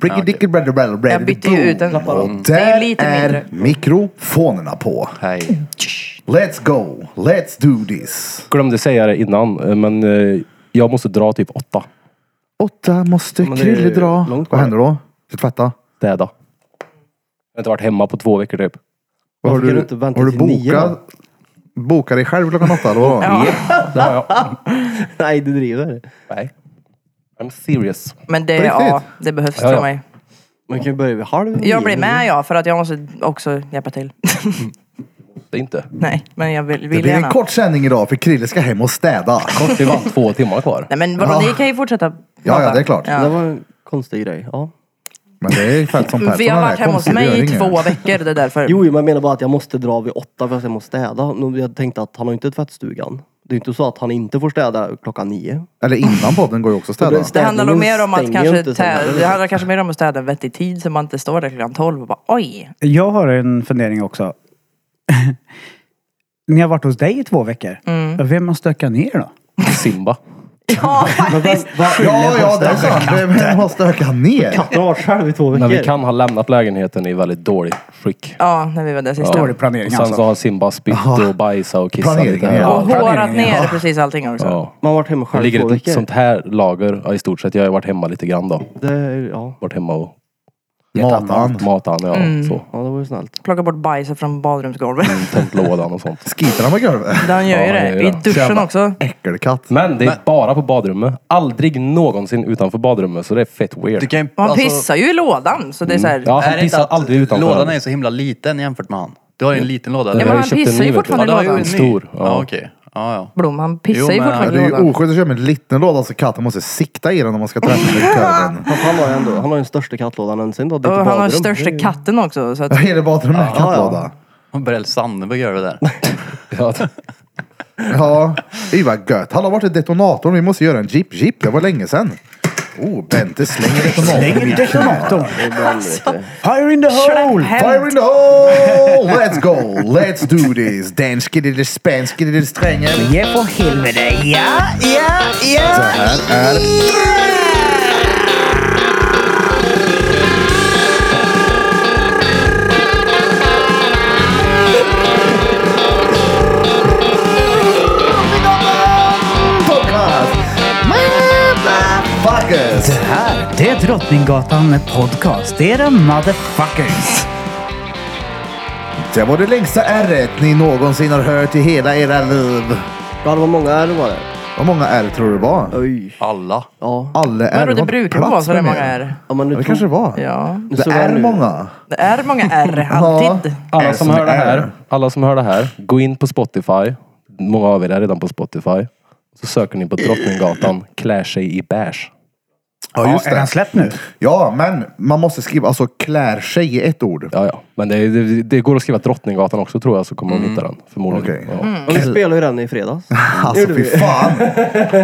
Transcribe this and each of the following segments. Ricky Dicky Brady Brady Brady Jag bytte ju ut den. Mm. Och Det är där lite är mindre. mikrofonerna på. Hej. Let's go, let's do this. Glömde säga det innan, eh, men eh, jag måste dra typ åtta. Åtta måste Men det är ju Krille dra. långt Vad kvar. händer då? Ska tvätta? Städa. Jag har inte varit hemma på två veckor typ. Vad Har Varför kan du, du inte vänta har du till nio bokat, bokat dig själv klockan åtta eller vadå? Ja. Det har jag. Nej, du driver. Nej. I'm serious. Men det, På riktigt? ja, det behövs Ja, ja. för mig. Man kan ju börja vid halv nio. Jag blir med ja, för att jag måste också hjälpa till. Det är inte. Nej, men jag vill, Det vill blir en gärna. kort sändning idag för Krille ska hem och städa. Kort, det var två timmar kvar. Nej men vadå, Ja. ni kan ju fortsätta Ja, ja, prata. det är klart. Det Ja. var en konstig grej. Ja. Men det är fett som Persson Vi Mm, har han är varit hemma hos konstig, det mig gör i inget. två veckor, det är därför. Jo, jo, men jag menar bara att jag måste dra vid åtta för att jag måste städa. Nu, Jag tänkte att han har ju inte tvättstugan. Det är ju inte så att han inte får städa klockan nio. Eller innan podden går ju också att städa. Det handlar nog mer om att Stänger kanske, inte så tä- heller. det handlar kanske mer om att städa en vettig tid så man inte står där klockan 12 och bara oj. Jag har en fundering också. Ni har varit hos dig i två veckor. Vem har stökat ner då? Simba. Ja faktiskt. Ja, ja, det är sant. Vem- Vem har stökat ner? Katten har varit själv i två veckor. Men vi kan ha lämnat lägenheten i väldigt dålig skick. Ja, när vi var där sist. Dålig planering Och sen så alltså. har Simba spytt och bajsat och kissat Planeringen, lite ja. här. Och hårat planeringen, ner ja. precis allting också. Ja. Man har varit hemma Det själv i två ligger ett veckor. sånt här lager ja, i stort sett. Jag har ju varit hemma lite grann då. Det, är- ja. Varit hemma och Matan. matat han. Ja, så. ja, det var ju snällt. Plocka bort bajset från badrumsgolvet. Tänt lådan och sånt. Skiter han på golvet? Den gör ju Ja, han det. gör I det. duschen Jävla också. Äckelkatt. Men det är bara på badrummet. Aldrig någonsin utanför badrummet. Så det är fett weird. Mm. Du kan ju... Man pissar ju i lådan så det är såhär. Ja, han Är det inte pissar att aldrig utanför. Lådan är ju så himla liten jämfört med han. Du har ju en liten låda. Ja, Jag men har ju han köpt en pissar ju ny, vet du. fortfarande i Ja, du har ju lådan. en ny. Stor, ja. Ja, okej. Ja, ja. Blom, han pissar ju Jo, men Ja, fortfarande Det i är ju lådan. oskönt att köra med en liten låda så katten måste sikta i den när man ska träffa den i köven. Fast han har ju ändå, han har ju den största kattlådan någonsin då. Det är Och inte han har badrum. största Det är- katten också. Så att, Jag gillar badrummet med kattlåda. Och Brell Sandberg gör det där. Ja, det- Ja, det var gött. Han har varit i detonatorn. Vi måste göra en jeep jeep. Det var länge sedan. Oh, Bente slänger detonatorn. Släng detonatorn. Alltså. Fire in the hole! Fire in the hole! Let's go! Let's do this! Den skiddidill spänn skiddidill strängen. Ge på helvete. Ja, ja, Det ja. här är... Podcast! Motherfuckers! Det här, det är Drottninggatan med podcast. Det är the motherfuckers. Det var det längsta ärret ni någonsin har hört i hela era liv. Ja, det var många är det var det. Vad många ärr tror du det var? Oj. Alla. Ja. Alla ärr men det har brukar plats vara så för det mer. många är. ja men nu Ja, det tog- kanske det var. Ja, nu Det såg jag är nu. många. det är många R alltid. Alla Är som, som hör det är. här, alla som hör det här, gå in på Spotify. Många av er är redan på Spotify. Så söker ni på Drottninggatan, klär sig i beige. Ja, just Är den det. släppt nu? Ja, men man måste skriva alltså klär sig i ett ord. Ja, ja. Men det, är- det, det går att skriva Drottninggatan också tror jag, så kommer de hitta den. Förmodligen. Okej. Ja. Ja, vi spelade ju den i fredags. Alltså fy fan.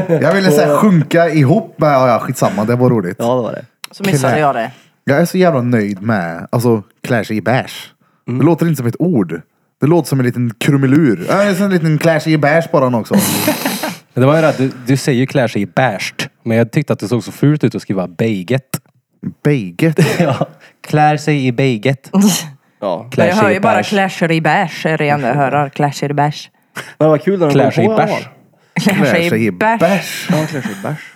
Jag ville säga sjunka ihop med, ja, ja skitsamma, det var roligt. Ja, det var det. Så missade Klä. jag det. Jag är så jävla nöjd med, alltså klär sig i bärs. Det låter inte som ett ord. Det låter som en liten krumelur. Ja, det är som en liten klär sig i bärs bara den också. Men Det var ju det, att du, du säger ju klär sig i beige. Men jag tyckte att det såg så fult ut att skriva beiget. Beiget. Ja. Klär sig i beiget. Ja. Klär jag hör sig i ju bara beige. clasher i bärs, är det enda jag hör. Clasher i bärs. Men det var kul när den Klär kom sig i på. ja. bärs. Clasher i bärs. Ja, klär sig i bärs.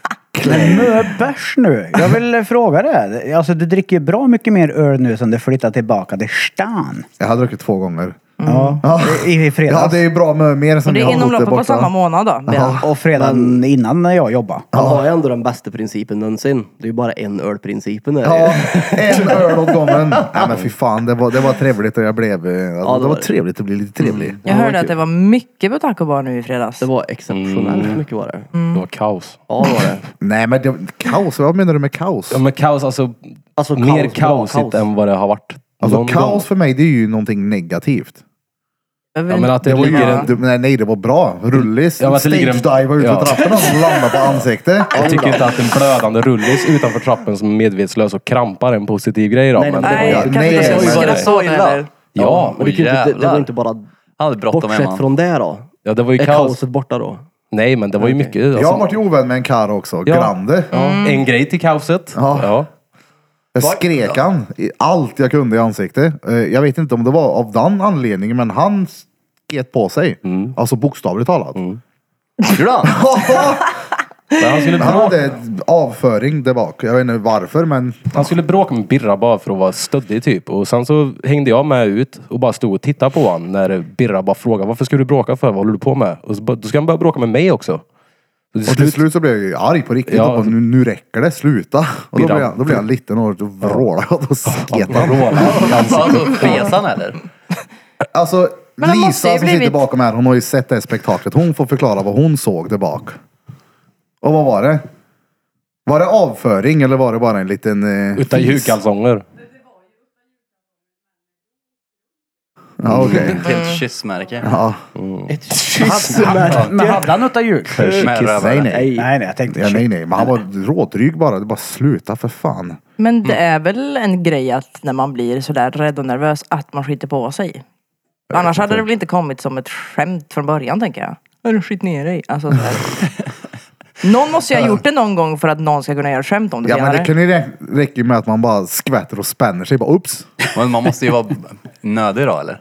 Men nu bärs nu. Jag vill eh, fråga det. Alltså du dricker ju bra mycket mer öl nu sen du flyttar tillbaka till stan. Jag har druckit två gånger. Ja, i i fredags. Ja, det är ju bra med mer som Det jag har är inom bott där loppet på borta. samma månad då. Bea. Och fredagen innan när jag jobbade. Han har ju ändå den bästa principen någonsin. Det är ju bara en ölprincipen. är det ju. Ja, en öl åt gången. Nej men fy fan, det var, det var trevligt och jag blev... eh, det, var var det. trevligt att bli lite trevlig. Mm. Jag hörde att det var mycket på taco bar nu i fredags. Det var exceptionellt Mm. mycket var det. Det var kaos. Ja, det var det. Nej men det, kaos, vad menar du med kaos? Ja men kaos alltså. Alltså, mer kaos, bra kaosigt kaos. än vad det har varit. Alltså någon kaos gång. för mig det är ju någonting negativt. Jag vill Ja, men inte- att det Det var ju, ligger en, det, nej, nej det var bra. Rullis, Ja, men att det ligger en- stage-divar ut på ja. trappan och landar på ansiktet. Jag tycker inte att en blödande rullis utanför trappen som är medvetslös och krampar är en positiv grej då. Nej, men nej. det Nej, var- jag kan Nej, inte men- skratta åt det heller. Ja, Men det, kan ju inte, det, det var jävlar. inte bara Han hade bråttom bortsett hemma. från det då. ja, det var ju Är kaos. kaoset borta då? Nej, men det var ju mycket. Jag Alltså, har varit ju ovän med en karl också, Ja. Grande. En grej till kaoset. Ja. Ja. Jag skrek han i allt jag kunde i ansiktet. Eh, Jag vet inte om det var av den anledningen, men han sket på sig. Mm. Alltså bokstavligt talat. Gjorde han? Men han, skulle Men Han bråka, hade avföring där bak. Jag vet inte varför, men han skulle bråka med Birra bara för att vara stöddig typ. Och sen så hängde jag med ut och bara stod och tittade på honom när Birra bara frågade varför ska du bråka för? Vad håller du på med? Och så, bara- då ska han börja bråka med mig också. Och och till slut så blev jag ju arg på riktigt. Ja. Och bara, nu, nu räcker det, sluta. Och då Birra. blev, han, då blev han liten och vrålade och sket han. Alltså, fes han eller? Alltså Men han måste Lisa ju som sitter blivit- bakom här, hon har ju sett det här spektaklet. Hon får förklara vad hon såg där bak. Och vad var det? Var det avföring eller var det bara en liten... Eh, Utan fis? julkalsonger. Ja, okej. Ett helt kyssmärke. Ja. Ett kyssmärke. Men hade han något jul? Med Nej, rövare. nej. Nej, nej, jag tänkte Ja, nej, nej. Men han var rådryg bara. Det bara sluta för fan. Men det är väl en grej att när man blir sådär rädd och nervös att man skiter på sig. Annars hade det väl inte kommit som ett skämt från början tänker jag. Har du skit ner dig? Alltså, sådär. någon måste ju ha gjort det någon gång för att någon ska kunna göra ett skämt om det Ja, men det senare. kan ju rä- räcka med att man bara skvätter och spänner sig. Bara, Ups! Men man måste ju vara nödig då eller?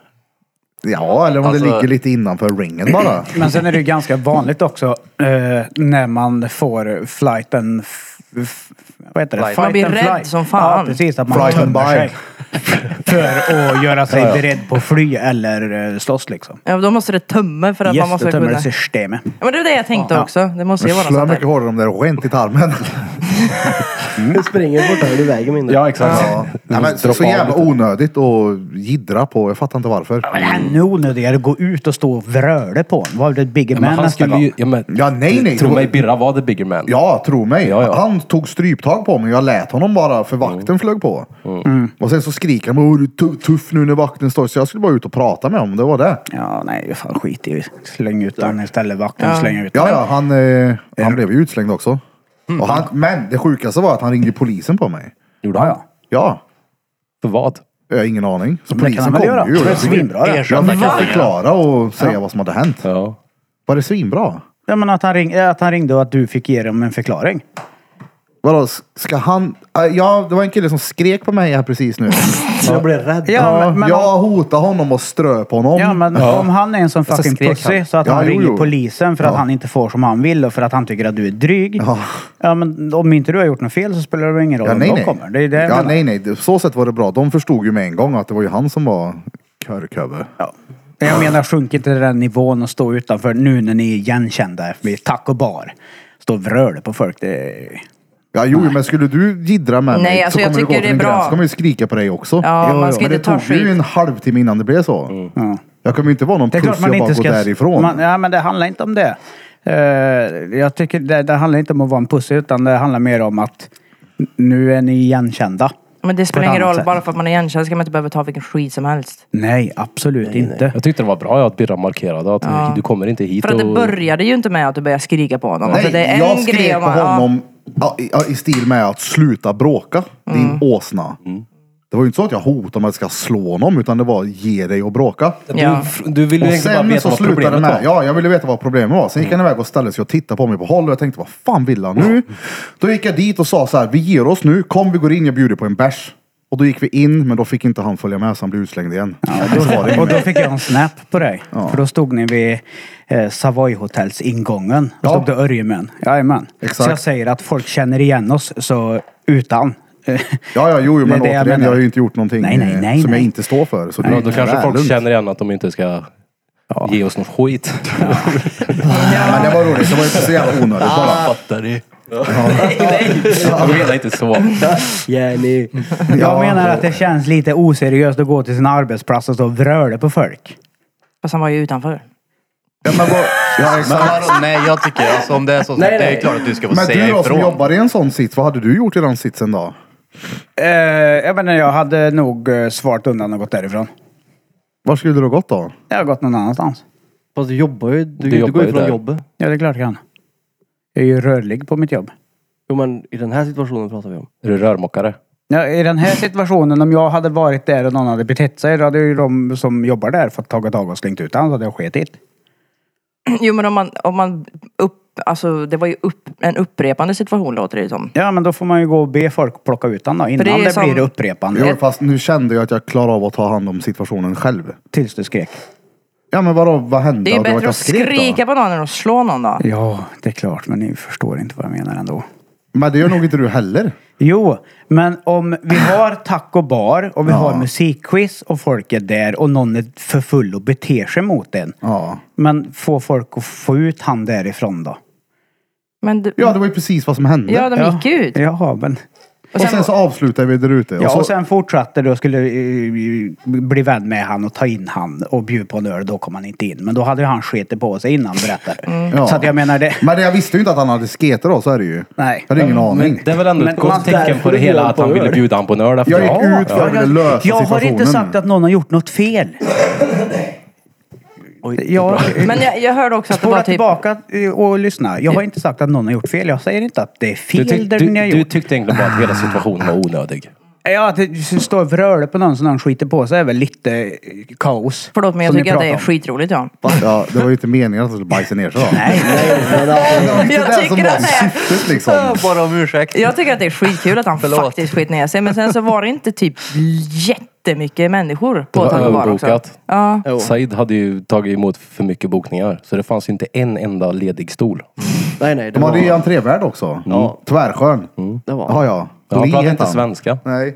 Ja, eller om Alltså- det ligger lite innanför ringen bara. Men sen är det ju ganska vanligt också eh, när man får flight and... f- f- Vad heter det? Flight. Fight Man blir and rädd flight. som fan. Ja, precis. Att man Flight and tömmer buy. sig. För att göra sig beredd på att fly eller eh, slåss liksom. Ja, då måste det tömma för att Yes, man måste då tömmer kunna... det systemet. Ja, men det är det jag tänkte också. Det måste ju vara något Slå sånt där. mycket hårdare om det där skämt i tarmen. Det springer bort här i vägen min. Ja exakt. Ja. Nej, men så, Droppa så av jävla lite. onödigt att jiddra på. Jag fattar inte varför. Men ännu onödigare att gå ut och stå och vröla på honom. Var det ett bigger Ja, man men han nästa skulle gång? ju... Ja, men, Ja, nej, nej. Tro mig, Birra var the bigger man. Ja, tro mig. Ja, Mm. ja. Han tog stryptag på mig. Jag lät honom bara för vakten flög på. Mm. Och sen så skriker han "Åh, du är tu- tuff nu när vakten står. Så jag skulle bara ut och prata med honom. Det var det. Ja, nej, fan skit i. Släng ut honom istället. Vakten slänger ut Ja, honom. ja. Han, eh, han blev ju utslängd också. Och han, men det sjukaste var att han ringde polisen på mig. Mm. Gjorde han? Ja. För vad? Jag har ingen aning. Så Men det kan polisen han väl kom göra? ju. Det är svinbra det. Jag Erkänna fick ju kassingen. förklara och säga vad som hade hänt. Ja. Var det svinbra? Ja, men att han, ring, eh, att han ringde och att du fick ge dem en förklaring. Vadå, s- ska han... Äh, Ja, det var en kille som skrek på mig här precis nu. Jag blev rädd. Ja, Ja, men, men, jag hotade honom och ströp honom. ja, men Ja. om han är en sån så fucking skrek pussy han. så att Ja, han jo, ringer jo. polisen för att han inte får som han vill och för att han tycker att du är dryg. Ja. Ja. men om inte du har gjort något fel så spelar det väl ingen roll Ja, om nej, de nej. kommer. Det är det jag ja, menar. nej, nej. Det- Så sett var det bra. De förstod ju med en gång att det var ju han som var körköve. Ja. Men Jag menar, sjunk inte till den nivån och stå utanför nu när ni är igenkända vid taco bar. Stå och vröla på folk. Det... Ja, jo, men skulle du jiddra med Nej, mig alltså, så jag kommer du gå tycker till det är en bra. gräns. Så kommer jag ju skrika på dig också. Ja, man ska men det inte ta tog ju skit. en halvtimme innan det blev så. Mm. Ja. Jag kommer ju inte vara någon Det är klart puss man jag bara inte går ska... därifrån. Man, ja, men det handlar inte om det. Eh, jag tycker det, det handlar inte om att vara en pussy utan det handlar mer om att nu är ni igenkända. Men det spelar På ett ingen annat roll, sätt. bara för att man är igenkänd ska man inte behöva ta vilken skit som helst. Nej, absolut inte. Jag tyckte det var bra ja, att Birra markerade att du kommer inte hit För att det och... började ju inte med att du började skrika på honom. alltså, det är jag en skrek grej om på man, ja. honom ja. i, ja, i stil med att sluta bråka, Mm. din åsna. Det var ju inte så att jag hotade med att jag ska slå honom, utan det var ge dig och bråka. Du, Ja. du ville ju Och egentligen bara sen veta så vad slutade det problemet med, var. ja jag ville veta vad problemet var. Sen gick han iväg och ställde sig och tittade på mig på håll och jag tänkte vad fan vill han nu? Då gick jag dit och sa så här, vi ger oss nu, kom vi går in, jag bjuder på en bärs. Och då gick vi in, men då fick inte han följa med så han blev utslängd igen. Och då- Och då fick jag en snap på dig. För då stod ni vid eh, Savoy Hotels ingången. Ja. Då stod det Örjemin. Jajamän. Exakt. Så jag säger att folk känner igen oss, så utan. Ja, ja, jo, jo Det men är det jag återigen, jag, menar. har ju inte gjort någonting Nej, nej, eh, nej, som jag nej. inte står för. Så det är Ja, då kanske väl folk lugnt. känner igen att de inte ska ge oss någon skit. Ja, men det var roligt, det var inte så jävla onödigt bara. Fattar du? De menar inte så. Jenny. Jag menar att det känns lite oseriöst att gå till sin arbetsplats och stå och vröla på folk. Fast han var ju utanför. Ja, men vad, ja, Men exakt. vadå, nej jag tycker alltså om det är så, så Nej, det är nej. klart att du ska få Men säga du då som ifrån. jobbar i en sån sits, vad hade du gjort i den sitsen då? Eh, jag menar, jag hade nog eh, svarat undan och gått därifrån. Var skulle du gått då? Jag har gått någon annanstans. Fast du jobbar ju. Du, du, jobbar går ju ju från där. jobbet. Ja, det är klart jag kan. Jag är ju rörlig på mitt jobb. Jo men i den här situationen pratar vi om. Är du rörmokare? Ja, I den här situationen, om jag hade varit där och någon hade betett sig, då hade ju de som jobbar där fått tagit tag och slängt ut han så hade jag skitit. Jo men om man, om man upp, alltså det var ju upp, en upprepande situation låter det ju som. Ja, men då får man ju gå och be folk plocka ut den då, innan det är det, som- blir upprepande. Jo, fast nu kände jag att jag klarade av att ta hand om situationen själv. Tills du skrek. Ja men vadå, vad hände? Det är ju Ja, var bättre jag att skrek då. skrika på någon än att slå någon då. Ja, det är klart, men ni förstår inte vad jag menar ändå. Men det gör nog inte du heller. Jo, men om vi har taco bar och vi har musikquiz och folk är där och någon är för full och beter sig mot en. Ja. Men få folk att få ut han därifrån då? Men du, Ja, det var ju precis vad som hände. ja, de gick ju ut. Jaha, men... och, sen, så avslutade vi där ute. Ja, så- och sen fortsatte du och skulle eh, bli vän med han och ta in han och bjuda på en öl. Då kom han inte in. Men då hade ju han skitit på sig innan berättade du. Mm. Ja. Så att jag menar det. Men det- jag visste ju inte att han hade skater då, så är det ju. Nej. Jag hade ingen aning. Det är väl ändå Men ett gott man- tecken därför på det vill hela jag att han på ville öl. bjuda han på en öl efter. Jag gick ut för att ja. jag ville lösa Jag har situationen. inte sagt att någon har gjort något fel. Jag, Men jag, jag hörde också att det var Spola typ... tillbaka eh, och lyssna. Jag har inte sagt att någon har gjort fel. Jag säger inte att det är Du, fel tyck, det du, ni har du gjort. tyckte egentligen bara att hela situationen var onödig. Ja, att det står och vrölar på någon som någon skiter på sig är väl lite eh, kaos. Förlåt men jag Som ni tycker att det är pratar om. skitroligt Jan. Ja, det var ju inte meningen att han skulle bajsa ner sig då. Nej, Det var inte Jag det som tycker var att det är- syftet liksom. Bara om ursäkt. Jag tycker att det är skitkul att han Förlåt. faktiskt skit ner sig. Men sen så var det inte typ jättemycket människor Det på var Taco Bar också. överbokat. Ja. Jo. Said hade ju tagit emot för mycket bokningar. Så det fanns ju inte en enda ledig stol. Nej, nej. Det De hade ju var... entrévärd också. Ja. Tvärskön. Det var- Ja, ja. Mm. Ja, han Lee pratade hette inte han. svenska. Nej.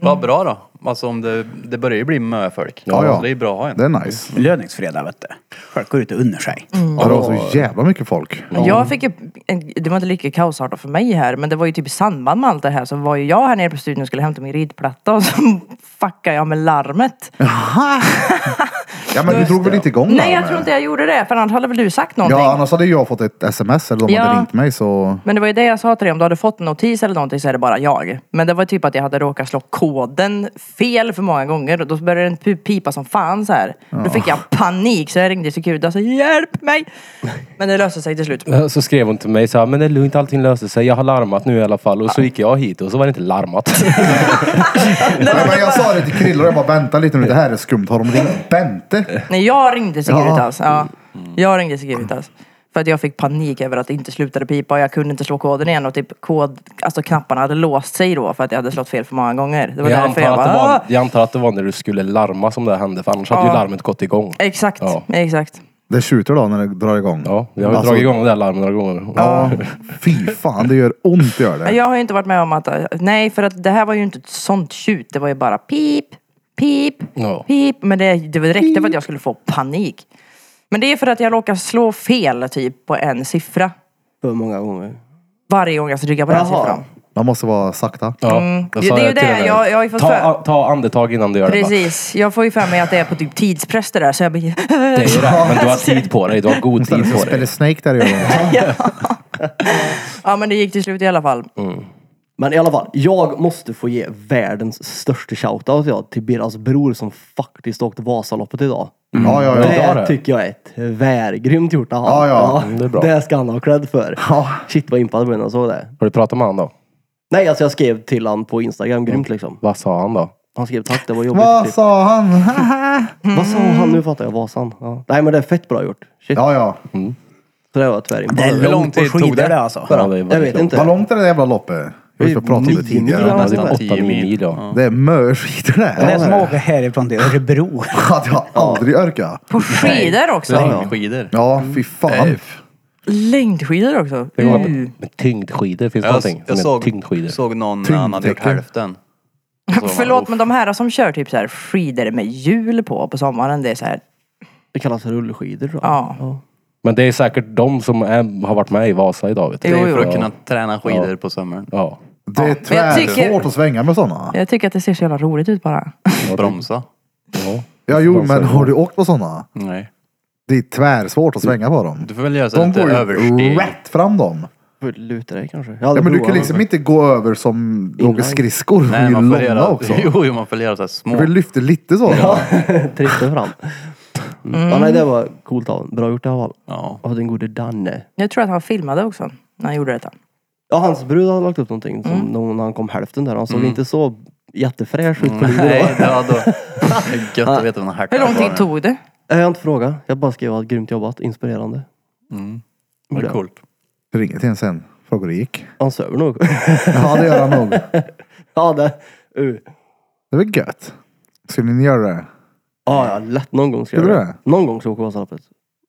Vad bra då. Alltså om det, det börjar ju bli möfolk. Ja, ja. Så det är bra att ha en. Det är nice. löningsfredag vet du. Folk går ut och unnar sig. Mm. Mm. Ja, det var så jävla mycket folk. Jag fick ju, en- det var inte lika kaosartat för mig här, men det var ju typ i samband med allt det här så var ju jag här nere på studion och skulle hämta min ridplatta och så fuckade jag med larmet. Ja, men du drog väl inte igång det Nej här jag med- tror inte jag gjorde det, för annars hade väl du sagt någonting? Ja, annars hade jag fått ett sms eller de Ja. hade ringt mig så... Men det var ju det jag sa till dig, om du hade fått en notis eller någonting så är det bara jag. Men det var typ att jag hade råkat slå koden fel för många gånger och då började den pi- pipa som fan så här. Då fick jag panik så jag ringde Securitas och sa hjälp mig! Men det löste sig till slut. Eh, Så skrev hon till mig så här, men det är lugnt, allting löser sig. Jag har larmat nu i alla fall. Och så gick jag hit och så var det inte larmat. Nej, men jag sa det till Krille och jag bara vänta lite nu, det här är skumt. Har de ringt Bente? Nej jag ringde Securitas. Ja. Jag ringde Securitas. För att jag fick panik över att det inte slutade pipa och jag kunde inte slå koden igen och typ kod, alltså knapparna hade låst sig då för att jag hade slått fel för många gånger. Det var Jag därför antar, jag att det bara, var, "Ah!" jag antar att det var när du skulle larma som det hände, för annars hade ju Ja. Eh, larmet gått igång. "Ah!" Exakt, Ja. exakt. Det tjuter då när det drar igång. Ja, jag har ju Alltså, dragit igång det där larmet några gånger. Ja, fy fan det gör ont gör det. Jag har ju inte varit med om att, nej för att det här var ju inte ett sånt tjut. Det var ju bara pip, pip, Ja. pip. Men det, det räckte för att jag skulle få panik. Men det är för att jag råkar slå fel typ på en siffra. Hur många gånger? Varje gång jag trycker på den Jaha. siffran. Man måste vara sakta. Ja, Mm. det sa är ju till det, henne, jag- jag har ju fått ta, för- a- ta andetag innan du gör det. va? Precis. Jag får ju för mig att det är på typ tidspress det där. Så jag blir... Det är ju det, men du har tid på dig. Du har god Istället tid för på att spela dig. Mm. Snake där i ja men det gick till slut i alla fall. Mm. Men i alla fall, jag måste få ge världens största shoutout jag till Birras bror som faktiskt åkte Vasaloppet idag. Ja, ja, ja. bra Det det. tycker jag är tvärgrymt gjort av Ja, han. ja. det är bra. det ska han ha cred för. Ja. Shit vad impad jag blev när jag såg det. Har du pratat med han då? Nej, alltså jag skrev till han på Instagram grymt liksom. Vad sa han då? Han skrev tack, det var jobbigt. Vad typ. sa han? Vad sa han? Nu fattar jag Vasan. Ja. Nej men det är fett bra gjort. Shit. Ja, ja. Så det var tvärgrymt. Det är Hur lång långt på tid tog skidor det? det alltså. Ja, det är Jag väldigt vet inte. Vad långt är det jävla loppet? Vi ska prata om det Nio mil. tidigare. Ja, det är Nästan åtta tio mil. mil. Ja. Det är mörskidor det. Det är som att här. åka härifrån till Örebro. Att jag aldrig orkar. På skidor Så också. Hängskidor. Ja, fy Mm. fan. Längdskidor också. Det går Uh. med- med tyngdskidor. Finns det Jag, någonting jag som är såg, tyngdskidor? såg någon när han hade gjort Tyngdtäcke. hälften. Och så var man, Förlåt "Uff." men de här som kör typ så här skidor med hjul på på sommaren. Det är så här, Det kallas rullskidor tror jag. ja. Men det är säkert de som är, har varit med i Vasa idag. Vet du? Jo, Det är jo. för att kunna träna skidor på sommaren. Ja. Det är men jag tycker- tvärsvårt att svänga med sådana. Jag tycker att det ser så jävla roligt ut bara. Bromsa. ja. Ja, jo, men har du åkt på sådana? Nej. Det är tvärsvårt att svänga på dem. Du får väl göra så De lite går ju översteg. rätt fram dem. Ja. Luta dig kanske. Ja, men du kan liksom inte gå över som du åker skridskor. De är Nej, ju man får långa göra, också. Jo, jo, man får göra så här små. Du lyfter lite så. Ja, trissar fram. Mm. Ja, nej, det var coolt av honom. Bra gjort i alla fall. Ja. Av den gode Danne. Jag tror att han filmade också när han gjorde detta. Ja, hans brud hade lagt upp någonting som någon, när han kom hälften där. Han såg inte så jättefräsch ut på livet. Nej, det var då... Det är Gött att veta vad man Hur lång tid hackar tog det? Nej, Jag har inte frågat. Jag bara skrev att grymt jobbat, inspirerande. Mm. Det är coolt. Ringer till en sen. Frågar hur det gick. Han söver nog. Ja, det gör han nog. ja, det... Uh. Det var gött. Skulle ni göra det? Ja, ja, lätt. Någon gång ska jag Ska du göra det. Någon gång ska jag åka Vasaloppet.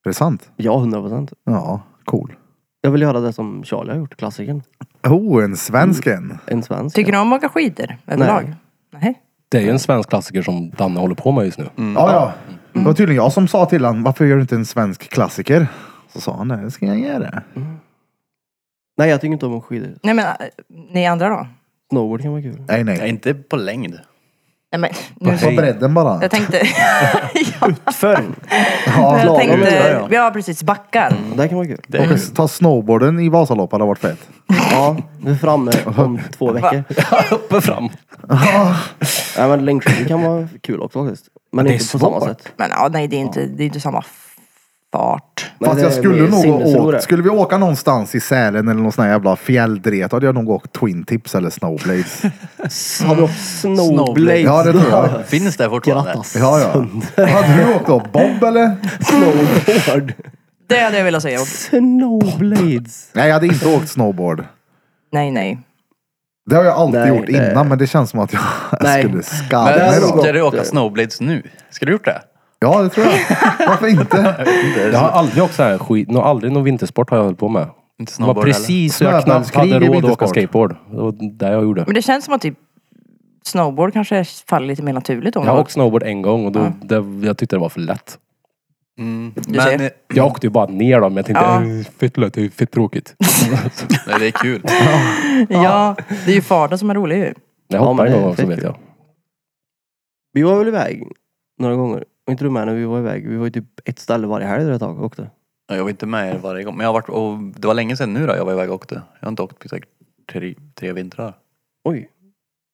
Är det sant? Ja, hundra procent. Ja, cool. Jag vill göra det som Charlie har gjort, klassikern. Oh, en svensken. En svensk. Tycker ni om att åka skidor överlag? Nej. Det är ju en svensk klassiker som Danne håller på med just nu. Mm. Ja, ja. Det var tydligen jag som sa till honom, varför gör du inte en svensk klassiker? Så sa han, nej, det ska jag göra. Nej, jag tycker inte om skidor. Nej men eh, ni andra då? Snowboard kan vara kul. Nej, Ja, nej. inte på längd. Nej men nu Var bredden bara. Jag tänkte, Förr. Ja, jag lagom ungefär, tänkte, ja. ja precis backar. Det kan vara kul. Det är ju ta snowboarden i Vasaloppet hade varit fett. Ja, vi är framme om två veckor. Uppe fram. Nej, men längdskidor kan vara kul också faktiskt. Men Det är inte på samma svårt. sätt. Men ja, nej det är inte, det är inte samma fart. Nej, Fast det jag är skulle mer nog ha sinnesro det. åkt, skulle vi åka någonstans i Sälen eller någon sån här jävla fjälldret hade jag nog åkt Twin Tips eller Snowblades. Har vi åkt snowblades? Ja, det tror jag. Finns det fortfarande? Grattas. Ja, ja. Hade du åkt då? Bob eller? Snowboard. Det hade jag velat säga. Snowblades. Nej, jag hade inte åkt snowboard. Nej nej. Det har jag alltid Nej, gjort det- innan, men det känns som att jag Nej. skulle skada mig Men då. ska du åka snowblades nu? Ska du gjort det? Ja, det tror jag. Varför inte? Jag har aldrig åkt sån här skit, nå, aldrig någon vintersport har jag hållit på med. Inte Det var snowboard heller. precis så jag knappt Snöbollskrig hade är råd att åka vintersport. skateboard. Det var det jag gjorde. Men det känns som att typ snowboard kanske faller lite mer naturligt om Jag har man åkt snowboard en gång och då, det, jag tyckte det var för lätt. Mm. ser. Men eh, Jag åkte ju bara ner då, men jag tänkte Ja. "Eh, fett lätt, det är fett tråkigt. nej, det är kul. Ja, det är ju farten som är rolig ju. Jag Ja, hoppade men det en är gång också fett vet kul. jag. Vi var väl iväg några gånger. Var inte du med när vi var iväg? Vi var ju typ ett ställe varje helg där ett tag och åkte. Ja, Jag var inte med er varje gång. Men jag har varit, och det var länge sedan nu då jag var iväg och åkte. Jag har inte åkt på säkert tre, tre vintrar. Oj.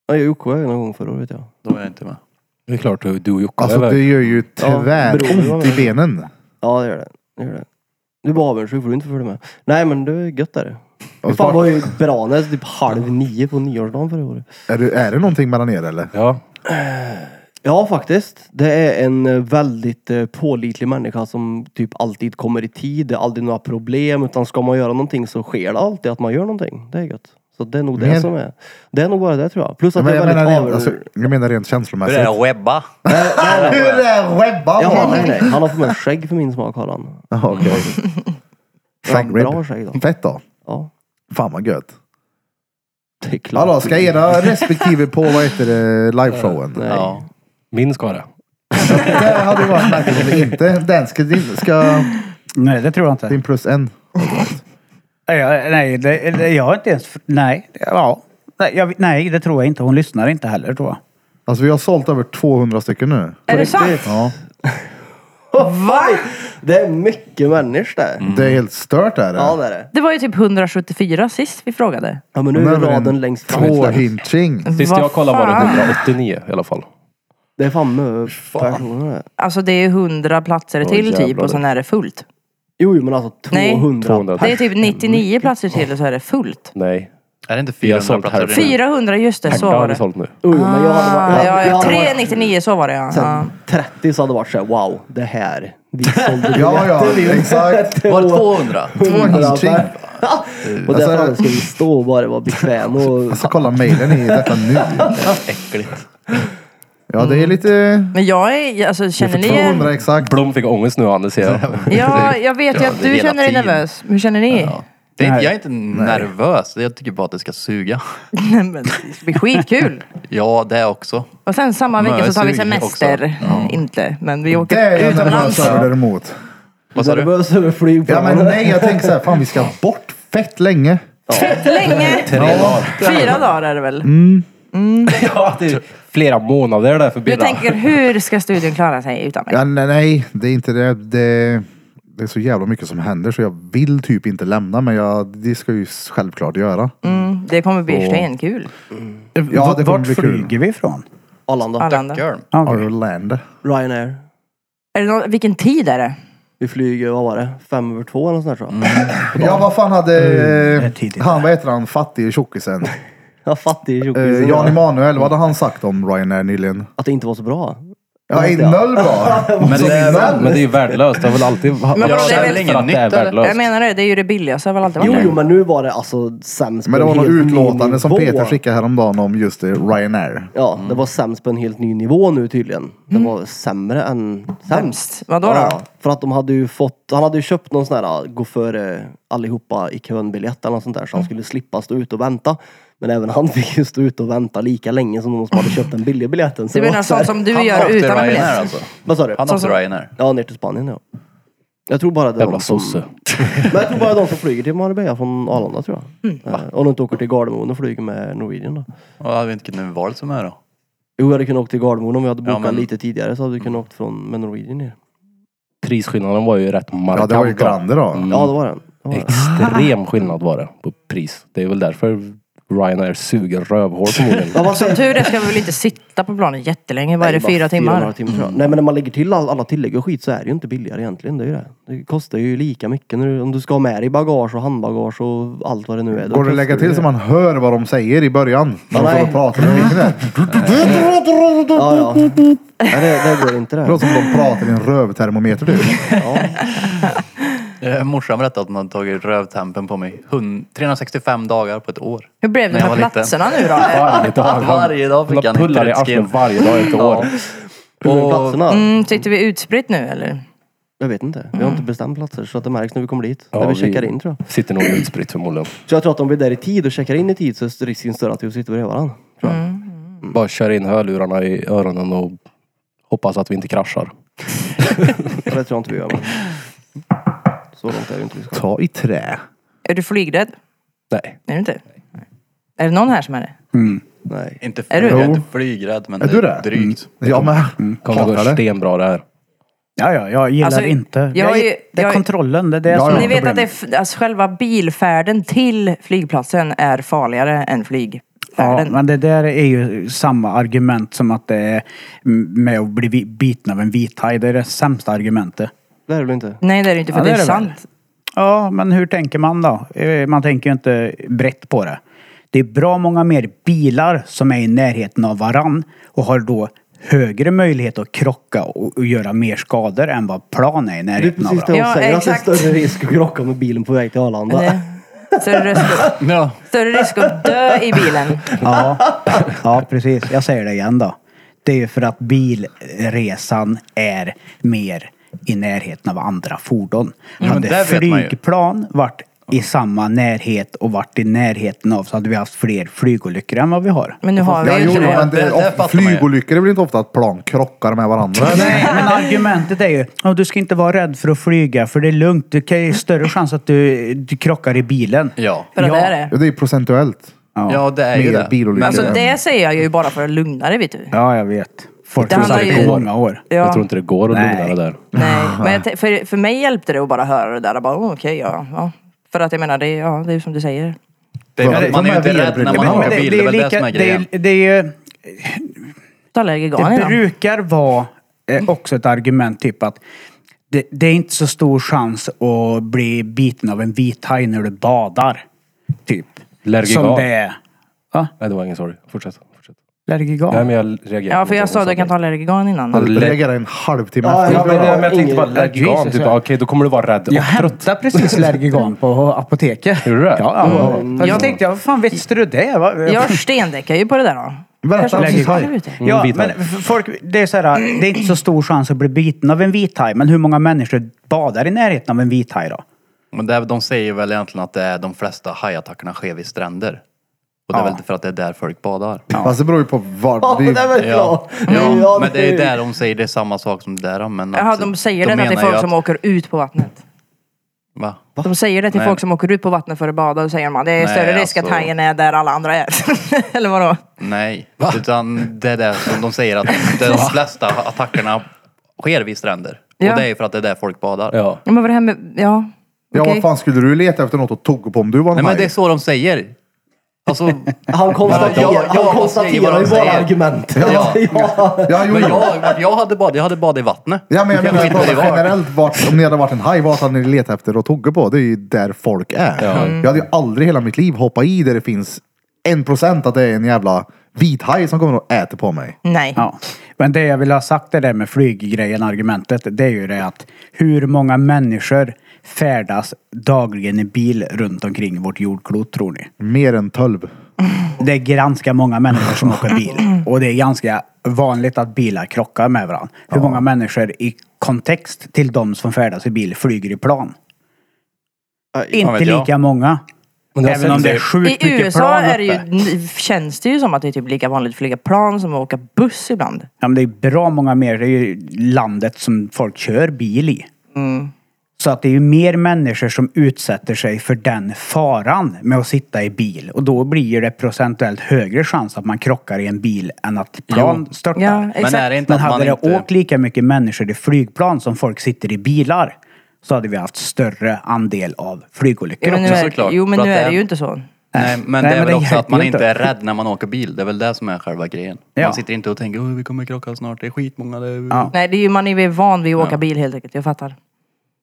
Ja, jag åkte iväg någon gång förra året ja. Då var jag inte med. Det är klart, du och Jocke Alltså var det iväg. gör ju tväront i benen. Ja det gör det. det, gör det. Du är bara avundsjuk för du inte får följa med. Nej men det är gött är det. Och Fy så fan bara, var ju Branäs typ halv nio på nyårsdagen förra året. är, det, är det någonting mellan er eller? Ja, Ja faktiskt. Det är en eh, väldigt eh, pålitlig människa som typ alltid kommer i tid. Det är aldrig några problem utan ska man göra någonting så sker det alltid att man gör någonting. Det är gött. Så det är nog det Men- som är. Det är nog bara det tror jag. Plus att Men jag jag, är menar väldigt rent, avundsjuk. alltså, jag menar rent Hur känslomässigt. är det webba? Hur är webban? Jaha, nej, Jaha, nej. Han har för mig skägg för min smak har han. okej. Han Shangrib. drar sig då. Fett då. Ja, Fan vad gött. det är klart. Alltså, ska era respektive på vad heter det, liveshowen? Nej. Ja. min ska det. Det hade ju varit märkligt om det inte. Den ska, din, ska Nej, det tror jag inte. Mm. din plus en. Nej, Jag, nej, det, det- jag har inte ens... fr- Nej, det- ja. Nej, jag, nej, det tror jag inte. Hon lyssnar inte heller tror jag. Alltså vi har sålt över 200 stycken nu. Är det sant? Ja. Va? Det är mycket människor där. Det är helt stört är det. Mm. Ja det är det. Det var ju typ 174 sist vi frågade. Ja men nu Men är det är raden en längst fram. Två hinching. Sist Vad jag kollade var det fan? 189 i alla fall. Det är fan mö personer där. Alltså det är 100 platser till typ jävlar. och sen är det fullt. Jo jo, men alltså Nej. 200. 200. Det är typ 99 platser till och så är det fullt. Nej. Är det inte Vi har 400 sålt platser? här. 400, just det, så Hector har var vi det. sålt nu. Jo, jo, men jag hade Ah, ja, varit... jag ja, hade varit 399, så var det ja. ja. sen 30 så hade det varit såhär wow, det här. Vi sålde Ja, ja, exakt. Var det 200? Två typ. hinching. Och Alltså- där framme skulle vi stå och bara vara bekväm och... Alltså kolla mejlen i detta nu. Äckligt. Ja, det är lite... Men jag är, alltså Det är känner för ni er? 200 exakt. Blom fick ångest nu, Anders ser jag. Ja, jag vet ju Ja, att det är du hela känner dig tiden. nervös. Hur känner ni? Ja. Det är inte, jag är inte nervös. Jag tycker bara att det ska suga. Nej, men det ska bli skitkul. Ja, det också. Och sen samma Men vecka jag så tar vi suger semester. Mm, Inte, men vi Det åker är jag nervös utomlands. över däremot. Vad sa du? Nervös över Ja, flygplanen. men nej, jag tänker så här, fan vi ska bort fett länge. Fett länge! Fyra dagar är det väl? Ja, det typ. är flera månader där för Jag Birra. tänker, hur ska studion klara sig utan mig? Ja, nej, nej, det är inte det. det. Det är så jävla mycket som händer så jag vill typ inte lämna men jag, det ska jag ju självklart göra. Mm, det kommer bli stenkul. Ja, det kommer Vart bli kul. flyger vi ifrån? Arlanda. Arlanda. Björn. Okay. Orlando. Ryanair. Är det någon, vilken tid är det? Vi flyger, vad var det? Fem över två eller något sånt där tror jag. Mm. Ja, vad fan hade eh, det är tidigt. han, vad heter han, fattige tjockisen? Jag fattig Eh, tjockisen. Jan Emanuel, vad hade han sagt om Ryanair nyligen? Att det inte var så bra. Ja, Einnöll bara. Men det, är, men det är ju värdelöst. Det har väl alltid Men vadå, varit det är väl känt för att det inget är nytt, eller? värdelöst. Jag menar det, det är ju det billigaste av allt. det Jo, var. jo, men nu var det alltså sämst Men det på var en något helt ny utlåtande som nivå. Peter Mm. skickade häromdagen om just eh, Ryanair. Ja, det var sämst på en helt ny nivå nu tydligen. Det var sämre än sämst. Mm. Sämst? Vadå då? Ja, för att de hade ju fått, han hade ju köpt någon sån här ah, gå före allihopa i kön-biljett eller något sånt där så han skulle slippa stå ute och vänta. Men även han fick ju stå ute och vänta lika länge som de som hade köpt den billiga biljetten. Så Du det menar var så här- sånt som du Han gör åkte utan Ryanair biljett? alltså. Vad sa du? Han åkte Ryanair. Ja, ner till Spanien ja. Jag tror bara det är Jävla de som... sosse. Men jag tror bara de som flyger till Marbella från Arlanda tror jag. Eh, Om du inte åker till Gardermoen och flyger med Norwegian då. Och hade vi inte kunnat vara som är då? Jo, jag hade kunnat åka till Gardermoen om vi hade Ja, bokat men- lite tidigare så hade vi kunnat åkt från, med Norwegian ner. Prisskillnaden var Mm. ju rätt markant. Ja, det var ju då. Grande då. Ja, det var den. Det var den. Extrem skillnad var det på pris. Det är väl därför Ryanair suger rövhål förmodligen. Ja, vad säger- Tur det ska vi väl inte sitta på planet jättelänge? Vad är det, bara fyra fyra och en timmar? halv timme, tror jag. Nej men när man lägger till all, alla tillägg och skit så är det ju inte billigare egentligen. Det är ju det. Det kostar ju lika mycket när du, om du ska ha med dig bagage och handbagage och allt vad det nu Går är. då det kostar att lägga till ju- så man hör vad de säger i början? När de Nej. står och pratar med micken där. Ja, ja. Nej, det, det går inte det. Det låter som de pratar i en rövtermometer typ. Eh, Morsan berättade att hon hade tagit rövtempen på mig. Hun- 365 dagar på ett år. Hur blev det När jag med var liten. platserna nu då? Varje dag. Han- Varje dag fick han han pullar i ett arslet skin. varje dag ett år. Och platserna? Mm, sitter vi utspritt nu eller? Jag vet inte. Vi har inte bestämt platser så att det märks när vi kommer dit. Ja, när vi checkar in tror jag. Sitter nog utspritt förmodligen. Så jag tror att om vi är där i tid och checkar in i tid så är risken större att vi sitter bredvid varandra. Tror jag. Bara kör in hörlurarna i öronen och hoppas att vi inte kraschar. Ja, Det tror jag inte vi gör. Men... Så långt är det inte vi ska. Ta i trä. Är du flygrädd? Nej. Är du inte? Är det någon här som är det? Nej. Inte, Är du? jag är Jo. inte flygrädd men Är det du det? Mm. är drygt. Jag med. Kommer gå Hatar det. stenbra det här. Ja, ja, jag gillar Alltså, inte. jag Jag, har ju- gill- det jag är har ju- kontrollen, det är det Ja, som ja. är Ni vet att det problemet. är, f- alltså, själva bilfärden till flygplatsen är farligare än Ja, flygfärden. men det där är ju samma argument som att det är med att bli vi- biten av en vithaj. Det är det sämsta argumentet. Det är det väl inte? Nej det är det inte för Ja, det det är, är det väl. sant. Ja, men hur tänker man då? Eh, Man tänker ju inte brett på det. Det är bra många mer bilar som är i närheten av varann och har då högre möjlighet att krocka och och göra mer skador än vad plan är i Det är närheten av precis det varandra. Ja, hon säger, att det är exakt. större risk att krocka med bilen på väg till Arlanda. Det- Större risk, Ja. större risk att dö i bilen. Ja, ja, precis. Jag säger det igen då. Det är ju för att bilresan är mer i närheten av andra fordon. men hade det vet man ju. flygplan varit i samma närhet och varit i närheten av så hade vi haft fler flygolyckor än vad vi har. Men nu har vi Ja, ju jo, inte det. men det, Det- det of- fattar man ju. flygolyckor är väl inte ofta att plan krockar med varandra? Nej, men argumentet är ju "Ja, du ska inte vara rädd för att flyga för det är lugnt. Du kan ju större chans att du, du krockar i bilen. Ja. För att det är det. Ja, Det är ju procentuellt. ja, det är ju Mer det. bilolyckor. Men alltså än- det säger jag ju bara för att lugna dig vet du. Ja, jag vet. Folk Det har handlar sagt ju- det på många år. Jag Ja, tror inte det går att lugna Nej. det där. nej. Men jag, t- för, för mig hjälpte det att bara höra det där. Jag bara, oh, okej, ja, ja. För att jag menar, det, är- ja, det är ju som du säger. Det är, Ja, det- man är ju inte de här rädd när bilbrillorna. man Ja, men åker det- det bil. Det är är väl det lika- som är det är- grejen. Det är ju... Talar Det gigan igen. brukar vara eh, också ett argument typ att det, det är inte så stor chans att bli biten av en vithaj när du badar. Typ. Lärgigan. Som det är. Va? Nej, det var ingen sorry. Fortsätt. Fortsätt. Lärgigan? Nej, men jag reagerar. Ja, på för det hon jag sa att jag kan ta Lergigan innan. Han reagerar en halvtimme Ja, efter. Ja, men, Ja, men jag tänkte ingen- bara, Lärgigan. Jesus, Typ, ja. Okej, då kommer du vara rädd och Jag trött. hämtade precis Lärgigan på apoteket. Gjorde du det? Mm. Ja, ja. Jag- Jag tänkte, ja, vad fan visste du det? Va- Jag stendäckar ju på det där då. Berätta Kanske om också din ska haj. du ute. Mm, Ja, vithaj. men f- folk, det är så här, det är inte så stor chans att bli biten av en vithaj, men hur många människor badar i närheten av en vithaj då? Men det, är- de säger väl egentligen att det är de flesta hajattackerna sker vid stränder. Och det är Ja. väl för att det är där folk badar. Fast det beror ju på var. Ja, Det men det är är, väl Ja, klart. ja, men det är ju ju- där de säger det är samma sak som där. då, Men att, Jaha, de säger det menar till ju folk som åker ut på vattnet. Va? De säger det till Nej. folk som åker ut på vattnet för att bada. Då säger man det är Nej, större risk att alltså- hajen är där alla andra är. Eller vadå? Nej, utan det är det som de säger att de flesta attackerna sker vid stränder. Ja. Och det är ju för att det är där folk badar. Ja. Ja, men vad är det här med... Ja. ja, okej. vad fan skulle du leta efter något att tugga på om du var en Nej men det är haj? så de säger. Alltså, Han Ja, ja, konstaterar, ja, han konstaterar vad ju de bara säger. argumentet. Ja. Ja, jo, men jo. jag, vart jag hade badat, jag hade badat i vattnet. Ja, men jag menar skiter i jag var. pratar generellt vart, om ni hade varit en haj, vart hade ni letat efter och tugga på? Det är ju där folk är. Jag hade ju aldrig hela mitt liv hoppat i där det finns en procent att det är en jävla vithaj som kommer och äter på mig. Nej. Ja. Men det jag vill ha sagt det där med flyggrejen, argumentet, det är ju det att hur många människor färdas dagligen i bil runt omkring vårt jordklot tror ni? Mer än tölv. Det är ganska många människor som åker bil och det är ganska vanligt att bilar krockar med varandra. Hur många människor i kontext till de som färdas i bil flyger i plan? Inte vet jag. lika många. Men det har Även om sett- det är sjukt I mycket USA plan är det uppe. ju, känns det ju som att det är typ lika vanligt att flyga plan som att åka buss ibland. Ja, men det är bra många mer. Det är ju landet som folk kör bil i. Så att det är ju mer människor som utsätter sig för den faran med att sitta i bil. Och då blir det procentuellt högre chans att man krockar i en bil än att plan störtar. Ja, Men är exakt. det inte Men att man hade det inte... åkt lika mycket människor i flygplan som folk sitter i bilar så hade vi haft större andel av flygolyckor Jo men nu också. också är, såklart, jo, men för nu att det är det är- ju inte så. Nej, men Nej, det är men väl det också att hjälper man ju inte. inte är rädd när man åker bil. Det är väl det som är själva grejen. Ja. Man sitter inte och tänker "Oj, vi kommer krocka snart, det är skitmånga. Det är... Ja. Nej, det är ju, man är ju van vid att åka bil helt enkelt. Jag fattar.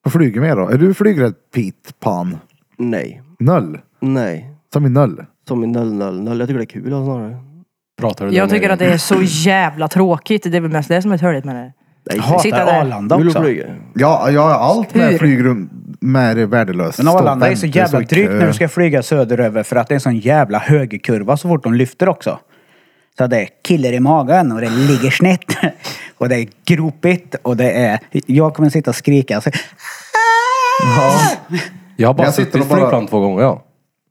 Vad flyger med då? Är du flygrädd Pete Pan? Nej. Null? Nej. Som i null? Som i 000. Jag tycker det är kul alltså, snarare. Pratar du Jag där tycker nere? att det är så jävla tråkigt. Det är väl mest det som är törligt med det. Nej, Hatar Sitta där. Arlanda Vill du också. flyga? Ja, ja allt Hur? med flygrum med är värdelöst. Men Stå och Arlanda är vänta, så jävla stå i drygt kö. när du ska flyga söderöver för att det är en sån jävla högerkurva så fort de lyfter också. Så det är killer i magen och det ligger snett. Och det är gropigt och det är... Jag kommer sitta och skrika. Alltså, Så, Jag har bara Jag sitter suttit i och bara- flygplan två gånger ja. Mm.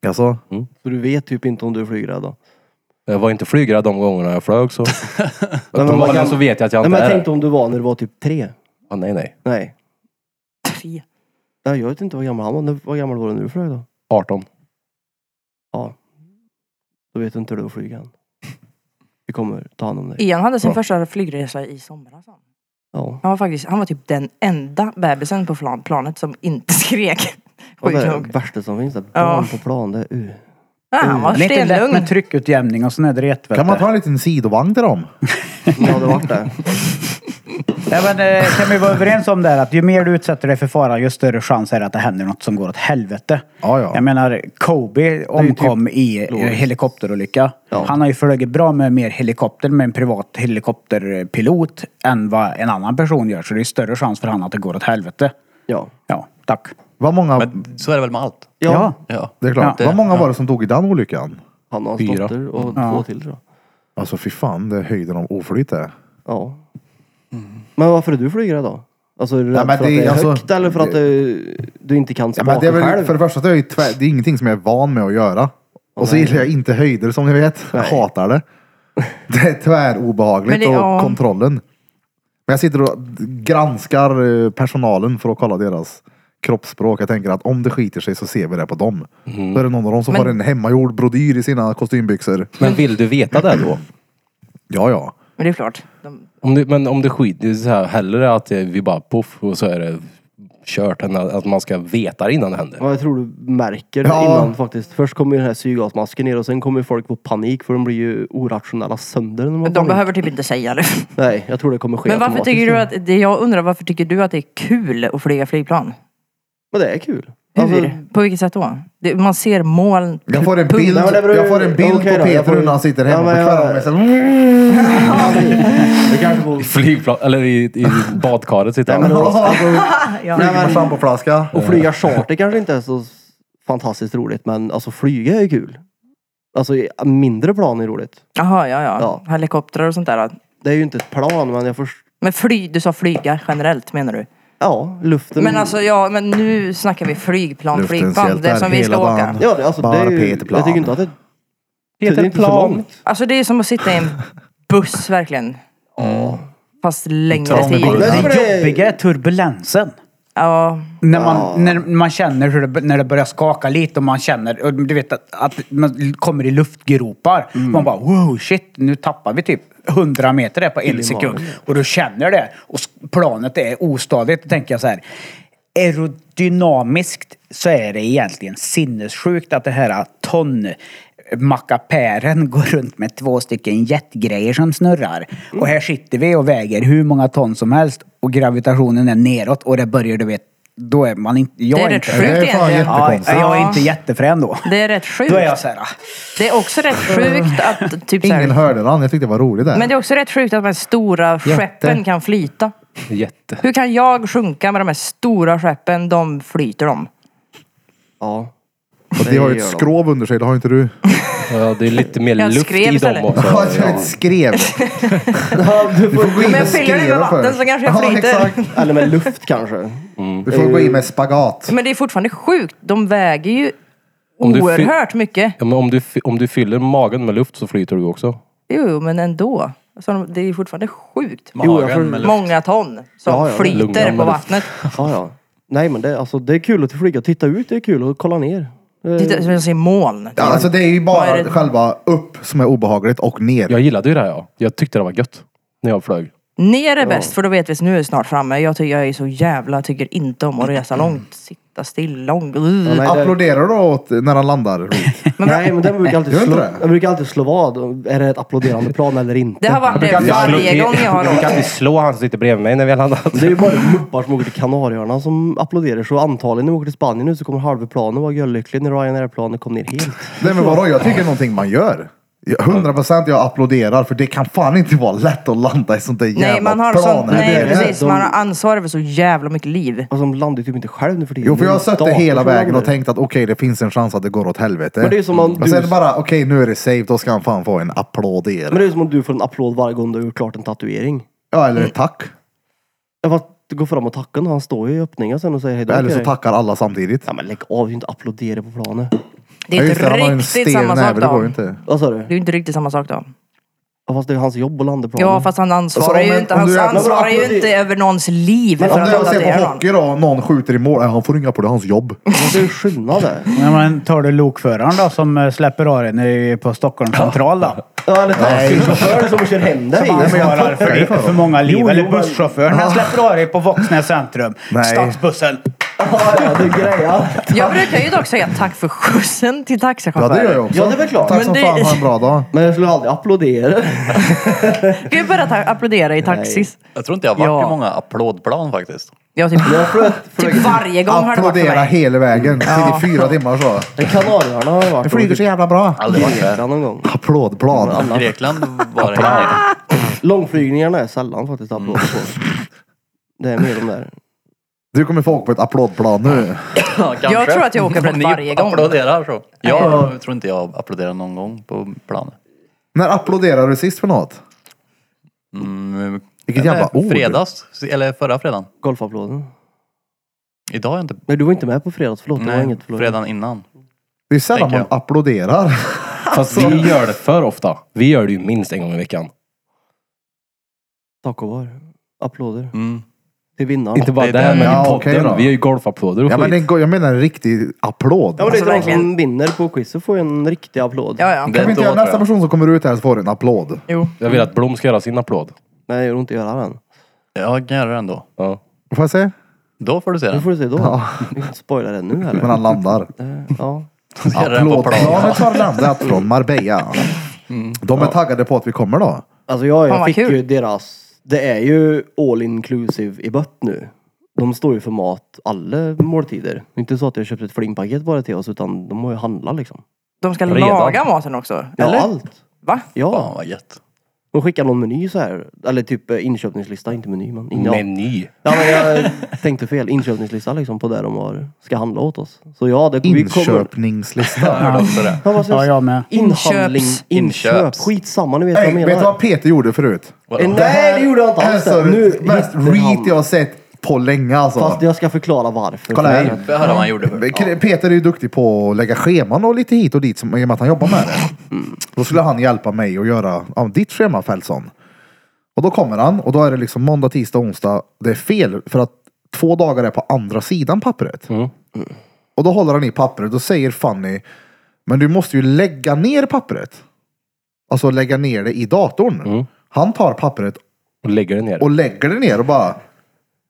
Jaså? Så du vet typ inte om du är flygrädd då? Jag var inte flygrädd de gångerna jag flög så. men de vad gångerna kan- så vet jag att jag Nej inte men jag är tänkte om du var när du var typ tre. ah, Nej nej. Nej. Tre. Nej jag vet inte vad gammal han var. När- Vad gammal var du när du flög då? 18. Ja. Då vet du inte hur det är att flyga än. Vi kommer ta hand om dig. Ian hade sin Ja. första flygresa i somras. han. Ja. Han var faktiskt, han var typ den enda bebisen på plan, planet som inte skrek. Och det Sjukt är nog. det värsta som finns. Där. Ja. Barn på plan. Det är, uh. Ja, han var det är Mm. inte lätt stenlugn. med tryckutjämning och sån där dret, vet Kan man du. ta en liten sidovagn till dem? Ja det vart det. Nej, men, eh, kan vi vara överens om det här att ju mer du utsätter dig för fara ju större chans är det att det händer något som går åt helvete. Ja, ja. Jag menar Kobe omkom i eh, helikopterolycka. typ Ja. Han har ju flugit bra med mer helikopter med en privat helikopterpilot än vad en annan person gör. Så det är större chans för han att det går åt helvete. Ja. Ja, tack. Vad många... Men så är det väl med allt. Ja. Ja. Det är klart. Ja. Vad många var det som dog i den olyckan? Han och hans Fyra. dotter och två till tror jag. Alltså fy fan, det är höjden av oflyt det. Ja. Men varför är du flygrädd då? Alltså är du Mm. Nej, men rädd för att det är det är alltså- högt eller för att du, du inte kan Ja, spaken men det är väl, själv? för det första, det är, ju tvär, det är ingenting som jag är van med att göra. Och så gillar jag inte höjder som ni vet. Jag Nej. hatar det. Det är tvärobehagligt Men det- och ja. kontrollen. Men jag sitter och granskar eh, personalen för att kolla deras kroppsspråk. Jag tänker att om det skiter sig så ser vi det på dem. Mm. Då är det någon av dem som Men- har en hemmagjord brodyr i sina kostymbyxor. Men vill du veta det då? Ja, ja. Men det är klart. De, Om du, men om det skiter det är så här, hellre att eh, vi bara poff och så är det kört än att att man ska veta det innan det händer. Ja, jag tror du märker Ja. innan faktiskt. Först kommer ju den här syrgasmasken ner och sen kommer folk få panik för de blir ju orationella sönder. När man men de får panik. behöver typ inte säga det. Nej, jag tror det kommer ske Men varför automatiskt. tycker du att, det jag undrar varför tycker du att det är kul att flyga flygplan? Men det är kul. Hur? Alltså, På vilket sätt då? Det, man ser moln. Jag får en Punkt. bild, Nej, men det beror- jag får en bild okej då, på jag får- Peter när han sitter hemma Ja, men på jag- kvällen. och säger, det kanske I går... flygplan, eller i, i badkaret sitter Nej, men alltså, han. då- Ja. Flyger med schampoflaska. Och flyga charter kanske inte är så fantastiskt roligt men alltså flyga är ju kul. Alltså i- mindre plan är roligt. Jaha, ja, ja Ja. Helikoptrar och sånt där. Det är ju inte ett plan men jag förstår. Men fly, du sa flyga generellt menar du? Ja, luften. Men alltså ja, men nu snackar vi flygplan, Luftens flygplan. Det hjältar som vi ska hela åka. dagen. Ja, det, alltså, det Bara är ju, Peter Plan. jag tycker inte att det, det är Peter inte så Plan. långt. Alltså det är som att sitta i en buss verkligen. Fast längre Trång tid. bil. Men det Det är- jobbiga är turbulensen. Ja. När man, när man känner hur det, när det börjar skaka lite och man känner, och du vet att, att man kommer i luftgropar. Man bara wow shit, nu tappar vi typ 100 meter där på en sekund. Och du känner det. Och s- planet är ostadigt. Då tänker jag så här. Aerodynamiskt så är det egentligen sinnessjukt att det här ton mackapären går runt med två stycken jetgrejer som snurrar. Och här sitter vi och väger hur många ton som helst och gravitationen är neråt och det börjar du vet då är man inte... Jag Det är är rätt inte, Det sjukt är fan egentligen. ja, jättekonstigt. jag är Ja. inte jättefrän då. Det är rätt sjukt. Då är jag så här, ah, Det är också rätt sjukt att typ så Ingen här, hörde den, jag tyckte det var roligt där. Men det är också rätt sjukt att de här stora skeppen kan flyta. Jätte. Hur kan jag sjunka med de här stora skeppen? De flyter de. Ja. Och det har ju gör ett de. skrov under sig, det har inte du. Ja, det är lite mer Jag luft skrev i dem istället. också. Ja, det är ett skrev. du får Mm. gå in Men jag och fyller det med skriva vatten för. så kanske jag Ja, flyter. exakt. Eller med luft kanske. Du får gå in med spagat. Men det är fortfarande sjukt. De väger ju Om du fy- oerhört mycket. Ja, men om, du, fy- om du fyller magen med luft så flyter du också. Jo, jo, men ändå. Så de- det är ju fortfarande sjukt. Jo, jag Magen får- med luft. Många ton som Ja, lugna ja, flyter med på luft. vattnet. Ja, ja. Nej men det, alltså, det är kul att flyga. Titta ut, det är kul att kolla ner. Eh, Titta, som jag ser moln. Ja, alltså det är ju Vad bara är det- själva upp som är obehagligt och ner. Jag gillade ju det här ja. Jag tyckte det var gött. När jag flög. Ner är bäst för då vet vi att nu är vi snart framme. Jag, tycker, jag är så jävla, tycker inte om att resa långt. Sitta still långt. nej, det- Applåderar du då åt, när han landar? Roligt. Nej men den brukar alltid Gör slå, inte det? den brukar alltid slå vad. Är det ett applåderande plan eller inte? Det har varit det varje gång jag har Jag kan åkt. inte slå han som sitter bredvid mig när vi har landat. Det är ju bara muppar som åker till Kanarieöarna som applåderar. Så antagligen när vi åker till Spanien nu så kommer halva planen vara görlycklig när Ryanair-planet kom ner helt. Nej men vadå, jag tycker någonting man gör. Jag- 100% jag applåderar för det kan fan inte vara lätt att landa i sånt där jävla Nej, man har plan. sånt, Det nej är- precis. de- Man har ansvar över så jävla mycket liv. Alltså de landar ju typ inte själv nu för tiden. Jo för jag har Det är en suttit hela dator som vägen och landar. tänkt att okej det finns en chans att det går åt helvete. Men det är som om Och du- sen bara okej nu är det safe, då ska han fan få en applåd i er. Men det är som om du får en applåd varje gång du har gjort klart en tatuering. Ja eller tack. Jag får gå fram och tacka honom. Han står ju i öppningen sen och säger hejdå. Eller till så dig. tackar alla samtidigt. Ja men lägg av, du inte applådera på planet. Det är Ja, han har ju inte en riktigt stel samma sak näve, det går ju då. inte. Vad sa du? Det är ju inte riktigt samma sak då. Ja, fast det är hans jobb att landa planet. Ja fast han ansvarar Alltså, om ju en- inte, om han du är- ansvarar ju Men det- inte över någons liv för Om att jag han ser på daterar någon. hockey då och någon skjuter i mål, nej, han får ringa på det, hans jobb. Men det är ju skillnad det. Ja, men tar du lokföraren då som eh, släpper av dig när du är på Stockholm central då? Ja eller taxichauffören som kör hem dig. Som ansvarar för, det- för många liv. Jo, Eller jo, men- busschauffören. Han släpper av dig på Voxnäs centrum. Nej. Stadsbussen. Ja, ja, det grejar. Jag brukar ju dock säga tack för skjutsen till Ja det taxichauffören. gör jag också. Ja, det är väl klart. Tack Men som det- fan, ha en bra dag. Men jag skulle aldrig applådera. Gud börja ta- applådera i taxis. Jag tror inte jag har varit Ja. i många applådplan faktiskt. Jag typ, Jag flöt, flög, typ varje gång har det varit för Applådera mig. hela vägen. Ja. Till i fyra timmar så. Kanarieöarna har jag varit. jävla bra. Aldrig varit där. Grekland någon gång. Applådplan. Grekland var det inget. Långflygningarna är sällan faktiskt applåder på. Det är mer de där. Du kommer få åka på ett applådplan nu. Ja, kanske. Jag tror att jag åker brett Om ni varje gång. applåderar så. Jag tror inte jag applåderar någon gång på planet. När applåderade du sist för något? Mm, Vilket eller jävla ord. Fredags, eller förra fredagen. Golfapplåden. Idag har jag inte... Nej, du var inte med på fredags. Förlåt, det var Nej, inget. Förlåt. fredagen innan. Det är sällan Tänker man applåderar. Fast vi Alltså. gör det för ofta. Vi gör det ju minst en gång i veckan. Tacobar. Applåder. Mm. Till vinnaren. Inte bara det är där den. men Ja, i okej podden. då. vi gör ju golfapplåder och Ja, men det skit. går, jag menar en riktig applåd. Ja, men det är Alltså, de som verkligen. vinner på quizet får ju en riktig applåd. Ja, ja. Det Kan vi är inte då, göra nästa tror jag. person som kommer ut här så får en applåd? Jo. Jag vill att Blom ska göra sin applåd. Nej, jag vill inte göra den. Jag kan göra det ändå. Ja. Får jag se? Då får du se Det den. får du se då. Vi kan inte spoila den nu Men heller. han landar. Eh, Ja. Ser den på plan. Applådplanet har landat från Marbella. Mm. De är taggade på att vi kommer då. Alltså jag, Fan, jag vad fick kul. ju deras... Det är ju all inclusive i bött nu. De står ju för mat alla måltider. Det är inte så att jag köpt ett flingpaket bara till oss utan de har ju handlat liksom. De ska Redan. laga maten också. Ja, Eller? allt. Va? Ja. Fan vad gött. De skickar någon meny så här. Eller typ eh, inköpningslista, inte meny men... Ja. Meny. Ja, men jag tänkte fel. Inköpningslista liksom på där de har, ska handla åt oss. Så ja, det, vi kommer... Inköpningslista. Hörde också det. Ja, vad säger Ja, jag? jag med. Inhandling, Inköps. inköp. Inköps. Skitsamma, ni vet vad jag Hey, menar. vet du vad Peter gjorde förut? Eh, Nej, det gjorde jag inte alls. Alltså, nu det mest hittar han. reet jag har sett på länge alltså. Fast jag ska förklara varför. Kolla här. Det hörde man gjorde förr. K- Peter är ju duktig på att lägga scheman och lite hit och dit som, i och med att han jobbar med det. Då skulle han hjälpa mig att göra ja, ditt schema Fältson. Och då kommer han och då är det liksom måndag, tisdag, onsdag. Det är fel för att två dagar är på andra sidan pappret. Och då håller han i pappret och säger Fanny, men du måste ju lägga ner pappret. Alltså lägga ner det i datorn. Han tar pappret Och lägger det ner. och lägger det ner och bara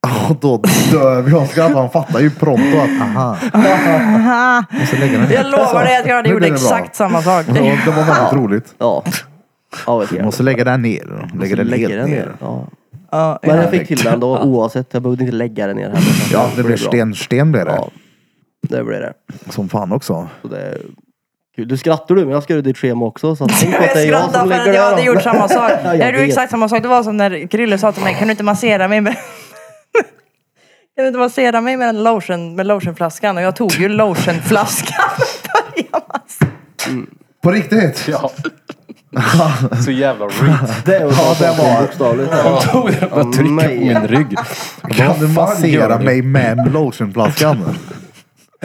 och då dör vi av skratt. Han fattar ju pronto att aha. Och så lägger han ner. Jag lovar dig att jag hade Nu gjort blir det bra. exakt samma sak. Och Det var väldigt roligt. Ja. Ja, vet jag. Måste lägga den ner. Lägger den Lägger helt den ner. ner. Ja. Ja, Men ja. jag fick till den då oavsett. Jag behövde inte lägga den ner heller. Ja, det blir bra. sten, sten blir det. Ja, det blir det. Som fan också. Så det är kul. Du skrattar du, men jag ska göra ditt schema också. Så tänk på att Jag det är jag skrattar som för lägger att jag hade det. gjort samma sak. jag Jag gjorde vet. exakt samma sak. Det var som när Krille sa till mig, kan du inte massera mig med... Kan du inte massera mig med, den lotion, med lotionflaskan? Och jag tog ju lotionflaskan och började massera. På riktigt? Ja. Så jävla reet. Det är ja, det var bokstavligt. Han tog den och bara tryckte på min rygg. Kan du massera gör du? mig med lotionflaskan?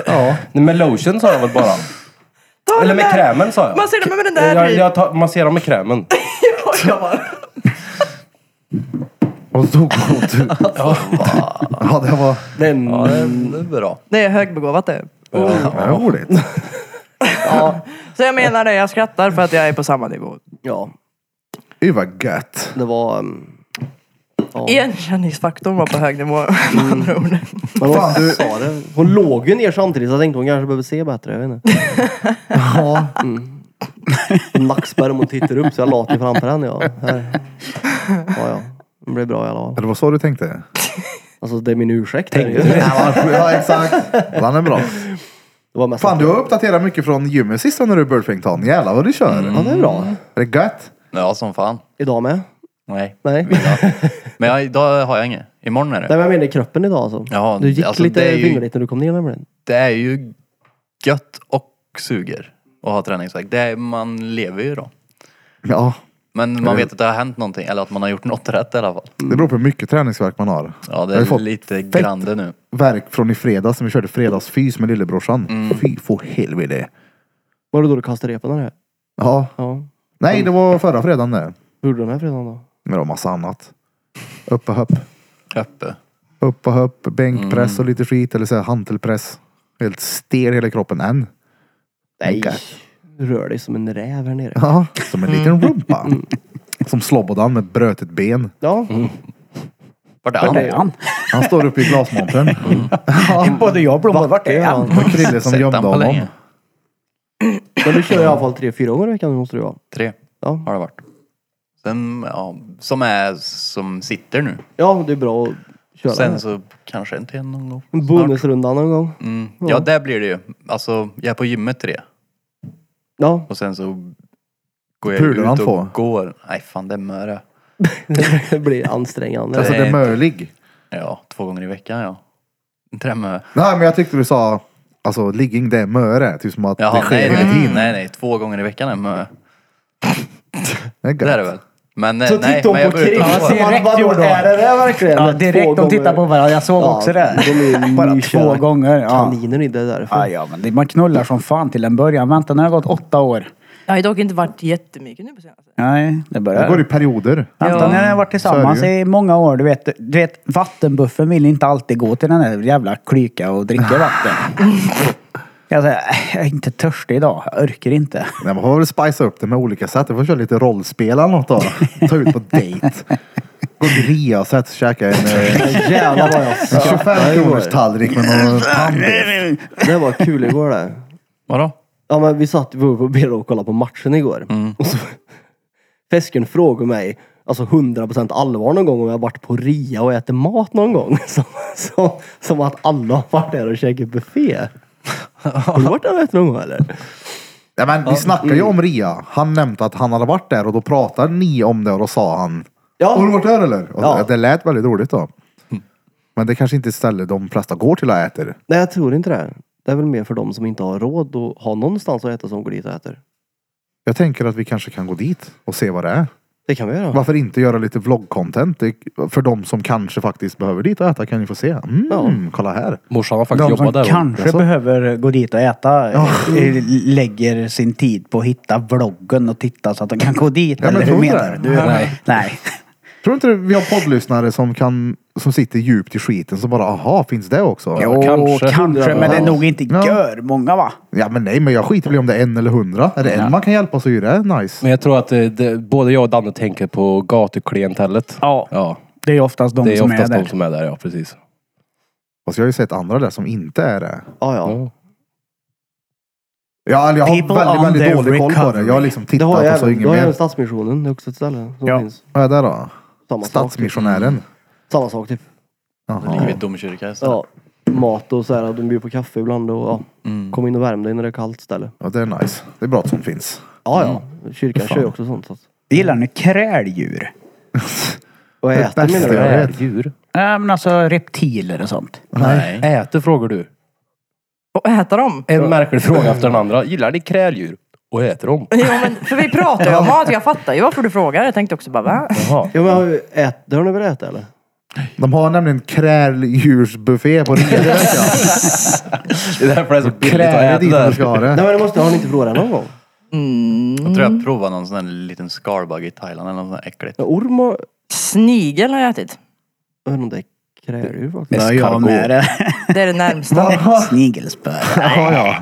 ja. Nej, Med lotion sa jag väl bara. Ta Eller den med där. krämen sa jag. Massera mig med den där Jag, typ. jag tar, masserar med krämen. Och jag bara, Och så tog hon ut. Ja, det var Den, Ja, det är, det är bra. Det är högbegåvat det. det var roligt. ja, Så jag menar det, jag skrattar för att jag är på samma nivå. ja, Det var gött. det var... Um, ja. Igenkänningsfaktorn var på hög nivå med andra Mm. ord. Men hon, Fan, du- sa det. hon låg ju ner samtidigt så jag tänkte hon kanske behöver se bättre. Jag vet inte. Ja. Nackspärr om hon tittar upp så jag la till framför henne. Ja, Här. ja, ja. det blev bra i alla fall. Eller vad sa du tänkte? Alltså det är min ursäkt. här Tänkte ju. du det? Ja, exakt. Den är bra. Det var mest Fan, du har uppdaterat mycket från gymmet sist när du är Burfington. Jävlar vad du kör. Ja, det är bra. Är det gött? Ja, som fan. Idag med? Nej. Nej. Men jag, idag har jag inget. Imorgon är det. Nej men jag menar kroppen idag alltså. Ja, du gick alltså, det lite är ju- vingligt när du kom ner nämligen. Det är ju gött och suger att ha träningsvärk. Det är, man lever ju då. Ja. Men Mm. man vet att det har hänt någonting, eller att man har gjort något rätt i alla fall. Det beror på hur mycket träningsvärk man har. Ja, det Jag har är fått lite fett grande nu. Verk från i fredags när vi körde fredagsfys med lillebrorsan. Fy för helvete. Var det då du kastade repen eller? Ja. Ja. Nej, det var förra fredagen det. Hur gjorde du den här fredagen då? Men det var massa annat. Upp och höpp. Uppe. Upp och höpp. Bänkpress och lite skit. Eller så här hantelpress. Helt stel hela kroppen än. Nej. Okej. Rör dig som en räv här nere. Ja, som en liten rumpa. Som Slobodan med brötet ben. Ja. Vart är Vart är han? han? Han står uppe i glasmontern. Både jag och Blom, bara, vart är han? Och Krille som Sett gömde Mm. han på honom. länge? Men du kör i alla fall tre, fyra gånger i veckan måste du vara. Tre Ja. har det varit. Sen, ja, som är som sitter nu. Ja, det är bra att köra. Sen så kanske en till någon gång. en snart. bonusrunda någon gång. Mm. Ja, där blir det ju. Alltså, jag är på gymmet tre. Ja. Och sen så går jag Pular ut han och på? går. Nej fan det är möre. Det blir ansträngande. Alltså det Eh. är möjlig. Ja, två gånger i veckan ja. Inte det mö. Nej men jag tyckte du sa, alltså ligging det är möre. Typ som att Jaha, det sker nej, hela nej, tiden. nej, nej, två gånger i veckan är mö. Det är gött. Det är det väl? Men, nej, Så nej, tittar hon men jag på går ut Krim. och Ja, går. se. direkt Vadå, gjorde hon. Är det det verkligen? Ja, Två direkt. De tittar på gånger. varandra. Jag såg Ja, också det. de är ju Bara två nykära gånger. Ja. Kaniner i det där. Ja, Fan. ja, men det, man knullar som fan till en början. Vänta, nu har det gått åtta år. Jag har ju dock inte varit jättemycket nu på senaste. Nej, det börjar. Det går i perioder. Anton och jag har varit tillsammans Så är det i många år. Du vet, du vet, vattenbuffen vill inte alltid gå till den där jävla klyka och dricka vatten. Jag säger, "Äh, jag är inte törstig idag. Jag orkar inte. Nej, man får väl spicea upp det med olika sätt. Du får köra lite rollspel eller något då. Ta ut på dejt. Gå till rea och sätta och käka en eh, Jävlar vad jag 25 kronors tallrik med någon tandbiff. Det var kul igår det. Vadå? Ja men vi satt vi var på BR och kollade på matchen igår. Mm. Och så, Fesken frågade mig, alltså 100% allvar någon gång om jag varit på ria och ätit mat någon gång. Som, som, som att alla har varit där och käkat buffé. Har du varit där och ätit någon gång eller? Nej, men vi snackade ju om rea. Han nämnde att han hade varit där och då pratade ni om det och då sa han. Ja. Har du varit där eller? Och Ja. Det lät väldigt roligt då. Men det är kanske inte är ett ställe de flesta går till och äter. Nej jag tror inte det. Det är väl mer för de som inte har råd att ha någonstans att äta som går dit och äter. Jag tänker att vi kanske kan gå dit och se vad det är. Det kan vi göra. Varför inte göra lite vloggcontent? Det- För de som kanske faktiskt behöver dit och äta kan ju få se. Mm, Ja. Kolla här. Morsan har faktiskt De som jobbat där. hon. kanske behöver gå dit och äta eh, lägger sin tid på att hitta vloggen och titta så att de kan gå dit. Ja, men eller hur tror du menar det? du? Nej. Nej. Tror du inte vi har poddlyssnare som, kan, som sitter djupt i skiten som bara, aha, finns det också? Jo. kanske. kanske. kanske, men det är nog inte Ja. gör många va? Ja men nej, men jag skiter väl i om det är en eller hundra. Är det en man kan hjälpa så är det nice. Men jag tror att eh, det, både jag och Danne tänker på gatuklientellet. Ja. ja. Det är oftast de Det är som oftast är där. de som är där, ja precis. Fast jag har ju sett andra där som inte är det. Ja, ja. Ja. Ja, eller jag har People on väldigt, their väldigt dålig koll på det. recovery. Jag har liksom Det tittat har jag och så även. inget Det har jag även mer. Stadsmissionen. Det är också ett ställe som Ja. finns. Vad är det då? Samma sak. Typ. Stadsmissionären. Samma sak typ. Jaha. Livet domkyrka istället. Ja. Mat och så här, de bjuder på kaffe ibland och Mm. ja. Mm. Kom in och värm dig när det är kallt ställe. Ja, det är nice. Det är bra att sånt finns. Ja, ja. Mm. Kyrkan kör ju också sånt. Så. att- Gillar ni kräldjur? Och Det äter menar bästa du? jag vet. Djur. Nej men alltså reptiler och sånt. Nej. Äter frågar du. Och äta dem. En märklig fråga efter den andra. Gillar ni kräldjur? Och äter dem? Jo, men, för vi pratar ju om mat, jag fattar ju varför du frågar. Jag tänkte också bara va? Jaha. Ja, men har, vi- ät, det har ni väl ätit eller? De har nämligen kräldjursbuffé på Riga. Det är därför det är så billigt att Kräl är äta dit man där. ska ha det. Nej men det måste, har ni inte provat det någon gång? Jag tror jag provade någon sån där liten skalbagge i Thailand eller något sånt där äckligt. Ja, orm har... Snigel har jag ätit. Jag vet inte om det är kräldjur faktiskt. Det har jag med det. Det är det närmsta. Snigelspö. Ja, ja.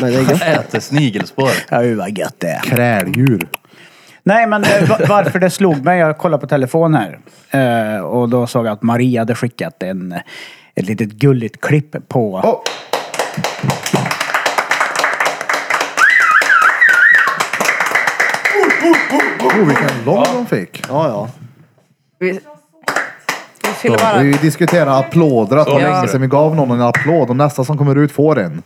Nej det är gött. Äter snigelspår. Ja, hur vad gött det är. Kräldjur. Nej, men eh, va- varför det slog mig, jag kollade på telefon här. Eh, och då såg jag att Maria hade skickat en, eh, ett litet gulligt klipp på... Åh! Oh, vilken lång de fick. Ja, ja. Vi, vi skulle Och bara... Vi diskuterade applåder, att det var Ja. länge sedan vi gav någon en applåd och nästa som kommer ut får en.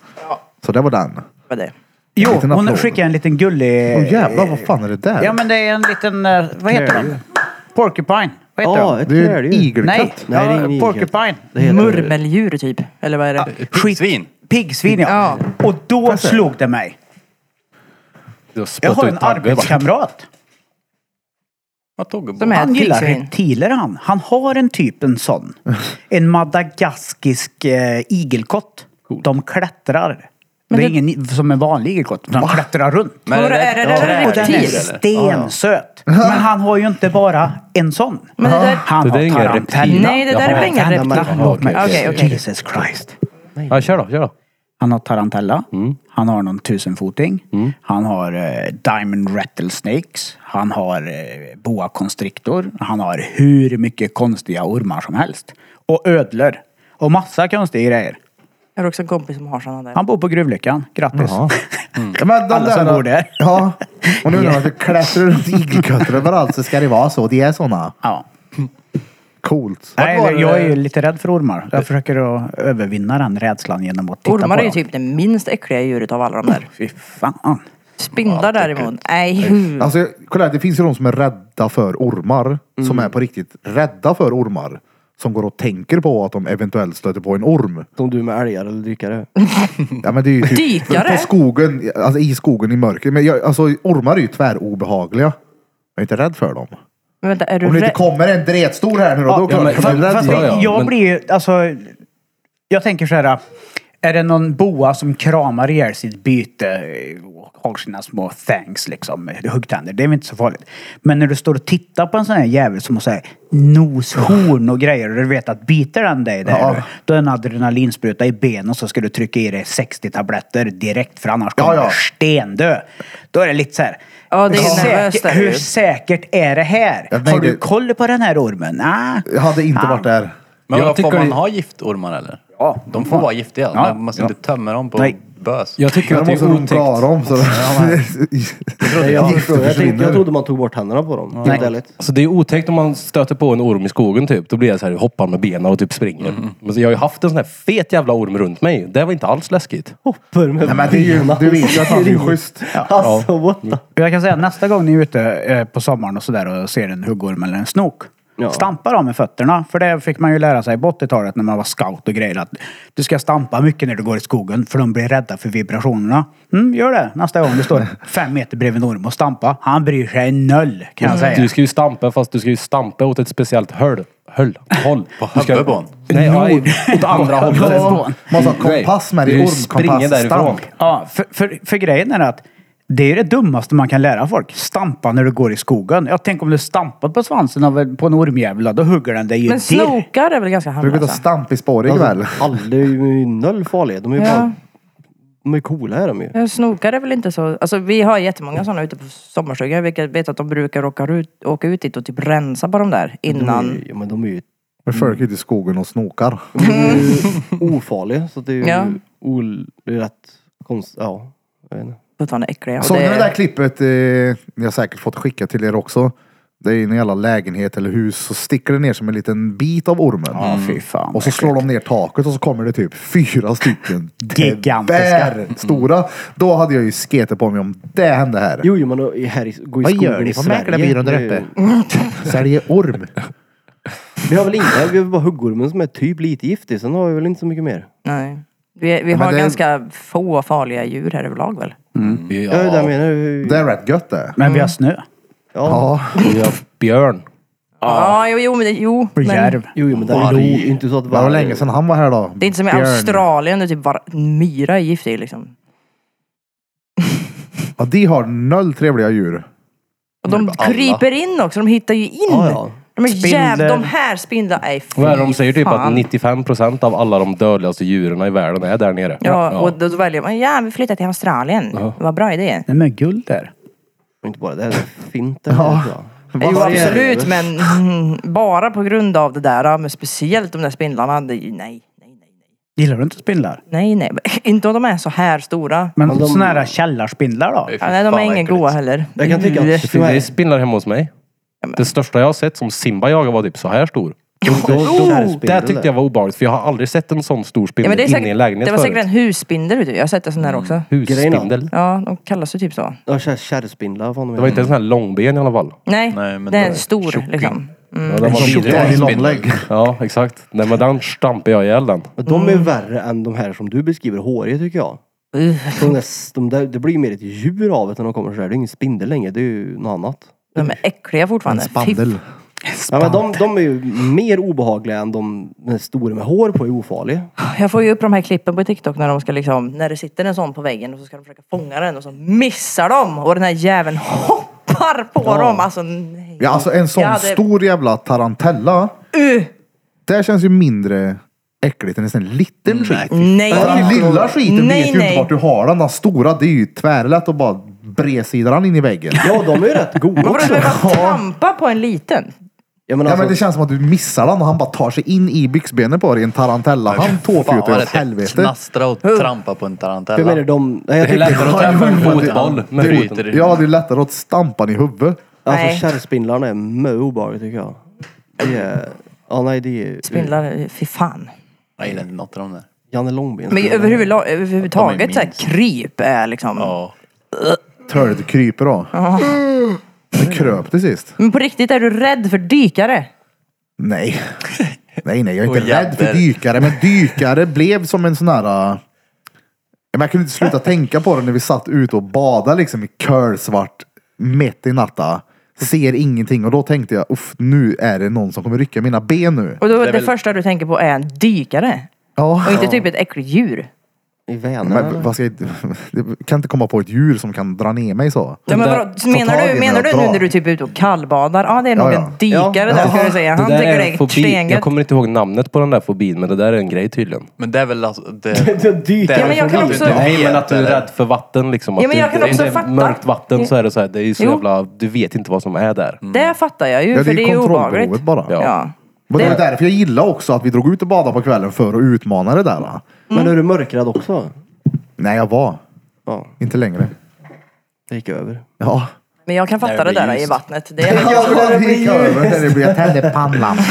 Så det var den. det. jo, en liten hon applåd. skickade en liten gullig... Åh jävlar, vad fan är det där? Ja, men det är en liten... eh, Vad heter den? Porcupine. Vad heter Ja, den? ett det är ju en kräldjur. Nej, igelkatt. Nej, det är ja, ingen igelkott. porcupine. Det heter- Murmeldjur typ, eller vad är det? Piggsvin. Piggsvin, ja. Och då slog det mig. Du har Jag spottat har ut en taggen. arbetskamrat. Vad tog Som är Han ett gillar piggsvin. reptiler han. Han har en typ en sån. En madagaskisk eh, igelkott. De klättrar. det är ingen som en vanlig igelkott. De klättrar runt. Men Vadå, är det ja, där Och den är reptil? stensöt. Men han har ju inte bara en sån. Men det där... Han Det där är har ingen reptil. tarantella. Nej, det där är Jaha. väl ingen Vända mig. reptil? Låt mig. Okej, okej. Jesus Christ. Ja, kör då, kör då. Han har tarantella. Mm. Han har någon tusenfoting. Han har eh, diamond rattlesnakes. Han har eh, boa constrictor. Han har hur mycket konstiga ormar som helst. Och ödlor. Och massa konstiga grejer. Jag har också en kompis som har såna där. Han bor på Gruvlyckan. Grattis. Ja, men de Mm. Alla som bor där. Ja. Och nu när man klättrar runt igelkottar överallt så ska det vara så. De är såna. ja. Coolt. Nej, det- jag är ju lite rädd för ormar. Jag försöker att övervinna den rädslan genom att titta på Ormar är ju dem. typ det minst äckliga djuret av alla de där. Fy fan. Spindlar däremot, nej. Mm. hu. Alltså, kolla här, det finns ju de som är rädda för ormar. Mm. Som är på riktigt rädda för ormar. Som går och tänker på att de eventuällt stöter på en orm. Som du med älgar eller dykare. Ja, men det är ju typ Dykare? På skogen, alltså i skogen i mörker. Men jag, alltså, ormar är ju tvärobehagliga. Jag är inte rädd för dem. Men vänta, är du Om det inte rädd? kommer en dretstor här nu då, då Ja, klart men- jag blir rädd. Fast Ja, ja, jag men- blir ju, alltså, jag tänker så här. Är det någon boa som kramar ihjäl sitt byte eh, och har sina små fangs liksom, eh, huggtänder, det är väl inte så farligt. Men när du står och tittar på en sån här jävel som har så här noshorn och grejer och du vet att biter den dig där, Ja. då är en adrenalinspruta i benen och så ska du trycka i dig 60 tabletter direkt för annars Ja, kommer ja. du stendö. Då är det lite så här. Ja, det är hur ju nervöst säkert- där Hur ju. säkert är det här? Jag Har tänkte- du koll på den här ormen? Ah. Nej. Jag hade inte varit där. Men Jag vad, får tycker man det- ha giftormar eller? Ja. De får vara giftiga. Ja, Man måste ja. inte tömma dem på Nej. bös. Jag tycker Men att de det måste är runka otäckt. av dem. Så. Nej, jag, Gifter förstår. jag, tänkte, försvinner. jag trodde man tog bort tänderna på dem. Helt ärligt. Alltså det är otäckt om man stöter på en orm i skogen typ. Då blir jag så här, hoppar med benen och typ springer. Men så jag har ju haft en sån här fet jävla orm runt mig. Det var inte alls läskigt. Hoppar med Nej, men det är ju, du vet ju att han är ju schysst. Alltså what the... Jag kan säga att nästa gång ni är ute eh, på sommaren och sådär och ser en huggorm eller en snok. Ja. Stampa dem med fötterna. För det fick man ju lära sig på 80-talet när man var scout och grejer. Att du ska stampa mycket när du går i skogen för de blir rädda för vibrationerna. Mm, gör det nästa gång du står fem meter bredvid en orm och stampa. Han bryr sig noll kan jag Mm. Du säga. ska ju stampa fast du ska ju stampa åt ett speciellt höll. Höll? Håll? Du ska- huvudet på honom? Nej, nej, åt andra Ja, hållet. man måste ha kompass med Du i springer därifrån. ormkompassstamp. Ja, för, för, för grejen är att det är det dummaste man kan lära folk. Stampa när du går i skogen. Jag tänk om du stampat på svansen av en, på en ormjävel. då, Då hugger den dig ju Men direkt. snokar är väl ganska Du brukar ta harmlösa? stamp i spåret ikväll. Alla Alltså, är ju noll farliga. De är ju Ja. bara... De är coola är de ju. Ja, Snokar är väl inte så... Alltså vi har jättemånga sådana ute på sommarstugan. Vilka vet att de brukar åka ut, åka ut dit och typ rensa på de där De innan. är, ju- ja, men de är ju Men folk är ute i skogen och snokar. de är ju ofarliga. Så det är ju Ja. ol, det är rätt konstigt. Ja, jag vet inte. Fortfarande äckliga. Och Såg ni det där det, klippet? Eh, ni har säkert fått skicka till er också. Det är en jävla lägenhet eller hus så sticker det ner som en liten bit av ormen. Ja, fy fan. Och så slår de ner taket och så kommer det typ fyra stycken Gigantiska. bär stora. Då hade jag ju sketet på mig om det hände här. Jo, jo, men då- i- här i, gå i Vad skogen gör ni i på Sverige. mäklarbyrån där Det är ju- uppe? Säljer orm? Vi har väl inga, vi har bara huggormen som är typ lite giftig. Sen har vi väl inte så mycket mer. Nej. Vi, vi men har det- ganska få farliga djur här överlag väl? Ja, det är det jag menar. Vi- Det är rätt gött det. Men Mm. vi har snö. Ja. Ja, Vi har björn. Ja, jo, jo, men, det- jo På men järv. Jo, jo, men det är ju inte så att det var länge sedan han var här då. det är inte som i Björn. Australien där typ bara myra är giftig liksom. Ja, de har noll trevliga djur. Och de kryper in också, de hittar ju in. Ja, ja. De är Spindlar. jävla, de här spindlarna, nej fy Vad är det de säger? Typ att fan. 95% av alla de dödligaste djuren i världen är där nere. Ja, och då, då väljer man, ja vi flyttar till Australien. Vad bra idé. Nej men guld där. Och Inte bara det, det är fint det här, tror jag. Jo det är absolut det. men mm, bara på grund av det där, ja, men speciellt de där spindlarna, det, nej, nej, nej, Gillar du inte spindlar? nej, nej. Inte om de är så här stora. Men sådana här källarspindlar då? Ja, nej de Fan, är ingen äckligt. goa heller. Mm. Jag kan tycka att- Det- Det finns det är spindlar hemma hos mig. Det största jag har sett som Simba jagade var typ så här stor. Då- då- Det tyckte jag var obehagligt för jag har aldrig sett en sån stor Ja, spindel men det, är inne i säkert, en det lägenhet var säkert en förut. husspindel ute. Jag har sett en sån Mm. här också. Husspindel. Ja, de kallas ju typ så. Ja, kär- kärrspindlar. Vad Det var inte en sån här långben i alla fall. Nej, Nej, men det är då- en stor tjocking. liksom. Ja, den var Som vidrig. Daddy Longleg. Ja, exakt. Nej men den stampade jag ihjäl den. Men de är värre än de här som du beskriver, håriga tycker jag. De där, de där, det blir ju mer ett djur av det när de kommer så här. Det är ingen spindel längre, det är ju något annat. De är äckliga fortfarande. Fy- Spandel. Ja, men de, de är ju mer obehagliga än de den stora med hår på är ofarlig. Jag får ju upp de här klippen på TikTok när de ska liksom, när det sitter en sån på väggen och så ska de försöka fånga den och så missar de och den här jäveln hoppar på dem. Alltså nej. Ja, alltså en sån Jag hade- stor jävla tarantella. Uh, Det känns ju mindre äckligt än en sån liten skit. Nej. För Den lilla skiten Nej, vet ju nej. inte vart du har den. Den stora, det är ju tvärlätt att bara bredsida den in i väggen. Ja, de är ju rätt goda Man borde också. behöva trampa på en liten. Ja, men Ja, alltså, men det känns som att du missar den och han bara tar sig in i byxbenet på dig. En tarantella. Han tårfjuter åt helvete. Knastra och trampa på en jag menar tarantella. de... Nej, jag Det är tycker, lättare att träffa en fotboll med Det- foten. det- Ja, det är lättare att stampa den i huvudet. Nej. alltså kärrspindlarna är mö obehagliga tycker jag. Det är, ja, nej det är... Spindlar, eh, fy fan. Nej, det är något av dem där. Janne Långben. Men överhuvudla- överhuvudtaget minst. så här, kryp är liksom. Ja. Tölet kryper då. Det kröp det sist. Men på riktigt är du rädd för dykare? Nej. Nej, nej, jag är Och inte rädd för jävlar. dykare. Men dykare blev som en sån här... äh, Men jag kunde inte sluta tänka på det när vi satt ute och badade liksom i kölsvart, mitt i natta. Ser ingenting och då tänkte jag, uff, nu är det någon som kommer rycka mina ben nu. Och då, det, väl- första du tänker på är en dykare. Ja. Och inte typ ett äckligt djur. I Vänern. Men, eller? vad ska jag, jag kan inte komma på ett djur som kan dra ner mig så. Ja, men där- vadå, menar tag i den du, menar och du dra. nu när du typ är ute och kallbadar? Ja, det är nog Ja, ja. en dykare Ja. där skulle du säga. Han Det där tycker är det en är fobi. stengött. Jag kommer inte ihåg namnet på den där fobin men det där är en grej tydligen. Men det är väl alltså... Det är dyker. Ja, men jag kan Det är också- inte Nej men att du är eller- rädd för vatten liksom. Ja, Att men du- jag kan om också det är fatta. mörkt vatten så är det så här, det är ju så Jo. jävla, du vet inte vad som är där. Det fattar jag ju, Ja, det för är det ju är ju obehagligt. kontrollbehovet bara. Ja. Ja. Men det var Det- därför jag gillade också att vi drog ut och badade på kvällen för att utmana det där. va? Men är du mörkrädd också? Nej, jag var. Ja, Inte längre. det gick över. Ja. Men jag kan fatta det blir där ljust. i vattnet. Det är, Ja, men det gick över. Det blev- Jag tände pannlampan.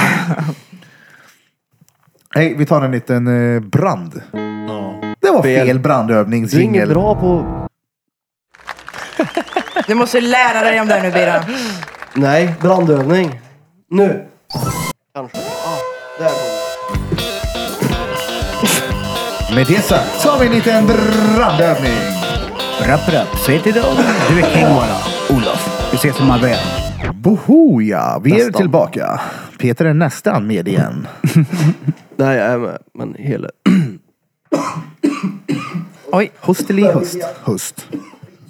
Hej, vi tar en liten eh, brand. Det var fel Fel. Du är inget brandövningsjingel. bra på... du måste lära dig om det nu Bira. Nej, brandövning. Nu! Kanske. Ah, där kom den. Med det sagt så har vi en liten brandövning. Rapp rapp, säg till dem. Du är king bara, Olof. Du ser som man är. Boho ja, vi är Nästan. tillbaka. Peter är nästan med igen. Nej, jag är med. Men hela... Oj, Hosteli höst. Höst.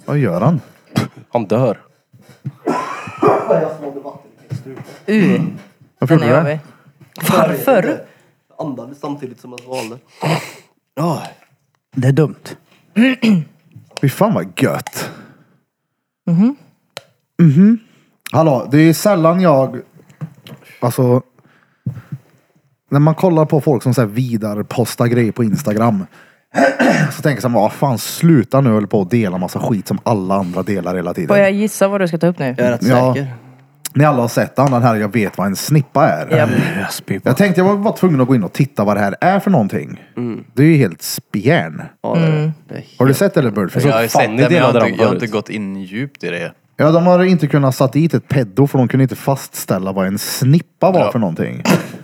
Vad gör han? Han dör. u. Varför Den är gjorde du det? jobbig. Varför? Andades samtidigt som jag svalde. Det är dumt. Fy fan vad gött. Mhm. Hallå, det är sällan jag... Alltså... När man kollar på folk som så här vidare postar grejer på Instagram. Så tänker jag så här, vad fan sluta nu hålla på och dela massa skit som alla andra delar hela tiden. Får jag gissa vad du ska ta upp nu? Jag är rätt Ja. säker. Ni alla har sett den, den här Jag vet vad en snippa är. Japp. Jag tänkte jag var bara tvungen att gå in och titta vad det här är för någonting. Mm. Det är ju helt spjärn. Ja, det- det är Har du sett det eller Birdface? Så Jag har ju fan, sett ni det men jag delade har, dem inte, jag har förut. inte gått in djupt i det. Ja, de har inte kunnat satt dit ett peddo för de kunde inte fastställa vad en snippa var för någonting.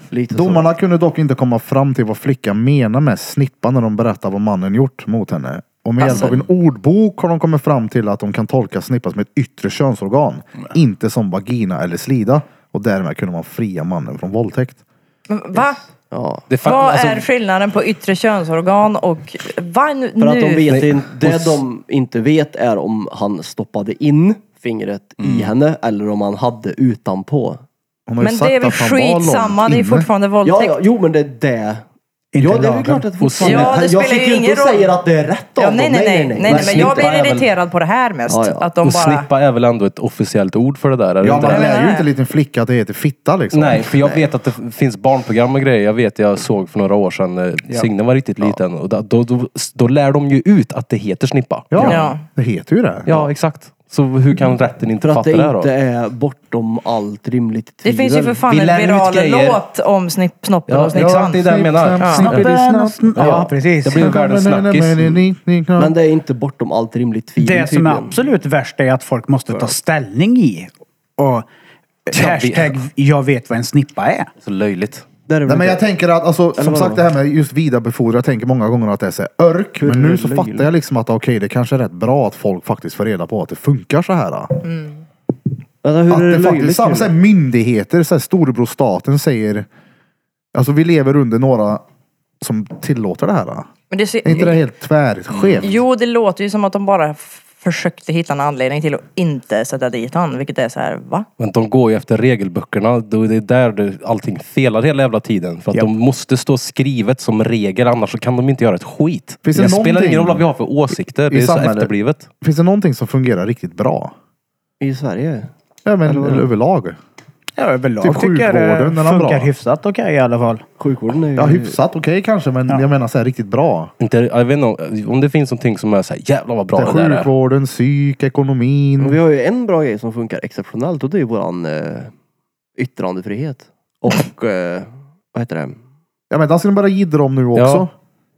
lite så. Domarna kunde dock inte komma fram till vad flickan menar med snippa när de berättar vad mannen gjort mot henne. Och med hjälp av Alltså- en ordbok har de kommit fram till att de kan tolka snippa som ett yttre könsorgan. Inte som vagina eller slida. Och därmed kunde man fria mannen från våldtäkt. Men Va? Ja. Det fan, Vad alltså, är skillnaden på yttre könsorgan och... Vad nu? För att de vet Nej. in, det de inte vet är om han stoppade in fingret i henne eller om han hade utanpå. Hon har ju Men sagt det är väl att han var långt skitsamma, det är inne. fortfarande Ja, våldtäkt. ja, jo men det är det. Inte ja, det är lagen. väl klart att det Och sen- fortfarande... Ja, det spelar jag sitter ju ju inte ingen och roll. säger att det är rätt av Ja, dem. nej, nej, nej, nej, nej, Men men jag snippa blir är väl- irriterad på det här mest. Ja, ja. Att de och bara... snippa är väl ändå ett officiellt ord för det där? Eller Ja, inte? man menar lär ju det. inte en liten flicka att det heter fitta liksom. Nej, för jag vet att det f- finns barnprogram och grejer. Jag vet, jag såg för några år sedan, eh, Signe var riktigt liten. Och då, då, då, då lär de ju ut att det heter snippa. Ja, Ja. det heter ju det. Ja, exakt. Så hur kan rätten inte För att fatta det det här då? inte är bortom allt rimligt Det tvivel. finns ju för fan Vi lär en ut viral grejer. låt om snipp, snoppen Ja, och snippan. exakt, det är det jag menar. Ja. Snippa. Ja, precis. Det blir världens snackis. Men det är inte bortom allt rimligt tvivel Det som är tydligen. absolut värst är att folk måste ta ställning i. Och hashtag jag vet vad en snippa är. Så löjligt. Det är det väl Nej, men jag inte. tänker att, alltså, som vadå? sagt det här med just vidarebefordra, jag tänker många gånger att det är så här örk. Men nu så löjligt. fattar jag liksom att okej, det kanske är rätt bra att folk faktiskt får reda på att det funkar så här. då. Vänta, hur Att är det det löjligt? faktiskt, sam- så här, myndigheter, så här, storebror staten säger, alltså vi lever under några som tillåter det här. då. Men det ser, Är inte det helt tvärskevt? Jo, det låter ju som att de bara f- försökte hitta en anledning till att inte sätta dit han. Vilket är så här, va? Men de går ju efter regelböckerna. Då är Det är där det- allting felar hela jävla tiden. För att de måste stå skrivet som regel, annars så kan de inte göra ett skit. Finns det det spelar någonting ingen roll vad vi har för åsikter. Det är så samhället? efterblivet. Finns det någonting som fungerar riktigt bra? I Sverige? Ja, men överlag. Ja, överlag Typ tycker jag det sjukvården, den är funkar bra. hyfsat okej i alla fall. Sjukvården är ju... Ja, Mm. hyfsat okej kanske, men jag menar så här riktigt bra. Inte, jag vet inte om- om det finns någonting som är såhär, jävlar vad bra Mm. Ja, det där är. sjukvården, psyk, ekonomin. Men Vi har ju en bra grej som funkar exceptionellt och det är ju våran eh, yttrandefrihet. Och eh, vad heter det? Ja men den ska de börja jiddra om nu också. Ja.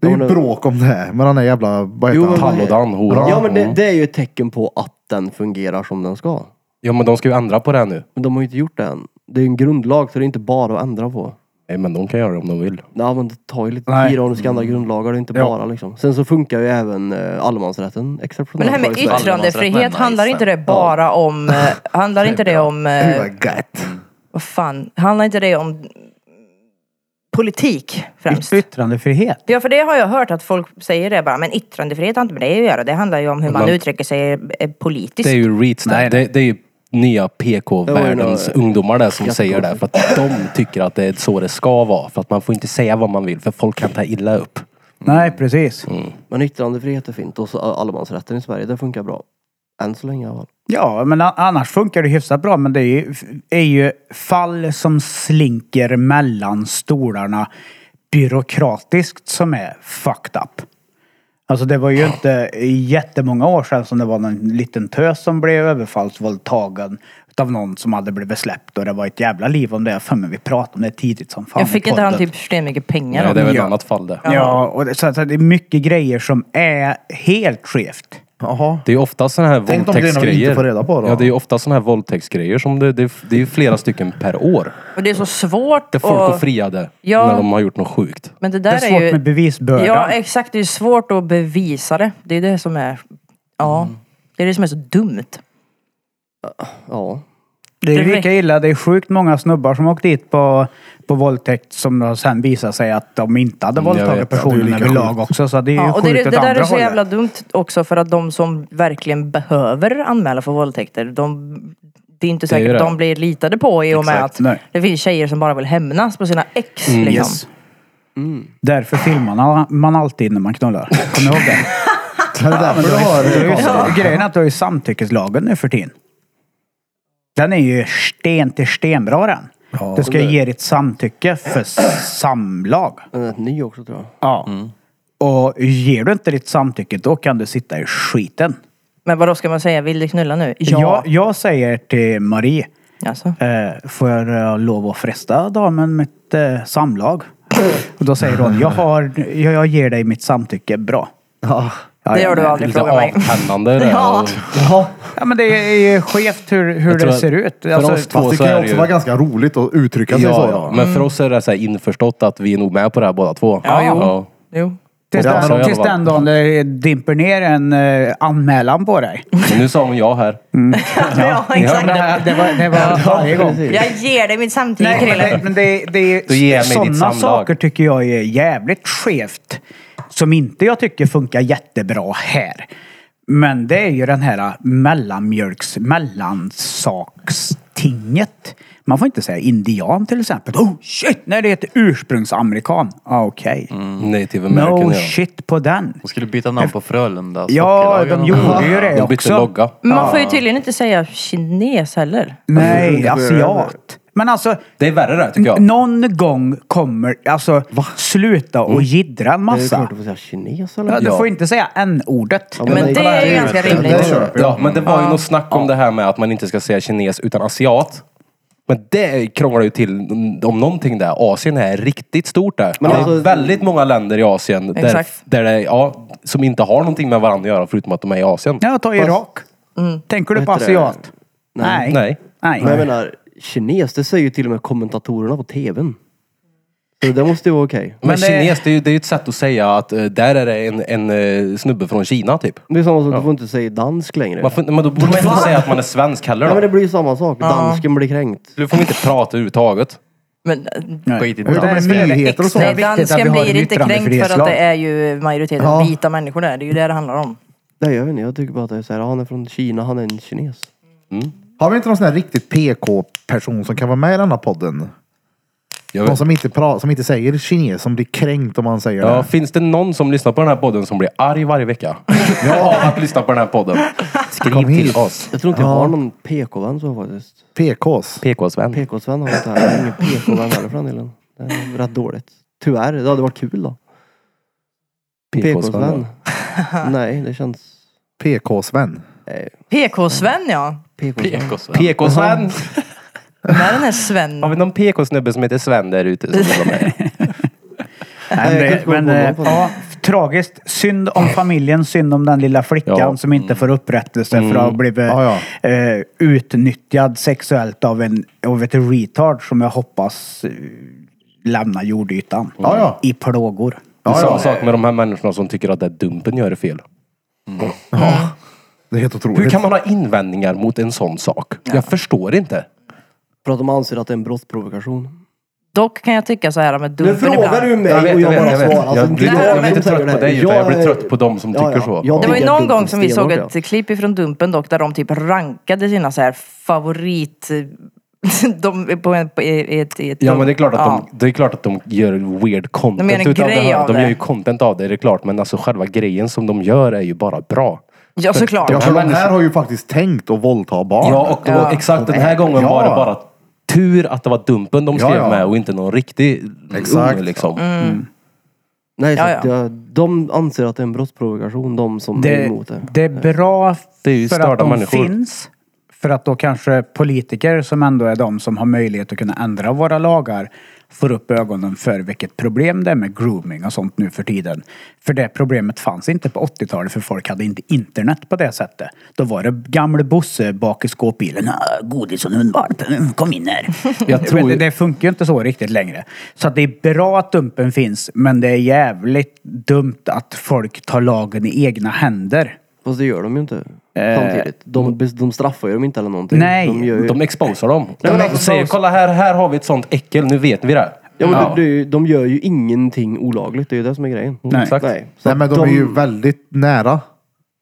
Det är ju Ja, men- bråk om det här med den här jävla, vad heter Jo, han? men- Tallodan, horan. Ja men det, Mm. det är ju ett tecken på att den fungerar som den ska. ja men de ska ju ändra på det här nu. Men de har ju inte gjort det än. Det är ju en grundlag så det är inte bara att ändra på. Nej men de kan göra det om de vill. Nej men det tar ju lite Nej. Mm. tid om du ska ändra grundlagar. Det är inte bara liksom. Sen så funkar ju även eh, allemansrätten exceptionellt. Men det här med bra i Sverige. yttre- yttrandefrihet, Allemansrätten, handlar inte det bara om... eh, Handlar inte det om... eh, Vad gött. Vad fan? Handlar inte det om politik främst? Yttrandefrihet. Ja, för det har jag hört att folk säger det bara. Men yttrandefrihet har inte med det att göra. Det handlar ju om hur man, Man- uttrycker sig eh, politiskt. Det är ju reach där. Det, det är ju nya PK-världens Det var ju ungdomar där som säger det. För att de tycker att det är så det ska vara. För att man får inte säga vad man vill för folk kan ta illa upp. Nej, precis. Men yttrandefrihet är fint och så eh, allemansrätten i Sverige, det funkar bra. Än så länge i alla fall. Ja, men a- annars funkar det hyfsat bra. Men det är ju, är ju fall som slinker mellan stolarna byråkratiskt som är fucked up. Alltså det var ju inte jättemånga år sedan som det var någon liten tös som blev överfallsvåldtagen utav någon som hade blivit släppt och det var ett jävla liv om det. Jag har för mig vi pratade om det tidigt som fan jag i fick inte han podden. typ stenmycket pengar? Nej, om det är väl ett Ja. annat fall det. Ja, och det, så att det är mycket grejer som är helt skevt. Jaha. Det är ju ofta sådana här Tänk de grejerna vi inte våldtäktsgrejer. får reda på då. Ja, det är ju ofta sådana här våldtäktsgrejer som det, det, är- det är ju flera stycken per år. Och det är så svårt Där folk att- går friade Ja. när de har gjort något sjukt. Men det där Det är svårt ju... med bevisbördan. Ja, exakt. Det är svårt att bevisa det. Det är det som är... Ja. Det är det som är så dumt. Ja. Det är Det lika illa. Det är sjukt många snubbar som åkt dit på, på våldtäkt som då sen visar sig att de inte hade Mm, jag våldtagit vet. Ja, det är personen lika överlag sjukt. också. Så det är ju Ja, och sjukt det, det, det åt där andra är så hållet. jävla dumt också för att de som verkligen behöver anmäla för våldtäkter, de, det är inte Det är ju säkert att det. de blir litade på i och med Exakt. att Nej. det finns tjejer som bara vill hämnas på sina ex. liksom. Yes. Därför filmar man- man alltid när man knullar. Kom ihåg det. Är det därför du har... Ja. Grejen är att du har ju samtyckeslagen nu för tiden. Den är ju sten till stenbra den. du ska ge ditt samtycke för samlag. Den är ny också tror jag. Ja. Och ger du inte ditt samtycke då kan du sitta i skiten. Men vad då ska man säga, vill du knulla nu? Ja. Jag, jag säger till Marie, Alltså. Eh, får jag eh, lov att fresta damen med ett eh, samlag? Och då säger hon, jag, har, jag, jag ger dig mitt samtycke, bra. Ja. Ja, Det ja, gör du men- aldrig, Lite fråga mig. avtändande det där. Ja. Jaha. Ja men det är ju skevt hur, hur Jag tror det att- ser ut. Alltså, för oss två Fast det så kan ju är också det ju... vara ganska roligt att uttrycka sig så. Ja, då. ja. Men för oss är det så här införstått att vi är nog med på det här båda två. Mm. Ja, jo. Jo. tills Ja, så i den, alla tills fall. den dagen det dimper ner en eh, anmälan på dig. Men nu sa hon ja här. Ja, exakt. Det, det var, det var varje gång. Jag ger dig mitt samtycke, Nej, men Krille. det, men det, det Då ger jag är mig ditt samlag. sådana saker tycker jag är jävligt skevt. Som inte jag tycker funkar jättebra här. Men det är ju den här mellanmjölks, mellansakstinget. Man får inte säga indian till exempel. Oh shit! Nej, det heter ursprungsamerikan. Ah, Okej. Mm. Native Mm. American. No ja. shit på den. De skulle byta namn på Frölunda Ja, sockerlagen de och- gjorde ju det De bytte också. logga. Men man får ju tydligen inte säga kines heller. Nej, asiat. Men alltså, Det är värre det här, Mm, tycker jag. någon gång kommer, alltså sluta och jiddra en Det är massa. klart du får säga kines eller? Ja, du Mm. Ja. får inte säga n-ordet. Ja, Men nej, det kolla är ju här. ganska Det rimligt. köper jag. Ja, men det var ju något snack om det här med att man inte ska säga kines utan asiat. Men det krånglar ju till om någonting där. Asien är riktigt stort där. Men det är alltså- väldigt många länder i Asien där, Exakt. där det, ja, som inte har någonting med varandra att göra förutom att de är i Asien. Ja, ta Irak. Mm. Tänker du på Vad heter det? asiat? Nej. Nej. Nej. Men jag menar, kines, det säger ju till och med kommentatorerna på tvn. Så det måste ju vara okej. Men, Men det- kines, det är ju det är ju ett sätt att säga att eh, där är det en, en eh, snubbe från Kina typ. Det är samma sak, du får inte säga dansk längre. Man får, inte- men då borde man inte säga att man är svensk heller Nej men det då. blir ju samma sak, dansken blir kränkt. Då får vi inte prata överhuvudtaget. Men Nej. Skit i Jag vet inte, det. Därför är med det nyheter och så. extra nej, viktigt att vi dansken har en blir inte kränkt för att yttrandefrihetslag. det är ju majoriteten Ja. vita människor där. Det är ju det det handlar om. Nej jag vet inte, jag tycker bara att det är såhär, han är från Kina, han är en kines. Har vi inte någon sån här riktigt PK-person som kan vara med i den här podden? Jag Någon vet. som inte, pra- som inte säger kines, som blir kränkt om man säger Ja, det. finns det någon som lyssnar på den här podden som blir arg varje vecka? Jag har att lyssna på den här podden. Skriv Kom hit. till oss. Jag tror inte jag har någon PK-vän så faktiskt. PKs. PK-Sven. PK-Sven har jag inte här, jag har ingen PK-vän heller för den delen. Det är rätt dåligt. Tyvärr, det hade varit kul då. PK-Sven. Nej, det känns... PK-Sven. PK-Sven ja. PK-Sven. PK-Sven! Den där den är Har Sven. vi någon PK-snubbe som heter Sven där ute som vill vara med? Nej, Jag kan men, inte men, komma eh, på någon. ja, tragiskt. Synd om familjen, synd om den lilla flickan Ja. som inte får upprättelse för att ha blivit Ja, eh, utnyttjad sexuellt av en av ett retard som jag hoppas eh, lämnar jordytan. Ja, ja. I plågor. Det är samma sak med de här människorna som tycker att det är dumpen gör är fel. Det är helt otroligt. Hur kan man ha invändningar mot en sån sak? Jag förstår inte. För att de anser att det är en brottsprovokation. Dock kan jag tycka så här med Nu dumpen frågar ibland. du mig Jag vet, och jag jag bara vet, jag vet. svarar. alltså, Jag blir- det är jag de blir inte som trött säger på det. dig, utan jag blir är- trött på de som tycker så. jag Det Det var ju tycker någon dumpen gång som vi såg stenhårt, ja. ett klipp ifrån Dumpen dock där de typ rankade sina så här favorit... De, på en, på, i, i, ett- i ett Ja men det är klart att, Ja. de, det är klart att de gör weird content De gör en utav grej det här. av De det. gör ju content av det, det är klart. Men alltså själva grejen som de gör är ju bara bra. Ja såklart. Ja, för de här har ju faktiskt tänkt att våldta barn. Ja, och det var Ja. exakt den här gången Ja. var det bara tur att det var Dumpen de skrev Ja, ja. med och inte någon riktig Exakt. unge liksom. Nej, så Ja, att jag- de anser att det är en brottsprovokation, de som är Det, emot det. det är bra Det är ju för att störda de människor. finns. För att då kanske politiker som ändå är de som har möjlighet att kunna ändra våra lagar får upp ögonen för vilket problem det är med grooming och sånt nu för tiden. För det problemet fanns inte på 80-talet för folk hade inte internet på det sättet. Då var det gamle Bosse bak i skåpbilen. "Ah, Godis och en hundvalp, Mm, kom in här. Jag tror Men ju- det, det funkar ju inte så riktigt längre. Så att det är bra att dumpen finns men det är jävligt dumt att folk tar lagen i egna händer. Fast det gör de ju inte. Eh, Samtidigt. De, de straffar ju dem inte eller någonting. Nej. De gör ju, De exposar dem. men De säger, kolla här, här har vi ett sånt äckel, nu vet vi det. ja, men Det, det, är ju- de gör ju ingenting olagligt, det är ju det som är grejen. Nej. Exakt. Nej. Så Nej, men de, att är ju väldigt nära.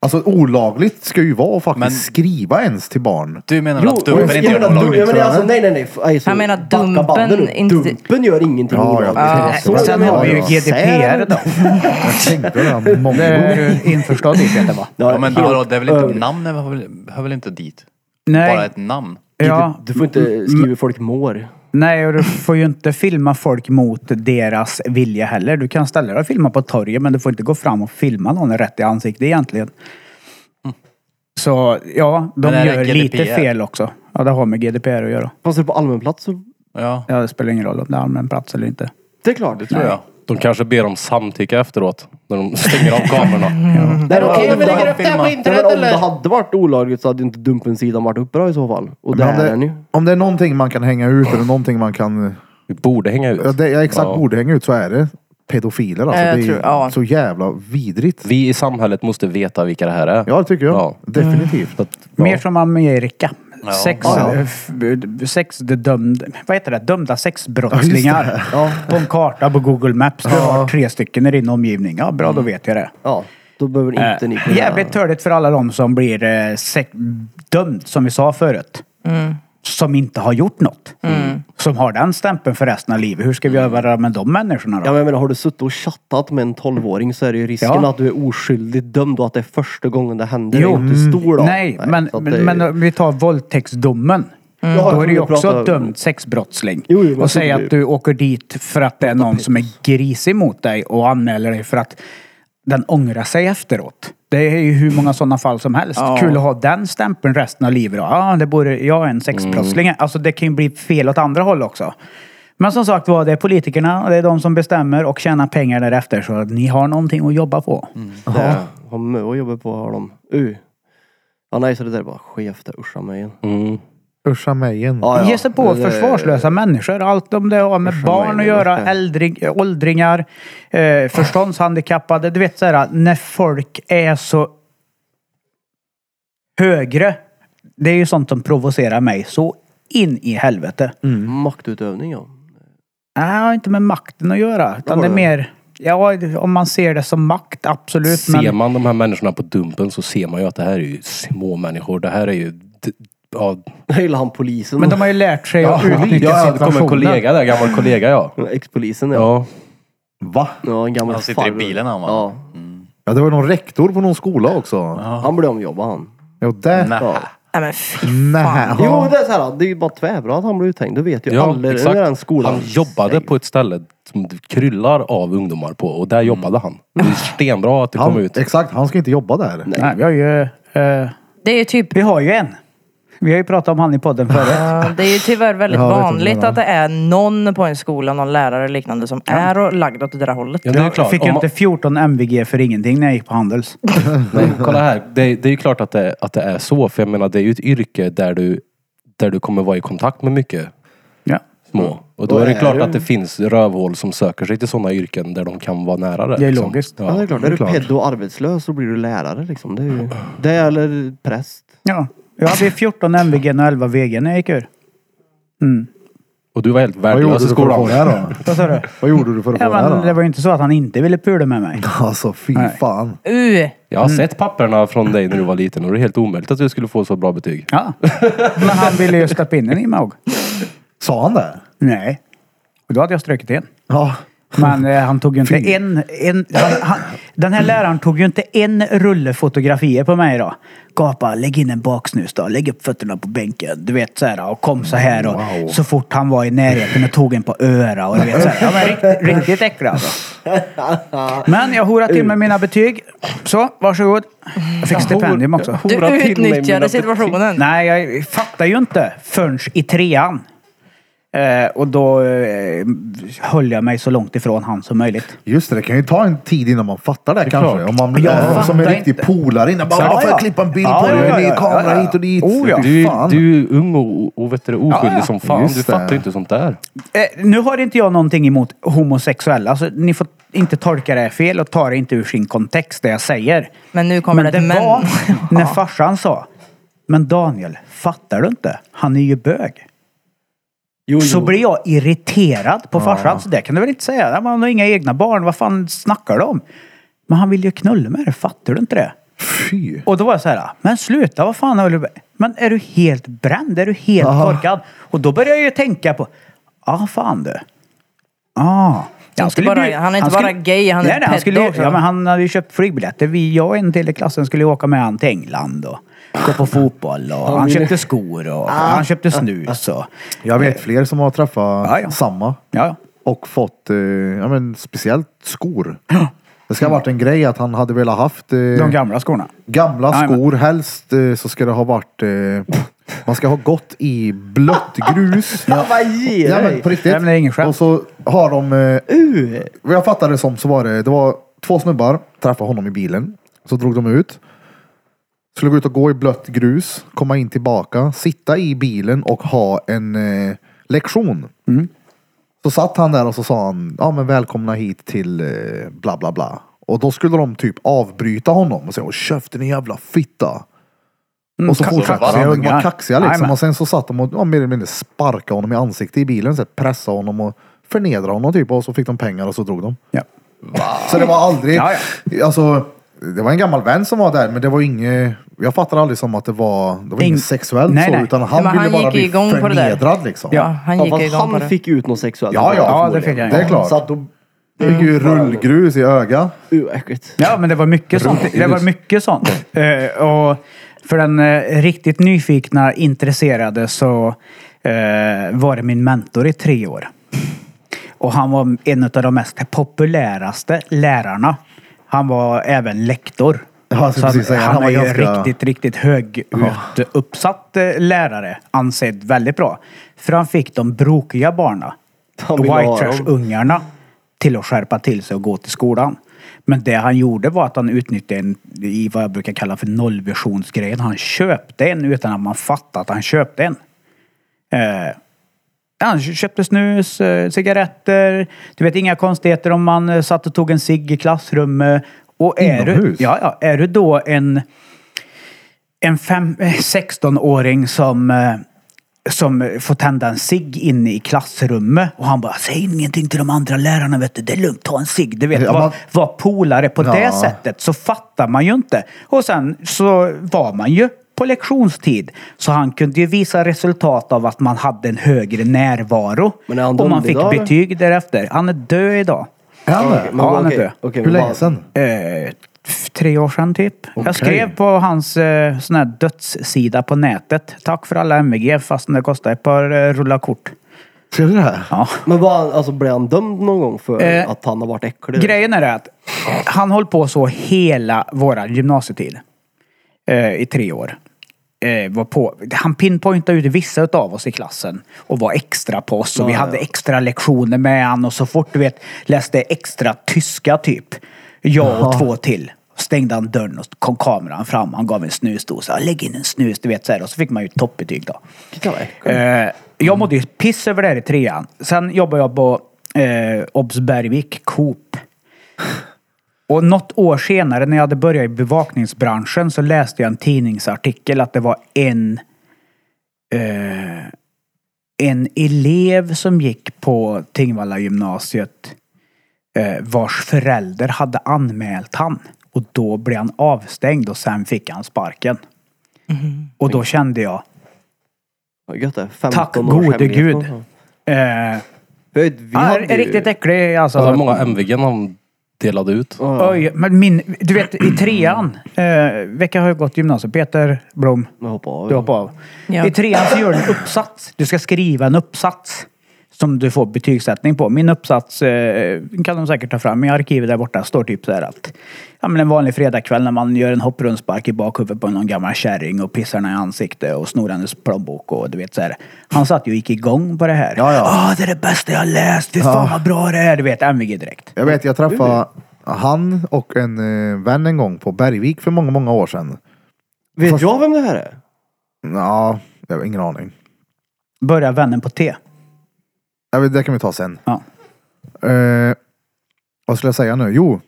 Alltså olagligt ska ju vara att faktiskt Men- skriva ens till barn. Du menar Jo, att dumpen inte gör något olagligt? olagligt? Jag menar alltså, nej, nej, nej. F- alltså, Jag menar, backa dumpen bandet nu. inte- Dumpen gör ingenting Ja, ja, olagligt. det Det är är så så. jag Sen menar. har vi ju Ja. GDPR då. Jag tänkte det, där, mongo. Det är du införstådd i Peter va? Ja, men helt vadå, det är väl inte övrigt. namn, hör väl, hör väl inte dit? Bara Nej, ett namn. ja, Mm. Du får inte skriva hur folk mår. nej, och du får ju inte filma folk mot deras vilja heller. Du kan ställa dig och filma på torget men du får inte gå fram och filma någon rätt i ansiktet egentligen. Så ja, de Mm. Men är det gör GDPR? lite fel också. Ja, det har med GDPR att göra. Fast är det på allmän plats så... Ja, Ja, det spelar ingen roll om det är allmän plats eller inte. Det är klart. Det tror jag. De kanske ber om samtycke efteråt. När de stänger av kamerorna. Det är okej om vi lägger upp det här på internet eller? Om det hade varit olagligt så hade inte Dumpen-sidan varit uppe då i så fall. Och det Men hade det- den ju. Om det är någonting man kan hänga ut eller någonting man kan... Vi borde hänga ut. Ja, det, jag exakt Ja. borde hänga ut så är det pedofiler alltså. Ja, jag det är tror- ja. så jävla vidrigt. Vi i samhället måste veta vilka det här är. Ja, det tycker jag. Ja. Definitivt. Så att, Mer som Amerika. Sex, eh, Ja, ja. f- sex det dömd, vad heter det? dömda sexbrottslingar. På en karta på Google Maps. Du har tre stycken i din omgivning. Ja, bra, då Mm. vet jag det. Ja, då behöver Äh. inte ni kunna... Äh, Jävligt törligt för alla de som blir eh, sex- dömd, som vi sa förut. Mm. Som inte har gjort något. Som har den stämpeln för resten av livet. Hur ska Mm. vi göra med de människorna Ja, då? men jag menar, har du suttit och chattat med en 12-åring så är det ju risken Ja. att du är oskyldigt dömd och att det är första gången det händer. Jo. Mm. är ju inte stor då. Nej, men, så att det är- Mm. men, men om vi tar våldtäktsdomen. Jaha, Då är jag du ju trodde också pratade- dömd sexbrottsling. Jo, jo, men och säg det- att du åker dit för att det är någon som är grisig mot dig och anmäler dig för att den ångrar sig efteråt. Det är ju hur många sådana fall som helst. Ja. Kul att ha den stämpeln resten av livet. då. Ja, det borde, jag är en sexbrottsling. Mm. Alltså det kan ju bli fel åt andra håll också. Men som sagt var, det är politikerna och det är de som bestämmer och tjänar pengar därefter. Så ni har någonting att jobba på. Ja, har mö att jobba på har de. Uh. Ja, nej, så det där är bara skevt. det, Uscha mig igen. mm. Uscha mig igen. Ja, ja. eh, Ge sig på Det där- försvarslösa människor. Allt om det har med Förstår barn att mig, göra, verkligen. äldring, åldringar, eh, förståndshandikappade. Du vet så här, när folk är så högre. Det är ju sånt som provocerar mig så in i helvete. Maktutövning, ja. Nej, det har inte med makten att göra. Utan det är mer, ja, om man ser det som makt, absolut. Ser Men man de här människorna på dumpen så ser man ju att det här är ju små människor. Det här är ju... d- Ja, Jag gillar han polisen. men de har ju lärt sig att utnyttja ja det kommer en situationen. kollega där, gammal kollega ja. Ex-polisen, ja. Ja, Va? ja. en gammal Han sitter i farbror. bilen, han, va? Ja. Ja, det var någon rektor på någon skola också. Ja, Han blev omjobbad han. där. nej. Ja. Nej men fy Nä. fan. Jo, det är så här, det är ju bara tvärbra att han blev uthängd. Det vet ju ja alla i exakt. den skolan. Han jobbade på ett ställe som det kryllar av ungdomar på och där jobbade han. Det är stenbra att det kom Han, ut. exakt, han ska inte jobba där. Nej, vi har ju... Eh, Det är ju typ vi har ju en. Vi har ju pratat om han i podden förut. Ja, det är ju tyvärr väldigt Ja, jag vet inte vad vanligt det är. att det är någon på en skola, någon lärare eller liknande som är och lagd åt det där hållet. Ja, det är Jag klart. fick ju Om man- inte 14 MVG för ingenting när jag gick på Handels. Nej, kolla här. Det, det är ju klart att det, att det är så. För jag menar, det är ju ett yrke där du, där du kommer vara i kontakt med mycket Ja. små. Och då Då är det är klart det- att det finns rövhål som söker sig till sådana yrken där de kan vara nära det. Det är liksom. logiskt. Ja, det är klart. Är du klart. pedo och arbetslös så blir du lärare liksom. Det är ju... Det eller präst. ja. Jag hade ju 14 MVG och 11 VG när jag gick ur. Och du var helt Vad gjorde värdelös du i för att få det skolan. här då? Vad sa du? Vad gjorde du för att få det Ja, men det här då? var ju inte så att han inte ville pula med mig. Alltså fy Nej. fan. Uh, Jag har sett papperna från dig när du var liten och det är helt omöjligt att du skulle få så bra betyg. Ja. Men han ville ju släppa in den i mig också. Sa han det? Nej. Och då hade jag strukit en. Ja. Men eh, han tog ju inte en... en han, han, den här läraren tog ju inte en rulle fotografier på mig då. Gapa, lägg in en baksnus då. Lägg upp fötterna på bänken. Du vet så här och kom så här och så fort han var i närheten och tog en på öra och du vet så här. Ja, men riktigt, riktigt äcklig alltså. Men jag horade till med mina betyg. Så, varsågod. Jag fick stipendium också. du Hora till mig mina utnyttjade situationen. Nej, jag fattar ju inte förrän i trean. Eh, och då eh, höll jag mig så långt ifrån han som möjligt. Just det, det kan ju ta en tid innan man fattar det, kanske. Om man Jag är som en fattar riktig inte. polare innan. Bara, "Ah, får Exakt. Ja, ja. jag klippa en bild Ja, på dig? ja, ja, Ny ja, kamera ja, ja. hit och dit. Oh, ja. Du, Fan. du är ung och, och vet du, oskyldig Ja, ja. som fan. Just du det. fattar ju inte sånt där. Eh, nu har inte jag någonting emot homosexuella, så ni får inte tolka det här fel och ta det inte ur sin kontext det jag säger. Men nu kommer det ett men. var när Ja. farsan sa, men Daniel, fattar du inte? Han är ju bög. Jo, Så jo. blir jag irriterad på farsan. Så det kan du väl inte säga? Nej, men Han har inga egna barn. Vad fan snackar du om? Men han vill ju knulla med det. Fattar du inte det? Fy. Och då var jag så här, "Ah, men sluta, vad fan håller du på- Men är du helt bränd? Är du helt Ah. torkad? Och då började jag ju tänka på, ja ah, fan du. Ah. Han, inte bara- han är inte bara gay, han är nej, nej, han pedo skulle, också. ja, men Han hade ju köpt flygbiljetter. Vi, jag och en till i klassen skulle åka med han till England och gå på fotboll. Och han köpte skor Ah. och han köpte snus. Och, Jag Eh. vet fler som har träffat Ja, ja. samma ja. och fått eh, ja, men speciellt skor. Det ska ha varit en grej att han hade velat haft eh, De gamla skorna. gamla Jajamän. skor. Helst eh, så ska det ha varit eh, Man ska ha gått i blött grus. Ja, vad ger Ja, men dig? på riktigt. Nej, men det är ingen skämt. Och så har de, eh, Uh, vad jag fattade det som så var det, det var två snubbar, träffade honom i bilen. Så drog de ut. Skulle gå ut och gå i blött grus, komma in tillbaka, sitta i bilen och ha en eh, lektion. Mm. Så satt han där och så sa han, ja men välkomna hit till eh, bla bla bla. Och då skulle de typ avbryta honom och säga, åh käften din jävla fitta. och så kaxiga fortsatte han. De ungar. var kaxiga liksom. Jajamän. Och sen så satt de och ja, mer eller mindre sparkade honom i ansiktet i bilen. Så här, pressade honom och förnedrade honom typ. Och så fick de pengar och så drog de. Ja. Så det var aldrig, Ja, alltså det var en gammal vän som var där men det var inget, jag fattar aldrig som att det var, det var Ing- inget sexuellt Nej, så nej. utan han Men ville han bara gick bli igång på det där. förnedrad liksom. Ja, han ja, gick fast igång på han det. fick ut något sexuellt. Ja, ja, Ja, det fick jag. Mm. det är klart. Så att då, Det fick ju rullgrus i ögat. uh, äckligt. Ja, men det var mycket sånt. Det var mycket sånt. Eh, och för den eh, riktigt nyfikna, intresserade så eh, var det min mentor i tre år. Och han var en av de mest populäraste lärarna. Han var även lektor. Ja, jag skulle Så precis säga, han, han var han var ju ganska- riktigt, riktigt högt uppsatt eh, lärare. Ansedd väldigt bra. För han fick de brokiga barna, Han ville white ha dem. trash-ungarna, till att skärpa till sig och gå till skolan. Men det han gjorde var att han utnyttjade en, i vad jag brukar kalla för nollvisionsgrejen. Han köpte en utan att man fattade att han köpte en. Eh, han köpte snus, eh, cigaretter. Du vet inga konstigheter om man eh, satt och tog en cigg i klassrummet. Och är du, Inomhus? ja, ja, är du då en, en fem, eh, 16-åring som, eh, som får tända en cigg inne i klassrummet och han bara säg ingenting till de andra lärarna vet du, det är lugnt, ta en cigg. Du vet, Ja, var, man- var polare på Ja. det sättet så fattar man ju inte. Och sen så var man ju på lektionstid. Så han kunde ju visa resultat av att man hade en högre närvaro. Men är han och man dömd fick idag, eller? betyg därefter. Han är död idag. Är han det? Men Ja, han är okej, död. okej, Hur men länge vad- sedan? Eh, f- tre år sedan typ. Okej. Jag skrev på hans eh, sån här dödssida på nätet. Tack för alla MG fast det kostar ett par eh, rullar kort. Ser du det här? Ja. Men var han, alltså, blev han dömd någon gång för Eh, att han har varit äcklig? Grejen är det att han höll på så hela våra gymnasietid. Eh, I tre år. Eh, var på. Han pinpointade ut vissa utav oss i klassen och var extra på oss. Och vi Ja, hade ja. extra lektioner med han och så fort du vet läste extra tyska typ. Jag och två till. Stängde han dörren och kom kameran fram. Han gav en snusdosa. Lägg in en snus, du vet så här. Och så fick man ju toppbetyg då. Titta vad äckligt. Eh, jag mådde ju piss över det här i trean. Sen jobbade jag på eh, Obs Bergvik, Coop. Och något år senare när jag hade börjat i bevakningsbranschen så läste jag en tidningsartikel att det var en eh, en elev som gick på Tingvalla gymnasiet eh, vars förälder hade anmält han. Och då blev han avstängd och sen fick han sparken. Och då kände jag, Vad Gött det. 15 Tack års gode hemlighet gud. någonstans. eh, Vi, vi Han hade är ju- riktigt äcklig alltså. Alltså hur många MVG han delade ut. Ja, Oj, men min, du vet i trean, eh, vilka har ju gått gymnasiet? Peter Blom, nu hoppar jag av. du hoppar av. Ja. I trean så gör du en uppsats. Du ska skriva en uppsats som du får betygssättning på. Min uppsats eh, kan de säkert ta fram i arkivet där borta. Står typ så här att ja, men en vanlig fredagkväll när man gör en hopprundspark i bakhuvudet på någon gammal kärring och pissar henne i ansiktet och snor hennes plånbok och du vet så här. Han satt ju och gick igång på det här. Ja, ja. "Ah, det är det bästa jag har läst. Fy fan vad bra det är. Du vet, MVG direkt. Jag vet, jag träffade han och en eh, vän en gång på Bergvik för många, många år sedan. Vet jag vem det här är? Ja, jag har ingen aning. Börja vännen på T. Jag vet, det kan vi ta sen. Ja. Eh, vad skulle jag säga nu? Jo,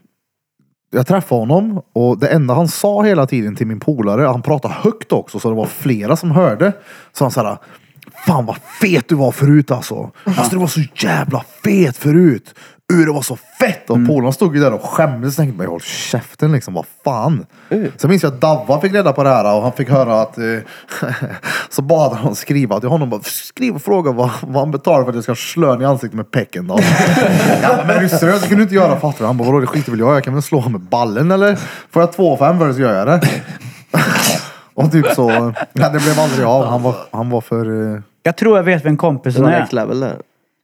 jag träffade honom och det enda han sa hela tiden till min polare, han pratade högt också så det var flera som hörde. Så han sa Fan vad fet du var förut alltså. Alltså du var så jävla fet förut. Uh, det var så fett! Och polaren stod ju där och skämdes och tänkte, "Men håll käften liksom, vad fan. Sen minns jag att Davva fick reda på det här och han fick höra att, eh, så bad han skriva till honom, bara, skriv och fråga vad, vad han betalar för att jag ska slå honom i ansiktet med pecken då. ja, men är du seriös? Det kan du inte göra fattar du? Han bara, vadå det skiter väl jag i. jag kan väl slå honom med ballen eller? Får jag två och fem för det så gör jag det. och typ så, nej det blev aldrig av. Han var, han var för, eh, Jag tror jag vet vem Det kompisen var är. next level där.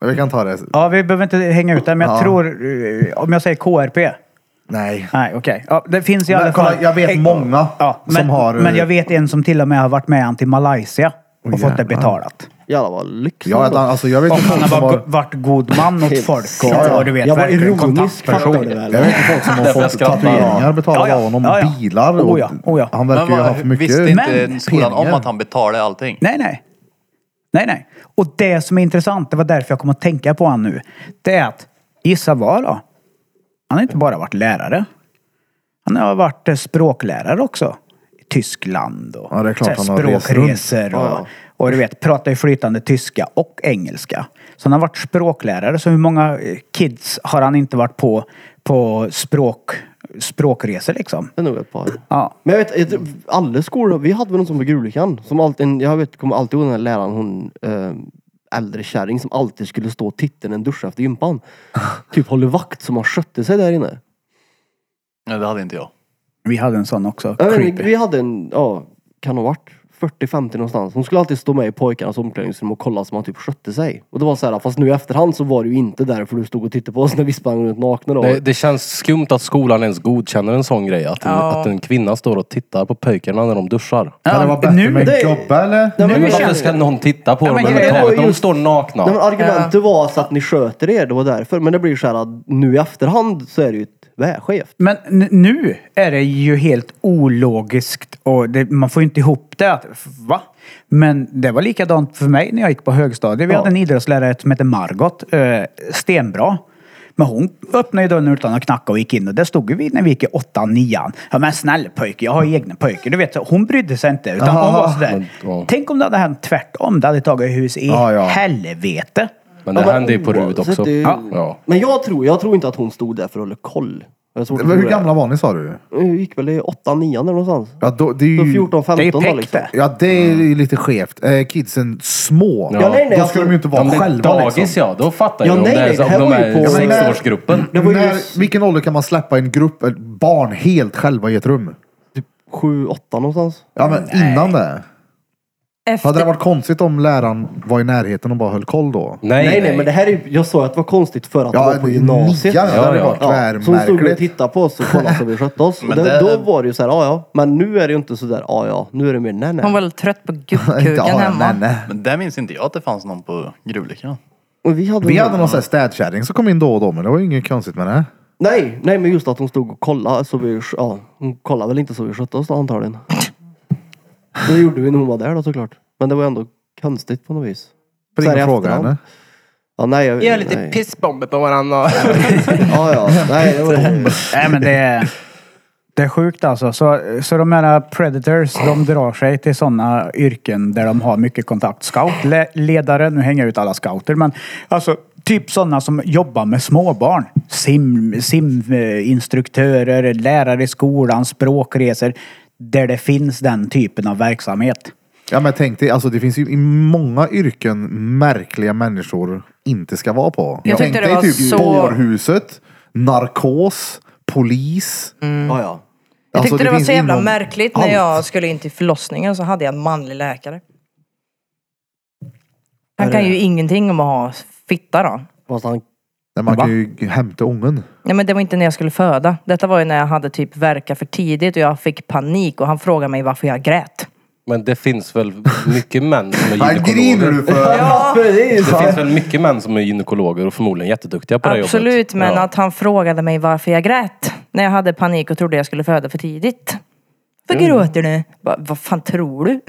vi kan ta det. Ja, vi behöver inte hänga ut det, men jag Ja. tror... eh, Om jag säger KRP? Nej. Nej, okej. Ja, det finns i Men alla kolla, fall... jag vet många ja, men, som har, eh, Men jag vet en som till och med har varit med han till Malaysia. och fått det betalat. Jävlar vad lyxigt. Ja, att han- alltså, jag vet Och inte folk han har som bara har... go- varit god man åt folk och, Ja, ja. och du vet, jag var verkligen ironisk fattar kontaktperson. du väl? Jag vet inte folk som har Därför jag fått skrattar. tatueringar betalade Ja, ja. av honom. Ja, ja. Bilar och... Oh, ja. Oh, ja. Han verkar Men ju ha vad- haft mycket... visste inte Men- skolan om pengar. att han betalade allting? Nej, nej. Nej, nej. Och det som är intressant, det var därför jag kom att tänka på honom nu. Det är att, gissa vad då? Han har inte bara varit lärare. Han har varit eh, språklärare också. I Tyskland och Ja, det är klart så här han har rest språkresor. Och, och du vet, pratar ju flytande tyska och engelska. Så han har varit språklärare. Så hur många eh, kids har han inte varit på, på språk, språkresor liksom? Det är nog ett par. Ja. Men jag vet, jag tror- alla skolor, vi hade väl någon som på Gullikan, som alltid, en- jag vet, kommer alltid ihåg den här läraren, hon eh, äldre kärring som alltid skulle stå och titta när en duschade efter gympan. typ håller vakt som har skötte sig där inne. Nej, det hade inte jag. Vi hade en sån också. Jag vet inte, Creepy. vi hade en, ja, kan ha varit 40-50 någonstans. Hon skulle alltid stå med i pojkarnas omklädningsrum och kolla som han typ skötte sig. Och det var så här, fast nu i efterhand så var det ju inte därför du stod och tittade på oss när vi sprang runt nakna då. Det, det känns skumt att skolan ens godkänner en sån grej. Att en, Ja. att en kvinna står och tittar på pojkarna när de duschar. Kan det vara bättre nu- med det- en gubbe eller? Nej, men Men jag- varför ska någon titta på Ja, dem men överhuvudtaget? grejen är De just- står nakna. Nej, men argumentet var så att ni sköter er, det var därför. Men det blir ju så här att nu i efterhand så är det ju ett vägskevt. Men n- nu är det ju helt ologiskt och det, man får ju inte ihop det. Att, va? Men det var likadant för mig när jag gick på högstadiet. Vi Ja. hade en idrottslärare som hette Margot. Eh, stenbra. Men hon öppnade ju dörren utan att knacka och gick in och det stod ju vi när vi gick i åttan, nian. Ja men snälla pojke, jag har egna pojkar. Du vet, så hon brydde sig inte. Utan hon var sådär. Men, ja. Tänk om det hade hänt tvärtom. Det hade tagit hus i Ja, ja. helvete. Men det Ja, men händer ju på RUD oavsett, också. det är ju- Ja. Men jag tror, jag tror inte att hon stod där för att hålla koll. Jag tror Hur gamla var ni sa du? Hon Eh, gick väl i åttan, nian eller någonstans. Ja, då, det är Så Mm. ju... 14, 15 Det är ju då peck liksom. det. Ja, det är ju lite skevt. Eh, Kidsen små. Ja, nej, nej, alltså- då skulle de ju inte vara Om det är själva dagis liksom. ja, då fattar jag Ja, om, nej, det nej, är, det om här de var ju är på- i Ja, men- sexårsgruppen. Det var ju När, vilken ålder kan man släppa en grupp, ett barn helt själva i ett rum? sju, åtta någonstans. Ja men innan det. Hade det Efter, varit konstigt om läraren var i närheten och bara höll koll då? Nej, Nej, nej, men det här är ju, jag sa ju att det var konstigt för att det Ja, var på gymnasiet. nian, det Ja, hade ja. varit Så hon stod och tvärmärkligt. tittade på oss och kollade så vi skötte oss. Men det, det- Då var det ju så här, ja ja. Men nu är det ju inte så där, ja ja. Nu är det mer, nej nej. hon var väl trött på Inte, ja, gubbkuken ja, hemma. nej, nej. Men där minns inte jag att det fanns någon på Gruvlyckan. Och vi hade, Vi hade någon sån här städkärring som kom in då och då, men det var ju inget konstigt med det. Nej, nej men just att hon stod och kollade så vi, ja. Hon kollade väl inte så vi skötte oss då antagligen. det gjorde vi när hon var där då såklart. Men det var ändå konstigt på något vis. För Så här ingen i fråga efterhand. henne. Ja, nej, jag, Gör lite nej. pissbomber på varandra. Ja, ja. Nej, det var Nej men det är, det är sjukt alltså. Så, så de här predators, de drar sig till sådana yrken där de har mycket kontakt. Scoutledare, nu hänger jag ut alla scouter, men alltså typ sådana som jobbar med småbarn. Sim- Siminstruktörer, lärare i skolan, språkresor. Där det finns den typen av verksamhet. Ja men tänk dig, alltså det finns ju i många yrken märkliga människor inte ska vara på. Jag tänk tyckte det dig var typ så- bårhuset, narkos, polis. Alltså, ja, ja. Jag tyckte det, var finns så jävla inom märkligt när allt. jag skulle in till förlossningen så hade jag en manlig läkare. Han kan ju ingenting om att ha fitta då. Fast han, Nej, man kan ju hämta ungen. Nej men det var inte när jag skulle föda. Detta var ju när jag hade typ verka för tidigt och jag fick panik och han frågade mig varför jag grät. Men det finns väl mycket män som är Vad griner gynekologer? du för? Det finns väl mycket män som är gynekologer och förmodligen jätteduktiga på det jobbet. Absolut men Ja. att han frågade mig varför jag grät. När jag hade panik och trodde jag skulle föda för tidigt. Vad gråter du? Va, vad fan tror du?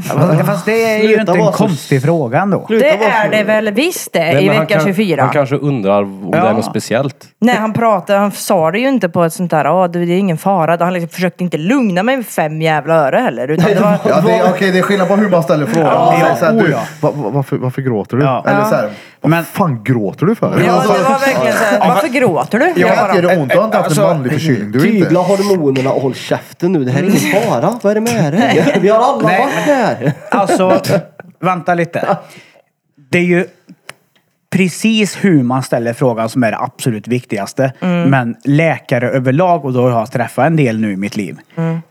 Fast det är ju Sluta inte vara en så- konstig fråga ändå. Sluta Det vara är så- det väl visst det, Nej, i men han vecka kan- 24. Han kanske undrar om det är något speciellt. Nej han pratade, han sa det ju inte på ett sånt där, ja det är ingen fara. Han liksom försökte inte lugna mig med fem jävla öre heller. Utan det var, Ja, det, okej, det är skillnad på hur man ställer frågan. Ja, Det är så här, ja. du, va, va, varför, varför gråter du? Ja. Eller så här, vad Men- fan gråter du för? ja, Alltså, det var verkligen såhär, varför gråter du? jag Jag vet, bara, gör det ont? Du har inte haft en Alltså, manlig förkylning? Du är Tygla inte... hormonerna och håll käften nu. Det här är ingen fara. Vad är det med dig? Vi har alla Nej, varit här. Alltså, vänta lite. Det är ju precis hur man ställer frågan som är det absolut viktigaste. Men läkare överlag, och då har jag träffat en del nu i mitt liv.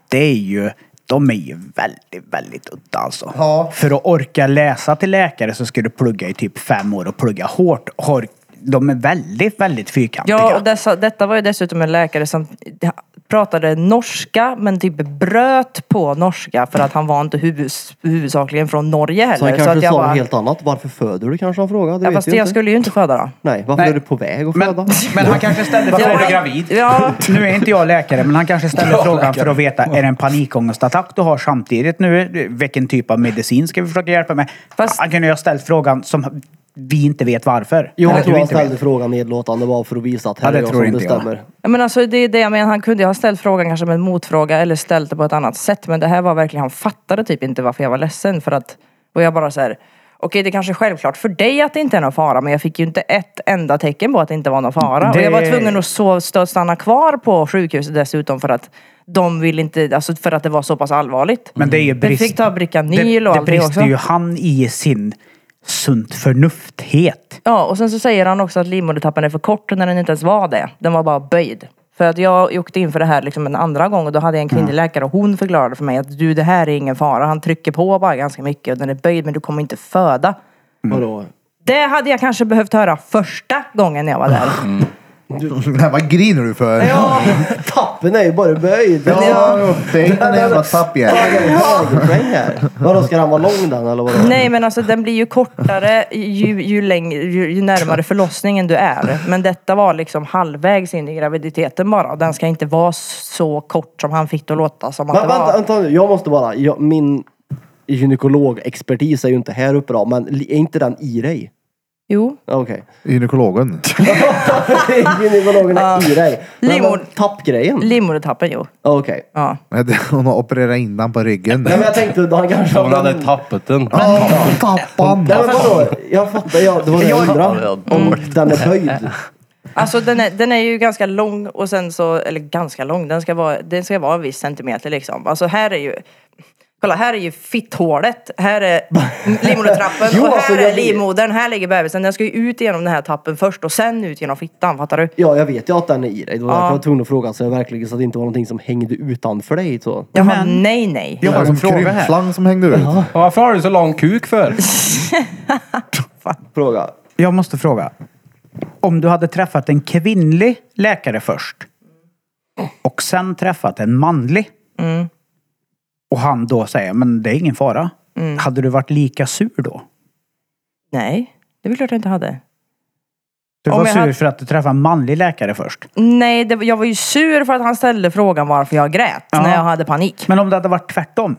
Det är ju, de är ju väldigt, väldigt udda alltså. Ja. För att orka läsa till läkare så ska du plugga i typ fem år och plugga hårt. Har- De är väldigt, väldigt fyrkantiga. ja och dessa, detta var ju dessutom en läkare som pratade norska men typ bröt på norska för att han var inte huvus, huvudsakligen från Norge heller. Så han att kanske jag sa bara, något helt annat. Varför föder du kanske han frågade. Det ja, vet fast jag jag inte. skulle ju inte föda då. Nej, varför Nej. är du på väg att Men, föda? men han kanske ställde Ja, frågan... men- Ja, Nu är inte jag läkare, men han kanske ställer frågan för att veta, är det en panikångestattack du har samtidigt nu? Vilken typ av medicin ska vi försöka hjälpa med? Fast- Han kunde ju ha ställt frågan som vi inte vet varför. Jo, jag Eller du tror han inte vet. ställde frågan nedlåtande bara för att visa att här Ja, det är jag tror som inte jag. bestämmer. Ja, men alltså, det är det jag menar. Han kunde ju ha ställt frågan kanske med en motfråga eller ställt det på ett annat sätt. Men det här var verkligen, han fattade typ inte varför jag var ledsen. För att, och jag bara så här, okej det kanske är självklart för dig att det inte är någon fara. Men jag fick ju inte ett enda tecken på att det inte var någon fara. Och Det- jag var tvungen att så, stå, stanna kvar på sjukhuset dessutom för att de ville inte, alltså för att det var så pass allvarligt. Men det är ju brist... Vi fick ta det, Bricanyl och det allting också. brister ju han i sin sunt förnufthet. Ja, och sen så säger han också att livmodertappen är för kort när den inte ens var det. Den var bara böjd. För att jag åkte in för det här liksom en andra gång och då hade jag en kvinnlig Mm. läkare och hon förklarade för mig att du det här är ingen fara. Han trycker på bara ganska mycket och den är böjd men du kommer inte föda. Vadå? Det hade jag kanske behövt höra första gången jag var där. Nej, vad griner du för? Ja, Tappen är ju bara böjd. ja. det är inte en jävla tappjävel. Tagen här. Vadå, ska han vara lång den eller vadå? Nej men alltså den blir ju kortare ju, ju, längre, ju, ju närmare förlossningen du är. Men detta var liksom halvvägs in i graviditeten bara. Och Den ska inte vara så kort som han fick det att låta som att Men det var. vänta, vänta nu, jag måste bara. Jag, min gynekologexpertis är ju inte här uppe då, men li- är inte den i dig? Jo. Okej. Gynekologen. Gynekologen är i dig. Men, men, Livmod- tappgrejen? Livmodertappen jo. Okej. Ja. Nej, det- Hon har opererat in den på ryggen. Nej men jag tänkte, han kanske... Hon hade tappat den. Åh, Tappan! Nej men vadå? Jag fattar, jag, det var det jag undrade. Om Mm. den är böjd. Alltså den är, den är ju ganska lång och sen så, eller ganska lång, den ska vara, den ska vara en viss centimeter liksom. Alltså här är ju, kolla här är ju fitthålet, här är livmodertrappen Jo, och här alltså, är jag- livmodern, här ligger bebisen. Den ska ju ut genom den här tappen först och sen ut genom fittan, fattar du? Ja, jag vet ju att den är i dig. Det var Ja. därför jag var tvungen att fråga så jag verkligen så att det inte var någonting som hängde utanför dig. Så. Jaha, Men- nej nej. Det Jag var har som en fråga här. krympslang som hängde ut. Varför har du så lång kuk för? Fråga. Jag måste fråga. Om du hade träffat en kvinnlig läkare först och sen träffat en manlig och han då säger men det är ingen fara. Hade du varit lika sur då? Nej, det är väl klart jag inte hade. Du Om var jag sur hade- för att du träffade en manlig läkare först. Nej, det, jag var ju sur för att han ställde frågan varför jag grät Ja. när jag hade panik. Men om det hade varit tvärtom?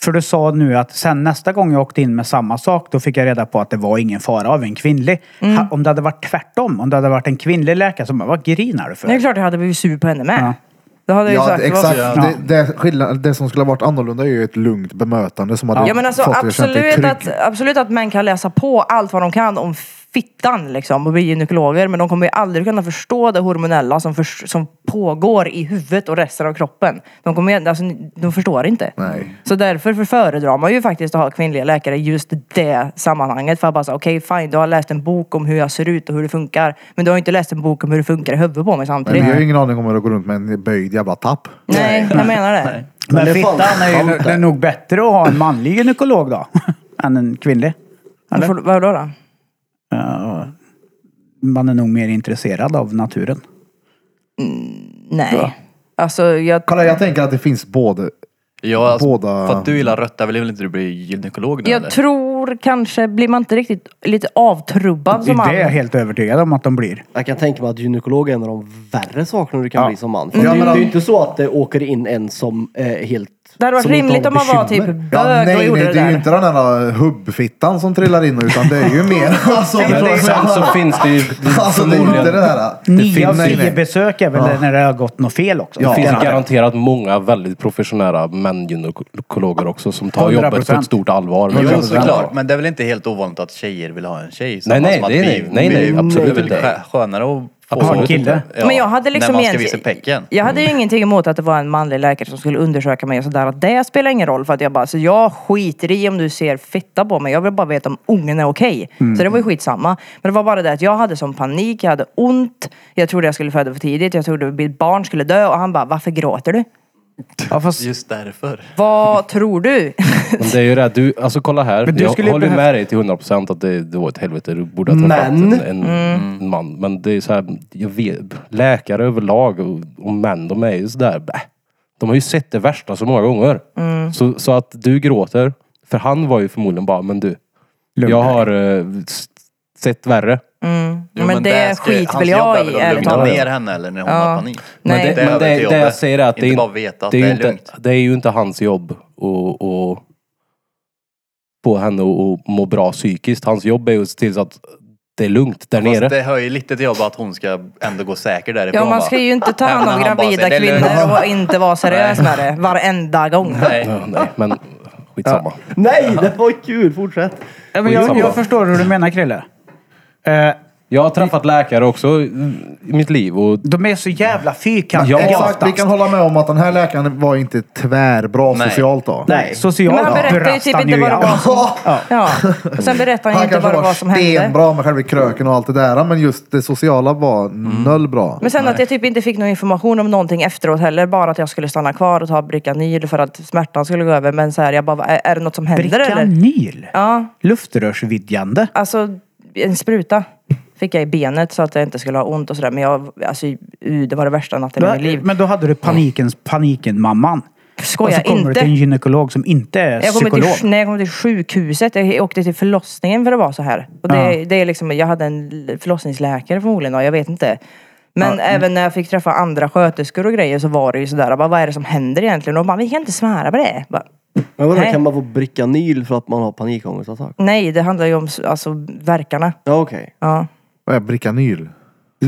För du sa nu att sen nästa gång jag åkte in med samma sak, då fick jag reda på att det var ingen fara av en kvinnlig. Mm. Ha, om det hade varit tvärtom, om det hade varit en kvinnlig läkare som bara, vad grinar du för? Det är klart jag hade blivit sur på henne med. Ja. Då hade jag ju Ja, sagt, exakt. "Vad- Det, det, skillnad, det som skulle ha varit annorlunda är ju ett lugnt bemötande som hade Ja men alltså fått dig att känna dig absolut trygg. att, absolut att män kan läsa på allt vad de kan om fittan liksom och bli gynekologer men de kommer ju aldrig kunna förstå det hormonella som, förs- som pågår i huvudet och resten av kroppen. De, kommer, ju- alltså, de förstår inte. Nej. Så därför för- föredrar man ju faktiskt att ha kvinnliga läkare i just det sammanhanget för att bara säga okej fine du har läst en bok om hur jag ser ut och hur det funkar men du har ju inte läst en bok om hur det funkar i huvudet på mig Men samtidigt. vi har ju Nej, ingen aning om hur det går runt med en böjd jävla tapp. jag menar det. Men det är fan fittan är ju sant det är nog bättre att ha en manlig gynekolog då, än en kvinnlig. Men får- Vadå då? Man är nog mer intresserad av naturen. Nej. Alltså jag... Kolla, jag tänker att det finns både... Ja, alltså, Båda- För att du gillar rötter vill väl inte du bli gynekolog nu Jag eller? tror kanske, blir man inte riktigt lite avtrubbad som det är jag man? helt övertygad om att de blir. Jag kan tänka mig att gynekolog är en av de värre sakerna du kan bli som man. För Ja, det, men det är om- ju inte så att det åker in en som är helt... Det hade varit som inte rimligt har om man var typ bekymmer. bög Ja, och nej, nej, gjorde det det är där. ju inte den där hubbfittan som trillar in utan det är ju mer... Alltså, Men det, sen så finns det ju alltså det är ju inte det förmodligen. där. Nio av finns- nej, tio nej. besök är väl när det har gått något fel också. Ja. Det finns Garanterat. garanterat många väldigt professionella män-gynekologer också som tar 100%. jobbet på ett stort allvar. Jo såklart, men det är väl inte helt ovanligt att tjejer vill ha en tjej? Nej, Samma nej, som att det är- vi- nej, nej, vi- absolut det är väl inte. skö- Skönare att få Absolut en kille. Ja, men jag hade liksom När man ska visa egentligen- pecken. Jag hade ju ingenting emot att det var en manlig läkare som skulle undersöka mig och sådär. Att det spelar ingen roll för att jag bara, så jag skiter i om du ser fitta på mig. Jag vill bara veta om ungen är okej. Så det var ju skitsamma. Men det var bara det att jag hade som panik, jag hade ont. Jag trodde jag skulle föda för tidigt, jag trodde mitt barn skulle dö och han bara, varför gråter du? Ja, fast, Just därför. Vad tror du? Men det är ju det, att du, alltså kolla här. Men du jag skulle håller ju behövt- med dig till 100% att det, det var ett helvete. Du borde ha träffat Men- en, en en man. Men det är så här, jag vet, läkare överlag och, och män, de är ju sådär, bäh. De har ju sett det värsta så många gånger. Mm. Så, så att du gråter, för han var ju förmodligen bara, men du, jag har eh, s- sett värre. Jo, Mm. men det där ska- skiter hans väl jobb jag är väl i, att ärligt Lugna talat. ner henne eller när hon har panik. Men Nej. det, men över det, till det jag jobbet. säger är att det är Inte inte, bara veta att det är det ju är inte, lugnt. det är ju inte hans jobb och, och få henne att att må bra psykiskt. Hans jobb är ju att se till så att det är lugnt där Fast nere. det hör ju lite till jobbet att hon ska ändå gå säker därifrån. Ja, man ska va? ju inte ta hand Nej, om men han bara gravida säger, "Det är lugnt." kvinnor och inte vara seriös med det varenda gång. Nej. Ja, nej, men skitsamma. typ- Nej, det var kul! Fortsätt! ja, men jag, jag förstår hur du menar Krille. Eh, Jag har träffat läkare också i mitt liv och de är så jävla fyrkantiga Ja, Exakt, vi oftast. kan hålla med om att den här läkaren var inte tvärbra Nej. socialt då. Nej. Socialt Men han berättar ju brast typ han inte vad det i var allt. som... Ja. Och sen berättar han ju Han inte kanske vad det var var som hände. stenbra med själva kröken och allt det där, men just det sociala var noll bra. Men sen att jag typ inte fick någon information om någonting efteråt heller. Bara att jag skulle stanna kvar och ta Bricanyl för att smärtan skulle gå över. Men så här, jag bara, är är det något som händer eller? Brikanyl? Ja, Luftrörsvidgande? alltså en spruta fick jag i benet så att jag inte skulle ha ont och sådär. Men jag, alltså uh, det var det värsta natten i mitt liv. Men då hade du panikens paniken-mamman. Och Skoja så kommer du inte. till en gynekolog som inte är Jag kom, psykolog. till, nej, jag kom till sjukhuset, jag åkte till förlossningen för att vara så här. Och det, det är liksom, jag hade en l- förlossningsläkare förmodligen, och jag vet inte. Men även när jag fick träffa andra sköterskor och grejer så var det ju sådär, jag bara, vad är det som händer egentligen? Och de bara, vi kan inte svära på det. Jag Bara, Men vadå, Nej. kan man få Bricanyl för att man har panikångestattack? nej, det handlar ju om s- alltså, verkarna. Ja, okej. Ja. Vad är Bricanyl?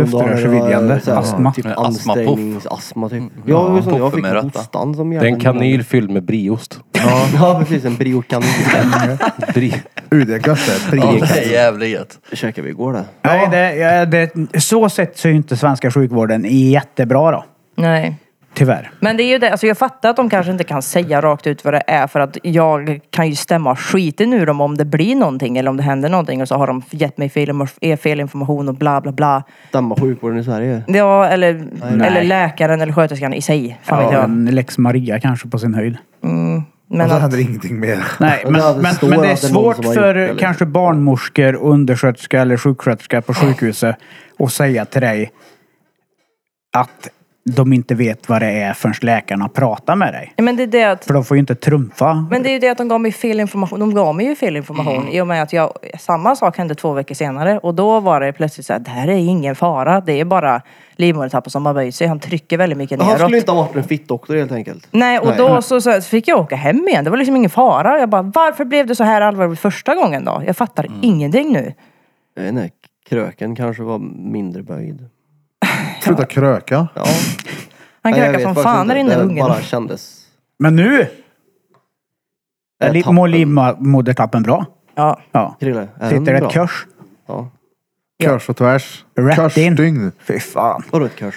Luftrörsvidgande. Astma. Typ Astmapuff. anställningsastma typ. Ja, det var så, jag fick Puffermötta. hostan som det är jävla en kanyl fylld med briost. Ja, ja precis. En Brio-kanyl. Bri Uh, det är gött det. Ja, Bricanyl. det är jävligt gött. Käkade vi igår det. Nej, det, ja, det, så sett så är ju inte svenska sjukvården jättebra då. Nej. Tyvärr. Men det är ju det, alltså jag fattar att de kanske inte kan säga rakt ut vad det är för att jag kan ju stämma skiten ur dem om det blir någonting eller om det händer någonting och så har de gett mig fel, fel information och bla bla bla. Stämma sjukvården i Sverige. Ja, eller, eller läkaren eller sköterskan i sig. Fan vet Ja, jag. en lex Maria kanske på sin höjd. Och Men Alltså- så att, händer ingenting mer. Nej, men, det hade men, står men det är att det är någon svårt som har för gjort det, liksom. kanske barnmorskor, undersköterska eller sjuksköterska på sjukhuset att säga till dig att de inte vet vad det är förrän läkarna pratar med dig. men det är det att För de får ju inte trumfa. men det är ju det att de gav mig fel information. De gav mig ju fel information Mm. i och med att jag, samma sak hände två veckor senare och då var det plötsligt så här, det här är ingen fara. Det är bara livmodertappen som har böjt sig. Han trycker väldigt mycket Han neråt. skulle inte ha varit en fittdoktor helt enkelt. Nej, och då så, så, här, så fick jag åka hem igen. Det var liksom ingen fara. Jag bara, varför blev det så här allvarligt första gången då? Jag fattar Mm. ingenting nu. Eh, Nej, kröken kanske var mindre böjd. Sluta kröka. Ja. Han Nej, jag krökar vet som faktiskt fan där inte. inne Det ungen. bara kändes. Men nu! Det är Li- tappen. Mår livmodertappen bra? Ja. Ja. Krille, är den Sitter det bra? ett kors? Ja. Körs och tvärs. Rätt in. Körsdygn. Fy fan. Vadå ett kors?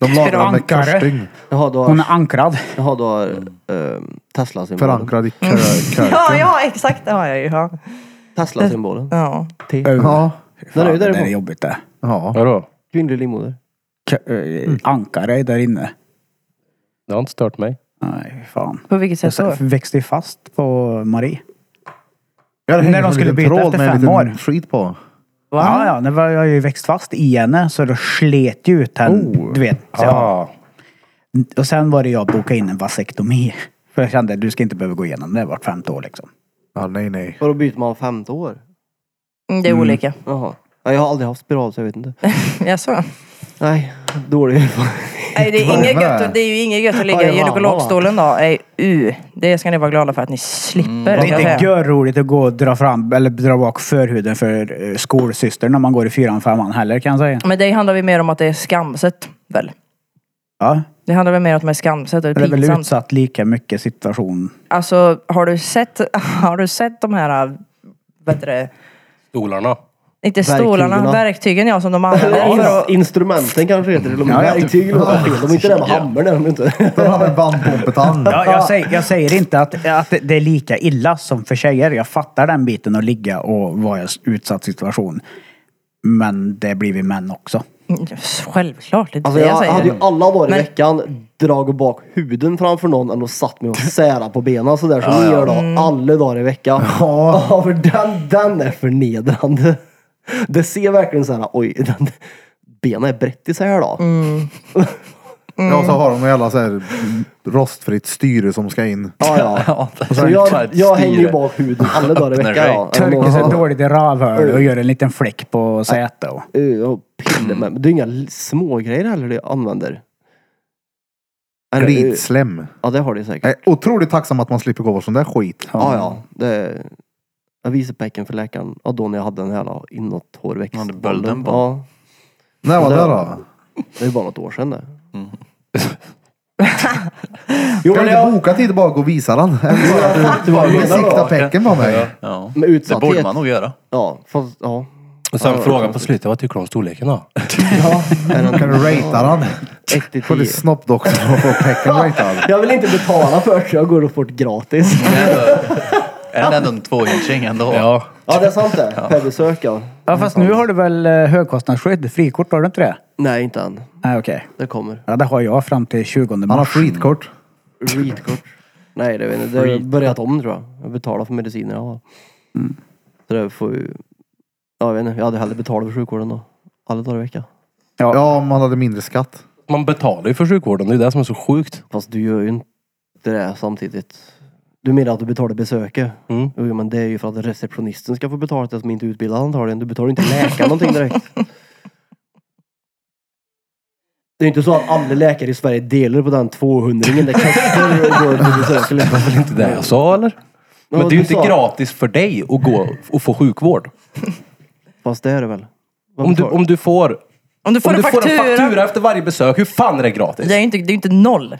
De lagar med Ankare. körsdygn. Jaha, du Hon har, är ankrad. jaha, du har ehm, Tesla-symbolen. Förankrad i Mm. kö, Ja, köken. ja, exakt det har jag ju. Ja. Tesla-symbolen. Ja. Ja. Den är ju det där är därifrån. jobbigt det. Ja. Vadå? Kvinnlig livmoder. K- eh, Ankare är där inne. Det har inte stört mig. Nej, fy fan. På vilket sätt då? Jag växte ju fast på Marie. Jag hade När hängt de en skulle liten byta tråd efter med en fem liten år. skit på. Ja, ja. Det var, jag har ju växt fast i henne så det slet ju ut henne. Du vet. Så, Ah. Och sen var det jag bokade in en vasektomi. För jag kände du ska inte behöva gå igenom det vart femte år liksom. Ja, nej, nej. Vadå byter man femte år? Mm, Det är olika. Jaha. Ja, Jag har aldrig haft spiral så jag vet inte. Jaså? Nej, dålig erfarenhet. Nej, det är, Vad inget var det? gött, att- det är ju inget gött att Ja, ligga det i var- gynekologstolen då. Nej, u. Det ska ni vara glada för att ni slipper. Det kan jag är inte säga. görroligt att gå och dra fram eller dra bak förhuden för eh, skolsystern när man går i fyran, femman heller kan jag säga. Men det handlar väl mer om att det är skamset, väl? Ja. Det handlar väl mer om att det är skamset och Det är väl pinsamt. utsatt lika mycket situation. Alltså, har du sett, har du sett de här, äh, vad heter det, Stolarna. inte Verktygen, stolarna, ja. verktygen ja, som de använder för att... Instrumenten kanske heter det. De är typ. verktyg låter fel. De är inte det med hammaren. De är inte. De har en bandpompetand. Ja, jag, säger, jag säger inte att, att det är lika illa som för tjejer. Jag fattar den biten att ligga och vara i en utsatt situation. Men det blir vi män också. Mm, Självklart, det är inte Alltså det jag jag säger. hade ju alla dagar i Men- veckan dragit bak huden framför någon än och satt mig och särat på benen sådär som ni gör då. Mm. Alla dagar i veckan. Ja. för den, den är förnedrande. Det ser verkligen såhär, oj, den, benen är brett i så här då. Mm. Ja, Mm. och så har de en jävla så här rostfritt styre som ska in. Ja, ja. det Så är jag, bara ett jag styre. hänger ju bak huden alla dagar i Öppnar veckan. Ja. Torkar sig Ja. dåligt i rövhålet och gör en liten fläck på sätet. och- Eh, och piller Mm. med. Det är inga l- smågrejer heller det jag använder. Eller, eh, Glidslem. Ja, det har det säkert. Jag är otroligt tacksam att man slipper gå på sån där skit. Ja, ja. Det, jag visade pecken för läkaren. Ja, då när jag hade den här då, inåt hårväxt. Ja, det bölden på. Ja, När var det Där. då? det är bara något år sedan det. Mm. Jo, kan du inte boka tid och bara gå och visa den? Eller bara att vad du du menar besiktar då. pecken på mig. Ja. Med Det utsatthet. borde man nog göra. Ja, fast ja. Och sen frågan på slutet, vad tycker du om storleken då? Är den Kan du ratea den? 1 till Får du 10? snoppdoktorn och få pecken ratad? Jag vill inte betala för det, så jag går och får det gratis. Är det ändå en tvåhjulsring ändå? Ja. Ja, det är sant det. Per besök ja. Ja fast nu har du väl eh, högkostnadsskydd? Frikort har du inte det? Nej, inte än. Nej okej. Det kommer. Ja det har jag fram till 20 Han har mars. skitkort. Readkort. Nej, det vet jag inte. Det har börjat om tror jag. Jag betalar för mediciner jag har. Mm. Så det får ju... Ja, jag vet inte. Jag hade hellre betalat för sjukvården då. Alla dagar i veckan. Ja, om han hade mindre skatt. Man betalar ju för sjukvården, det är det som är så sjukt. Fast du gör ju inte det samtidigt. Du menar att du betalar besöket? Mm. Jo, men det är ju för att receptionisten ska få betalt det som inte är utbildad antagligen. Du betalar ju inte läkaren någonting direkt. Det är inte så att alla läkare i Sverige delar på den 200-ringen det kostar att gå på besök. Det var väl inte det jag sa eller? Men Ja, det är ju du inte sa. gratis för dig att gå och få sjukvård. Fast det är det väl? Vad Om du, betalar- om du får Om du får Om en du får faktura. en faktura efter varje besök, hur fan är det gratis? Det är ju inte, det är ju inte noll.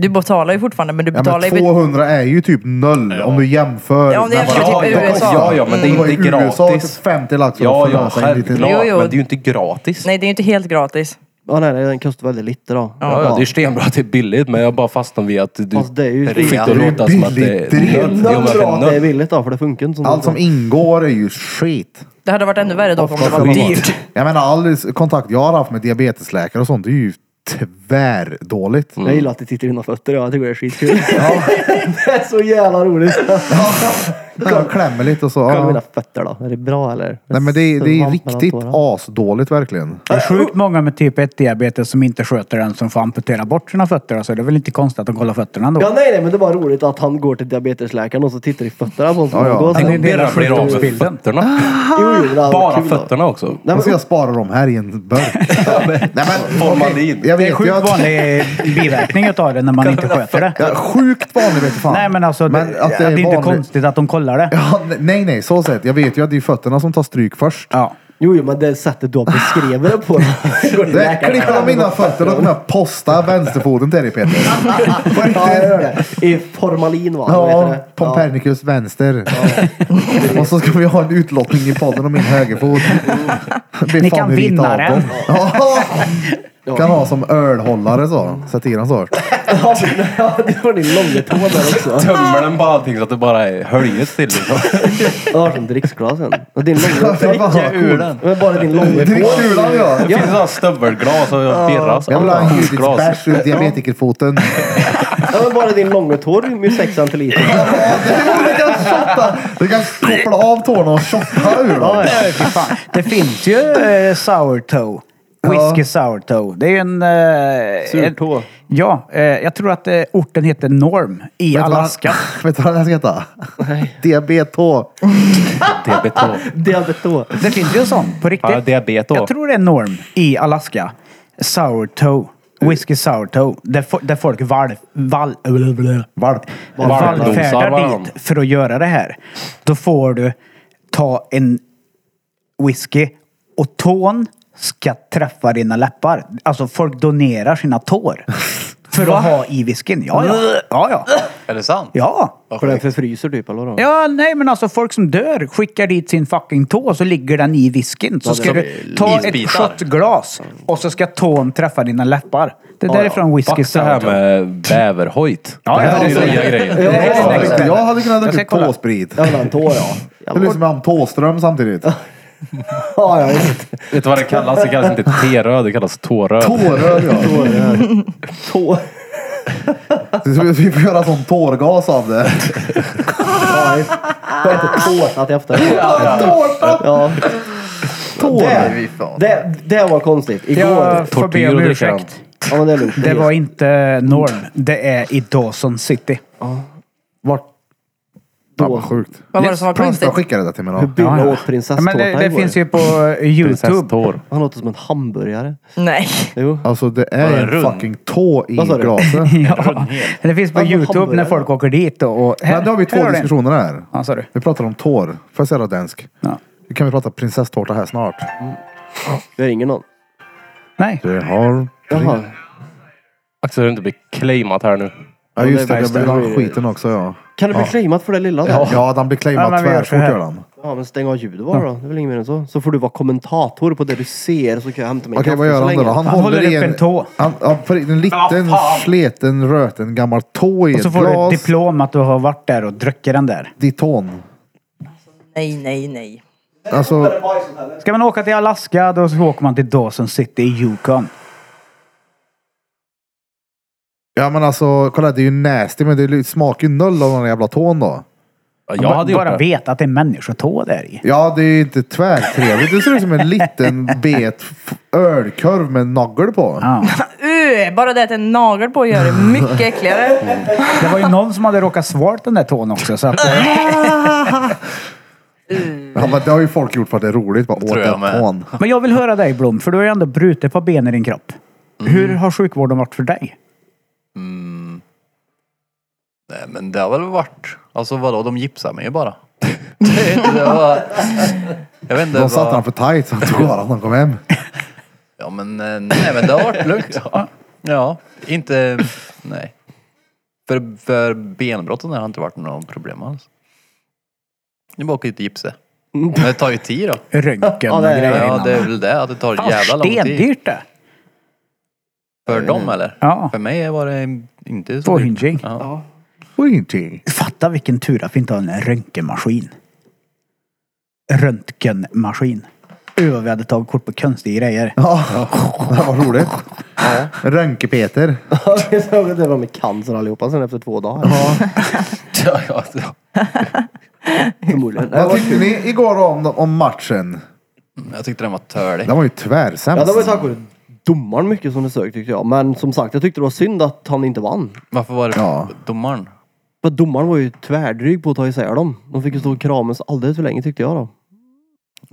Du betalar ju fortfarande men du Ja, betalar men ju... 200 är ju typ noll om du jämför. Ja, om du med jämför vad- typ det kostar. USA. Ja, ja, men det var är ju inte USA typ gratis. 50 lax för Ja, att ja, förlösa en liten- självklart. Jo, jo. Men det är ju inte gratis. Nej det är ju inte helt gratis. Ja, nej, nej, den kostar väldigt lite då. Ja, ja, det är stenbra att det är billigt, men jag bara fastnade vid att du Fast det är ju fick det att billigt. låta som att det Det är ju är noll. Noll Jo, men bra att det är noll. billigt då, för det funkar inte som Allt som ingår är ju skit. Det hade varit ännu värre dock om det var Skit. dyrt. Jag menar all kontakt jag har haft med diabetesläkare och sånt, det är ju tvärdåligt. Mm. Jag gillar att du tittar i dina fötter, ja, jag tycker det är skitkul. det är så jävla roligt. Jag klämmer lite och så. Kolla mina Ja. fötter då. Är det bra eller? Nej men det är, det är Svamp mellan riktigt tårna. asdåligt verkligen. Det är sjukt många med typ 1-diabetes som inte sköter den som får amputera bort sina fötter. Alltså, det är väl inte konstigt att de kollar fötterna då? Ja nej nej men det var roligt att han går till diabetesläkaren och så tittar i fötterna på honom. Ja, ja. Då Det är sen- en del av Birra blir av med sjukdomsbilden. fötterna. Jo, jo, det hade varit Bara Ah, kul då. fötterna också. Nej, Jag ska men, jag spara dem här i en burk. Nej, men, Formalin. Jag Det är vet ju sjukt att... vanlig biverkning utav det när man inte sköter det. Ja, sjukt vanligt vet du fan. Nej men alltså, Men det, att det, är inte vanligt- konstigt att de kollar det. Ja, nej, nej, så sett. Jag vet ju att det är fötterna som tar stryk först. Ja. jo, jo men det sättet du har beskrivit det på. Går till Det läkaren. klipper av mina fötter och kommer jag posta vänsterfoten till dig Peter. På Ja jag riktigt. gör det. I formalin va? Vad Ja, heter det? Pompernicus vänster. Och så ska vi ha en utlottning i podden om min högerfot. Det blir Ni fan kan hur vinna irritator. den. Ja. Kan ha som ölhållare så. Sätt i den så. Ja, men- ja, du har din långa tå där också. Tömmer den på allting så att det bara är höljet till. liksom. Du har som dricksglasen. Och din långa Det var tå. coolt. Men bara din långa tå. Drickkulan ja. Det finns sådana stövelglas och birras. Jag vill ha en Glas. judisbärs ur diabetikerfoten. Ja, men bara din långa tå rymmer ju 6 centiliter. Du kan shotta. Du kan koppla av tårna och shotta ur dem. Nej, fy fan. Det finns ju eh, sourdough. Whisky sourdough. Det är ju en... Eh, Surtå. en- Ja, eh, jag tror att eh, orten heter Norm i Vet du vad- Alaska. Vet du vad den ska heta? Diabeto. Diabeto. Diabetå. Det finns ju en sån på riktigt. Ja, diabet då. Jag tror det är Norm i Alaska. Sourdough. Whisky sourdough. Där, fo- där folk val, val, Valp. Valfärdar vallfärdar varandra. dit för att göra det här. Då får du ta en whisky och tån ska träffa dina läppar. Alltså folk donerar sina tår. För att ha i whiskyn. Ja, ja. Ja, ja. Är det sant? ja. För den förfryser typ eller vadå? Ja, nej men alltså folk som dör skickar dit sin fucking tå så ligger den i whiskyn. Så ska det- du ta ett isbitar. shotglas och där ska tån träffa dina läppar. Det där är från whisky Fuck det här med bäverhojt. Ja, ja, det här är ju det är- nya grejer. Det är Ja, det jag hade kunnat Jag dricka ska upp kolla. tåsprit. Jag vill ha en tå ja. Det blir som Amtåström samtidigt. Ja, ja, visst. Vet du vad det kallas? Det kallas inte T-röd, det kallas tåröd. Tåröd ja. Tå. Vi får göra sån tårgas av det. Ja, visst. Vad Ah. heter tårtat i efterhand? Tårta! Ja. Tår. vi fan. Det, det var konstigt. Igår. Jag får be om Tortyr dricker han. ursäkt. Ja, men det är lugnt. Det var inte Norm. Det är i Dawson City. Vart Ja, vad sjukt. Vad var det som var Prinsen konstigt? skickade det till mig då. Billa Ja, ja. åt Ja, prinsesstårta men det, det igår. finns ju på eh, Youtube. Prinsesstår. Han låter som en hamburgare. Nej. Jo. Alltså det är en rund? fucking tå i Vad sa du? glaset. Ja. Det finns på Ja, men Youtube när hamburgare. folk åker dit och... och Men då har vi här två har du en. diskussioner här. Ja, sa du. Vi pratar om tår. Får jag säga radensk? Ja. Nu kan vi prata prinsesstårta här snart. Jag ringer någon. Nej. Det har... Jaha. Axel har inte blivit claimat här nu. Ja just det, det det blir var den ju- skiten också ja. Kan du bli claimat för det lilla där? Ja, den blir Ja, claimad men vi gör så tvärfort här. gör den. Ja, men stäng av ljudet bara då. Det är väl inget mer än så. Så får du vara kommentator på det du ser så kan jag hämta mig en Okej, kaffe vad gör så han då? länge. då? Han, Han håller upp en tå. Han, han får in en liten, sleten, röten gammal tå i Och så ett får du ett glas. diplom att du har varit där och druckit den där. Diton. Nej, nej, nej. Alltså, Ska man åka till Alaska då så åker man till Dawson City i Yukon. ja men alltså, kolla det är ju nasty men det smakar ju noll av den där jävla tån då. Ja, Jag hade gjort bara det. veta att det är människotå där i. Ja, det är ju inte tvärtrevligt. Det ser ut som en liten bet f- ölkorv med en nagel på. Ja. Uh, bara det att en nagel på gör det mycket äckligare. Det var ju någon som hade råkat svalt den där tån också. Så att, eh, Ja, men det har ju folk gjort för att det är roligt. Bara åt tror jag den med. tån. men jag vill höra dig Blom, för du har ju ändå brutit på ben i din kropp. Hur har sjukvården varit för dig? Nej men det har väl varit, alltså vadå, de gipsar mig ju bara. det var, jag vet inte. De satte vad- han för tight så han tog av den när han kom hem. Ja men eh, nej men det har varit lugnt. Ja, inte, nej. För, för benbrotten har det inte varit några problem alls. Det är bara att åka dit och gipsa. Men det tar ju tid då. Röntgen Ja, och det är- grejer Ja innan. det är väl det, att det tar Fan, jävla lång tid. Stendyrt det. För dem eller? Ja. För mig var det inte så dyrt. Tvåhundring. Ja. Och ingenting. Fatta vilken tur att vi inte har en röntgenmaskin. Röntgenmaskin. Ö, vad vi hade tagit kort på konstiga grejer. Ja, det var roligt. Rönke-Peter. det var med cancer allihopa sen efter två dagar. Ja. Ja, ja, ja. Förmodligen. Det Vad var- tyckte ni igår om, om matchen? Jag tyckte den var tölig. Den var ju tvärsämst. Ja, det var ju tack vare domaren mycket som det sög tyckte jag. Men som sagt, jag tyckte det var synd att han inte vann. Varför var det Ja. domaren? För domaren var ju tvärdryg på att ta isär dem. De fick ju stå och kramas alldeles för länge tyckte jag då.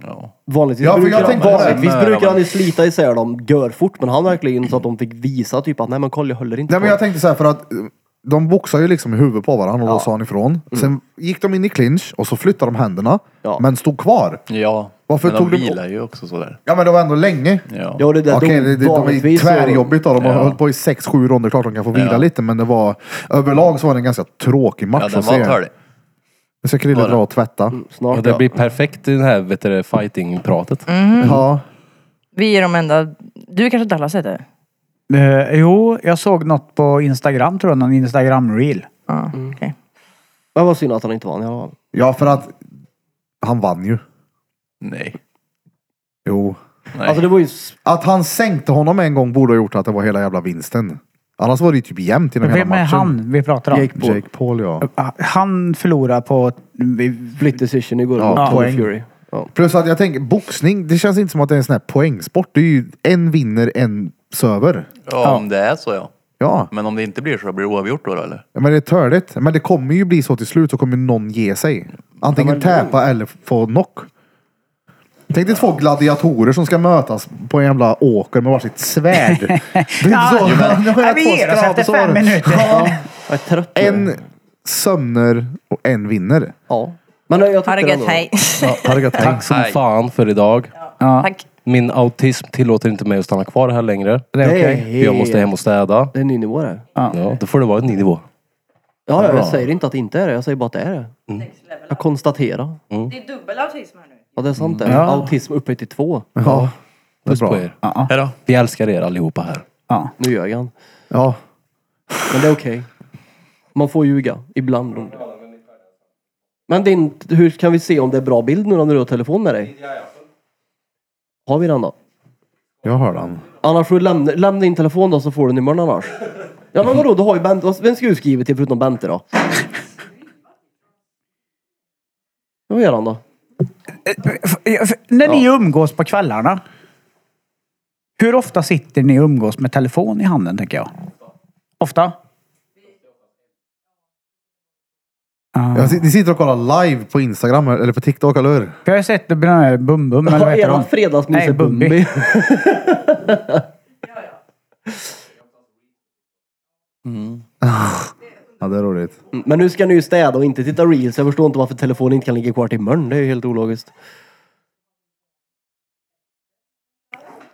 Ja. Vanligtvis, Ja, för brukar, jag tänkte på det. vanligtvis Nej, brukar men- han ju slita isär dem görfort. Men han verkligen så att de fick visa typ att nej men kolla jag håller inte Nej, men på jag tänkte så här för att eh, de boxar ju liksom i huvudet på varandra och då sa han ifrån. Sen gick de in i clinch och så flyttade de händerna. Mm. Ja. Men stod kvar. Ja, Varför men de tog du- vilar ju också sådär. Ja men det var ändå länge. Ja. Ja, det där Okej, dom- det, det, de är vanligtvis så- tvärjobbigt då. De har hållit på i sex sju ronder. Klart de kan få vila Ja. lite men det var överlag så var det en ganska tråkig ja, match den att var se. tölig. Nu ska Krille Var det? dra och tvätta. Ja, Snart det ja. blir perfekt i det här vet du, det, fighting-pratet. Mm. Ja. Vi är de enda... Du kanske inte alla har sett det? Eh, jo, jag såg något på Instagram tror jag, någon Instagram-reel. Ja, okej. Men vad synd att han inte vann i alla fall. ja för att han vann ju. Nej. Jo. Nej. Alltså det var ju... s- Att han sänkte honom en gång borde ha gjort att det var hela jävla vinsten. Annars var det ju typ jämnt genom hela Vem är matchen. han vi pratar om? Jake Paul. Jake Paul ja. Ah, Han förlorar på... vi- Split decision igår mot Ja, Tommy poäng. Fury. Ja. Plus att jag tänker, boxning, det känns inte som att det är en sån här poängsport. Det är ju en vinner, en söver. ja, om det är så ja. Ja, Men om det inte blir så, blir det oavgjort då, då eller? men det är törligt. Men det kommer ju bli så till slut, så kommer någon ge sig. Antingen täpa eller få knock. Tänk dig två gladiatorer som ska mötas på en jävla åker med varsitt svärd. Det är inte så. Nu har Ja, jag vi två ger oss efter skrapsår. fem minuter. Ja. Jag är trött nu. En sömner och en vinner. Ja. Men eh, jag tyckte Ha det det gött, ändå. hej. Tack. Tack som Hej. fan för idag. Tack. Min autism tillåter inte mig att stanna kvar här längre. Det är Det är okej. För jag måste hem och städa. Det är en ny nivå det. Ja, Ja, då får det vara en ny nivå. ja jag säger inte att det inte är det. Jag säger bara att det är det. Mm. Jag konstaterar. Det är dubbel autism här nu. Ja, det är sant Mm. det. Autism uppe till två. Ja, det är Puss på bra. er. Hej då. Vi älskar er allihopa här. Ja. Nu ljög han. Ja. Men det är okej. Man får ljuga. Ibland. Men din, hur kan vi se om det är bra bild nu då när du har telefon med dig? Har vi den då? Jag hör den. Annars får du lämna, lämna in telefon då så får du numren annars. Ja men vadå, du har ju Bente. Vad- Vem ska du skriva till förutom Bente då? Vad gör han då? När ni umgås på kvällarna. Hur ofta sitter ni och umgås med telefon i handen tänker jag? Ofta? Ah. Jag, sit- ni sitter och kollar live på Instagram eller på TikTok, eller hur? Jag har ju sett den här Bum Bum eller Har vad heter eran de? fredagsmys Nej, är Bumbi. Bumbi? Ja, det är roligt. Men nu ska ni ju städa och inte titta reels. Jag förstår inte varför telefonen inte kan ligga kvar till imorgon. Det är ju helt ologiskt.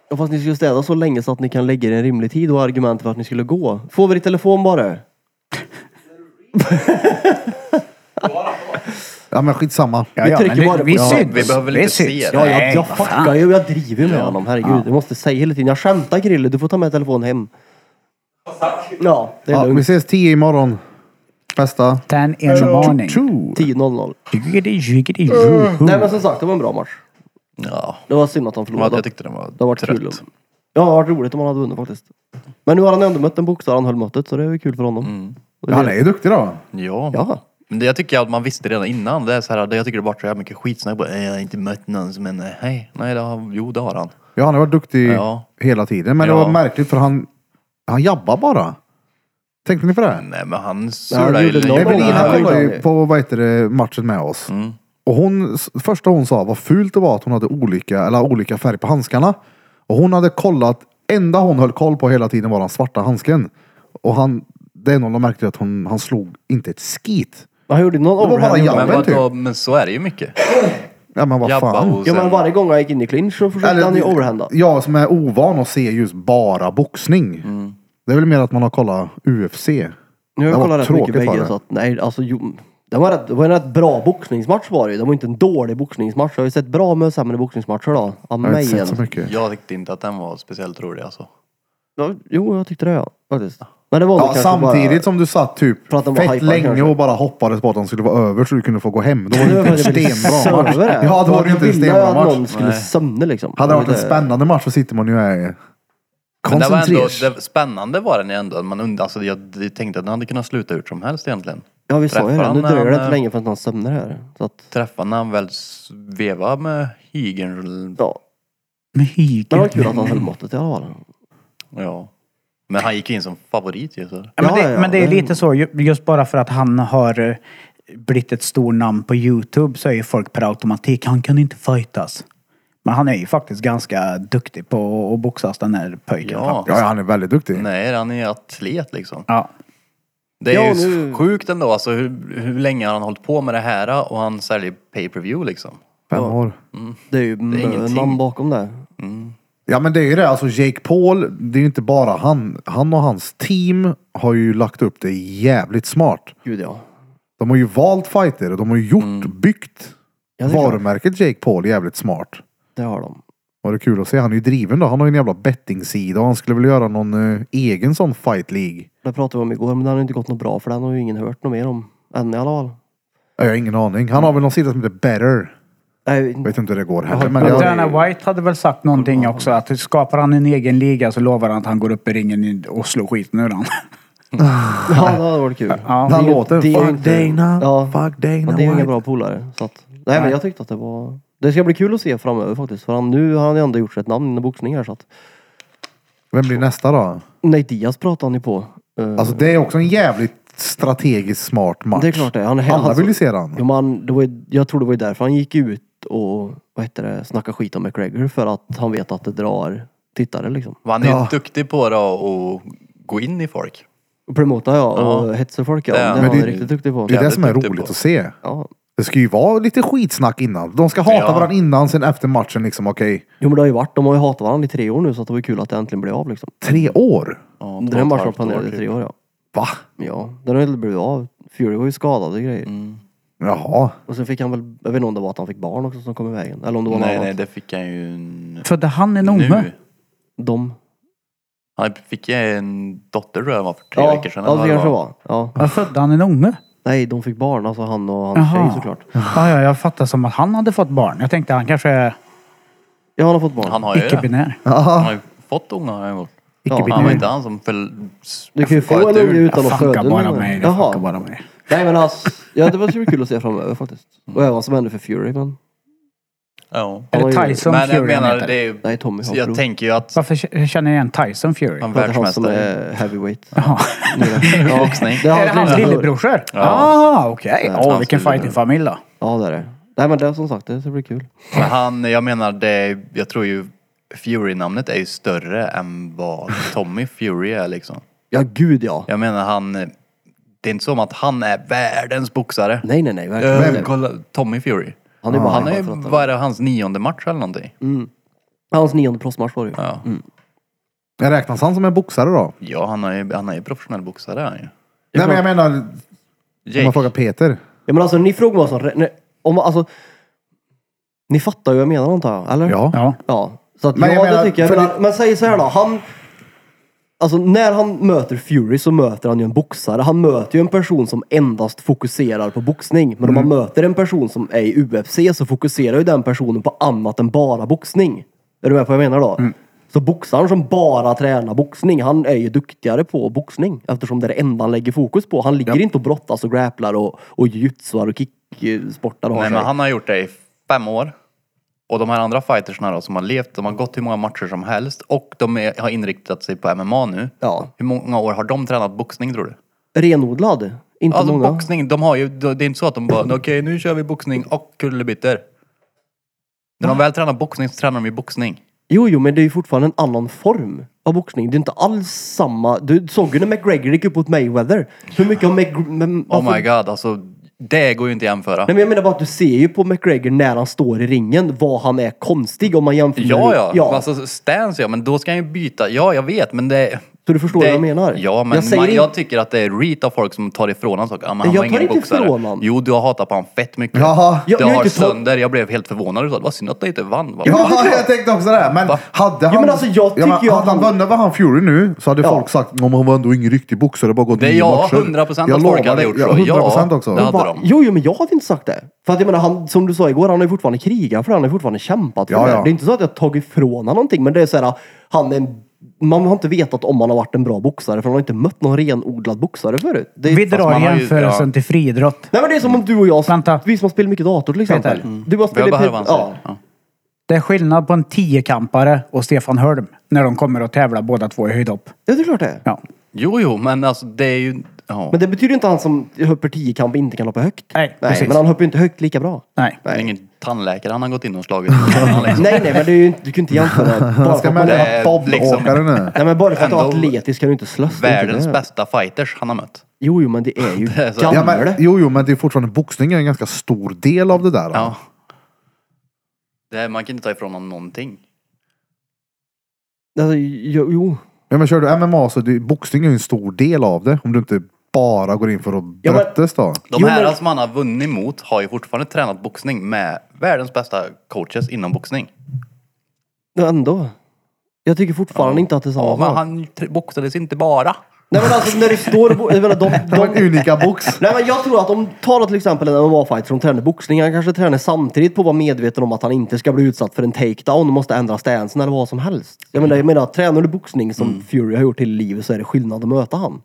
Ja, fast ni skulle städa så länge så att ni kan lägga er en rimlig tid och argument för att ni skulle gå. Får vi i telefon bara? Ja, men skitsamma. Ja, Vi ja, trycker men bara det- på- vi Ja, syns. vi behöver väl Vi inte se syns. det. Ja, jag, Nej, jag vad fan. fuckar ju. Jag driver med honom. Herregud. Jag måste säga hela tiden. Jag skämtar Krille. Du får ta med telefonen hem. Ja, det är Ja, vi lugnt. ses 10 imorgon. Bästa. Ten in the morning. 10.00. Jiggity, jiggity, joo. Mm. Nej men som sagt, det var en bra match. Ja, Det var synd att de förlorade. jag tyckte den var Det har varit kul. om- Ja, det har varit roligt om han hade vunnit faktiskt. Men nu har han ändå mött en boxare han höll mötet så det är ju kul för honom. Mm. Ja, han är ju duktig då. Ja. Ja. Men det jag tycker att man visste redan innan. Det är så här, det jag tycker det har varit så jävla mycket skitsnack. Bara, "Eh, Jag har inte mött någon som en, eh, hej. Nej, det har, jo det har han. Ja, han har varit Mm. duktig Ja. hela tiden. Men det Ja. var märkligt för han, han jabbar bara. Tänkte ni på det? Nej, men han han surar ju gjorde noll. lögn. Nej, Evelina men kollade det- ju på vad heter det, matchen med oss. Och hon, s- första hon sa var fult det var att hon hade olika, eller olika färg på handskarna. Och hon hade kollat, enda hon höll koll på hela tiden var den svarta handsken. Och han, det är någon som märkte att hon, han slog inte ett skit. Han gjorde någon Det var bara overhand. jabba. Men, men vadå, men så är det ju mycket. Ja men vad Jabba fan. och Ja sen... men varje gång han gick in i clinch så försökte han ju overhanda. Jag som är ovan att se just bara boxning. Det är väl mer att man har kollat UFC. Mm. Nu det var har jag kollat rätt mycket tråkigt var bägge det. så att nej alltså jo. Det var, rätt, det var en rätt bra boxningsmatch var det ju. Det var inte en dålig boxningsmatch. Jag har ju sett bra med sämre boxningsmatcher då. Av Jag har mig inte sett så igen. mycket. Jag tyckte inte att den var speciellt rolig alltså. Ja, Jo, jag tyckte det ja. Faktiskt. Men det var väl Ja, kanske samtidigt bara... som du satt typ För att de var fett hypade länge kanske. och bara hoppades på att de skulle vara över så du kunde få gå hem. Då var Det det var inte en väl stenbra match. server det. Ja, då var det Man inte en ville ju stenbra att match. någon skulle sömna liksom. Hade det varit en Det- spännande match så sitter man ju här i- Men det var ändå, koncentrerad. det spännande var den ju ändå. att Man und, alltså jag jag tänkte att den hade kunnat sluta ut som helst egentligen. Ja vi sa ju Träffar det, han nu när dröjer det han, inte eh, länge förrän han sömnar här. Så att, Träffa när han väl s- vevade med hygeln. ja. Med Men det var hygeln. kul att han höll måttet i alla fall. Ja. Men han gick ju in som favorit ju. Så. Ja, men, Ja, det, ja, Mm. men det är det- lite så, ju- just bara för att han har eh, blivit ett stort namn på Youtube så är ju folk per automatik, han kan inte fightas. Men han är ju faktiskt ganska duktig på att boxas den här pojken. Ja. faktiskt. Ja, han är väldigt duktig. Nej, han är atlet liksom. ja. Det är Ja, ju nu- sjukt ändå alltså hur, hur länge har han hållit på med det här och han säljer pay-per-view liksom. Fem år. Det är ju ingenting. någon bakom det. Mm. Ja men det är ju det, alltså Jake Paul, det är ju inte bara han. Han och hans team har ju lagt upp det jävligt smart. Gud ja. De har ju valt fighter och de har ju gjort, byggt Mm. Ja, det är klart. varumärket Jake Paul jävligt smart. Det har de. Var det kul att se. Han är ju driven då. Han har ju en jävla bettingsida och han skulle väl göra någon eh, egen sån fight League. Det pratade vi om igår men det har inte gått något bra för den har ju ingen hört något mer om. Än i alla fall. Ja, Jag har ingen aning. Han har väl någon sida som heter Better. Nej, Jag vet inte hur det går heller. Men Men jag, Dana White hade väl sagt någonting också att skapar han en egen liga så lovar han att han går upp i ringen i- och slår skiten ur honom. ja, det hade varit kul. Ja. han Det är ju- låter. det är ju Fuck inte- Dana. Ja. Fuck Dana Men det är ju inga White. bra polare. Så att, nej men jag tyckte att det var... Det ska bli kul att se framöver faktiskt. För han, nu har han ju ändå gjort sig ett namn inom boxning här så att... Vem blir nästa då? Nej, Diaz pratar han ju på. Eh, Alltså det är också en jävligt strategiskt smart match. det är klart det. Han, är- Alltså- Alla han, vill ju se Ja, den. men han- det var, ju- jag tror det var ju därför han gick ut och vad heter det, snackade skit om McGregor för att han vet att det drar tittare liksom. Och Han är Ja. ju duktig på det och och gå in i folk. Och promota ja, och Ja. hetsa folk ja. Det Det är är han. han Men det- riktigt duktig på. Det är det jävligt som är duktig roligt på. att se. Ja. Det ska ju vara lite skitsnack innan. De ska hata Ja. varandra innan, sen efter matchen liksom okej. Jo men det har ju varit, de har ju hatat varandra i tre år nu så att det var ju kul att det äntligen blev av liksom. Tre år? Ja, Den två här och ett matchen var halvt år, planerad i typ. tre år ja. Va? Ja, den har ju inte blivit av. Fury var ju skadad och grejer. Mm. Jaha. Och sen fick han väl, jag vet inte om det var att han fick barn också som kom i vägen. Eller om det var något Nej, annat. nej, det fick han ju en... Födde han en unge? nu. De. Han fick ju en dotter tror jag var för tre Ja, veckor sedan. ja, eller det vad kanske det var. Ja. Ja, Födde han en unge? Nej, de fick barn, alltså han och hans Jaha. tjej såklart. Ja, ja, jag fattade som att han hade fått barn. Jag tänkte han kanske... Ja, han har fått barn. Han har ju det. Icke-binär. Han har ju fått unga har han gjort. Ja, Han var inte han som föll... Du kan ju få sköt en unge ur. Jag utan att föda fuckar bara någon. mig. Jag fuckar Jaha. bara mig. Nej men alltså, ja det var så kul att se framöver faktiskt. Och även vad som hände för Fury men... Ja. Är Oj, det oj, oj. Tyson Men jag Fury han menar, heter? det är ju... Nej Tommy Så har jag prov. tänker ju att Varför k- känner jag igen Tyson Fury? han är Det är han som världsmästare är heavyweight. Jaha. Nu är det- i boxning. Det Är det hans lillebror. lillebrorsor? Ja. Ah, okej. Ja, Åh, hans vilken lillebror. fightingfamilj då. Ja det är det. Nej men det är som sagt, det ska bli kul. Men han, jag menar, det, jag tror ju Fury-namnet är ju större än vad Tommy Fury är liksom. Ja gud ja. Jag menar han, det är inte som att han är världens boxare. Nej nej nej verkligen Vem? inte. Kolla, Tommy Fury. Han är ju bara Han är ju, hypad för att han- vad är det, hans nionde match eller någonting? Hans nionde proffsmatch var det ju. Ja. Jag räknas han som en boxare då? Ja, han är ju, han är ju professionell boxare han ju. Nej men jag menar, om man Jake. frågar Peter. Ja men alltså ni frågar vad som... nej, Om, alltså, ni fattar ju vad jag menar antar jag, eller? Ja. Ja. Ja. Så att, Men ja, jag menar, det tycker jag. för jag menar, men säg så här då. Han, alltså när han möter Fury så möter han ju en boxare. Han möter ju en person som endast fokuserar på boxning. Men om man möter en person som är i UFC så fokuserar ju den personen på annat än bara boxning. Är du med på vad jag menar då? Så boxaren som bara tränar boxning, han är ju duktigare på boxning. Eftersom det är det enda han lägger fokus på. Han ligger inte och brottas och grapplar och, och jutsuar och kicksportar och har Nej men sig. han har gjort det i fem år. Och de här andra fightersna då som har levt, de har gått hur många matcher som helst och de är, har inriktat sig på MMA nu. Ja. Hur många år har de tränat boxning tror du? Renodlad. Inte Alltså många. boxning, de har ju, det är inte så att de bara okej nu kör vi boxning och kullerbyttor. När de väl tränar boxning så tränar de ju boxning. Jo, jo, men det är ju fortfarande en annan form av boxning. Det är inte alls samma. Du såg ju när McGregor gick upp mot Mayweather. Hur mycket har McGregor... Oh my god alltså, det går ju inte att jämföra. Nej men jag menar bara att du ser ju på McGregor när han står i ringen vad han är konstig om man jämför. Ja, ja. ja. Alltså stance ja, men då ska han ju byta. Ja, jag vet, men det... Så du förstår det, vad jag menar? Ja, men Jag jag, säger man, inte- jag tycker att det är reet av folk som tar ifrån honom saker. Ja, men han Jag var tar ingen inte boxare. ifrån honom. Jo, du har hatat på honom fett mycket. Jaha. Du Jag- jag har har inte tagit- sönder. Jag blev helt förvånad. Du sa, Vad synd att du inte vann. va?" Ja, jag tänkte också det. Men hade han, men alltså, jag tycker ju hade att han han- vunnit vad han Fury nu så hade Ja. folk sagt att han var ändå ingen riktig boxare, bara gått Det är nio jag, matcher. 100% att Jag folk lovar hade det. gjort så. Ja, 100% Ja. också. Det hade Va? de. Jo, jo, men jag hade inte sagt det. För att jag menar, han, som du sa igår, han har ju fortfarande krigat för det. Han har ju fortfarande kämpat för Ja, det. ja. Det är inte så att jag har tagit ifrån honom någonting, men det är så här, han är en, man har inte vetat om han har varit en bra boxare, för han har inte mött någon renodlad boxare förut. Det är Vi man drar har ju- jämförelsen ja. till friidrott. Nej men det är som om du och jag, Vänta. vi som har spelat mycket dator till exempel. Peter. Du har Jag spelat... behöver han ja. säger. ja. Det är skillnad på en tiokampare och Stefan Holm när de kommer att tävla båda två i höjdhopp. ja, det är klart det är. Ja. Jo, jo, men alltså det är ju... Ja. Men det betyder inte att han som hoppar 10 kamp inte kan hoppa högt. Nej, nej precis. men han hoppar ju inte högt lika bra. Nej. Det är Nej. ingen tandläkare han har gått in och slagit. Han liksom. nej, nej men det är ju inte, du kan inte jämföra. Bara för Han att ska man- Det välja är bobbåkare liksom- nu. Nej men bara för att du är Ändå atletisk kan du inte slösa. Världens det. bästa fighters han har mött. Jo, jo men det är ju Det är så. Ja, gamla men, det. jo, jo, men det är fortfarande boxning är en ganska stor del av det där. Ja. Det här, man kan inte ta ifrån honom någonting. Alltså, jo, jo. Ja, men kör du MMA så det, boxning är ju en stor del av det. Om du inte bara går in för att Ja, men- bröttes då. De Jo, här men- som han har vunnit mot har ju fortfarande tränat boxning med världens bästa coaches inom boxning. Men ändå. Jag tycker fortfarande inte att det är samma Ja, men sak. han tr- boxades inte bara. Nej men alltså när det står... Jag menar, de, Det var en de, unika box. Nej men jag tror att om tar till exempel en MMA-fighter som tränar boxning, han kanske tränar samtidigt på att vara medveten om att han inte ska bli utsatt för en takedown och måste ändra stansen eller vad som helst. Jag menar, jag menar tränar du boxning som Mm. Fury har gjort hela livet så är det skillnad att möta han.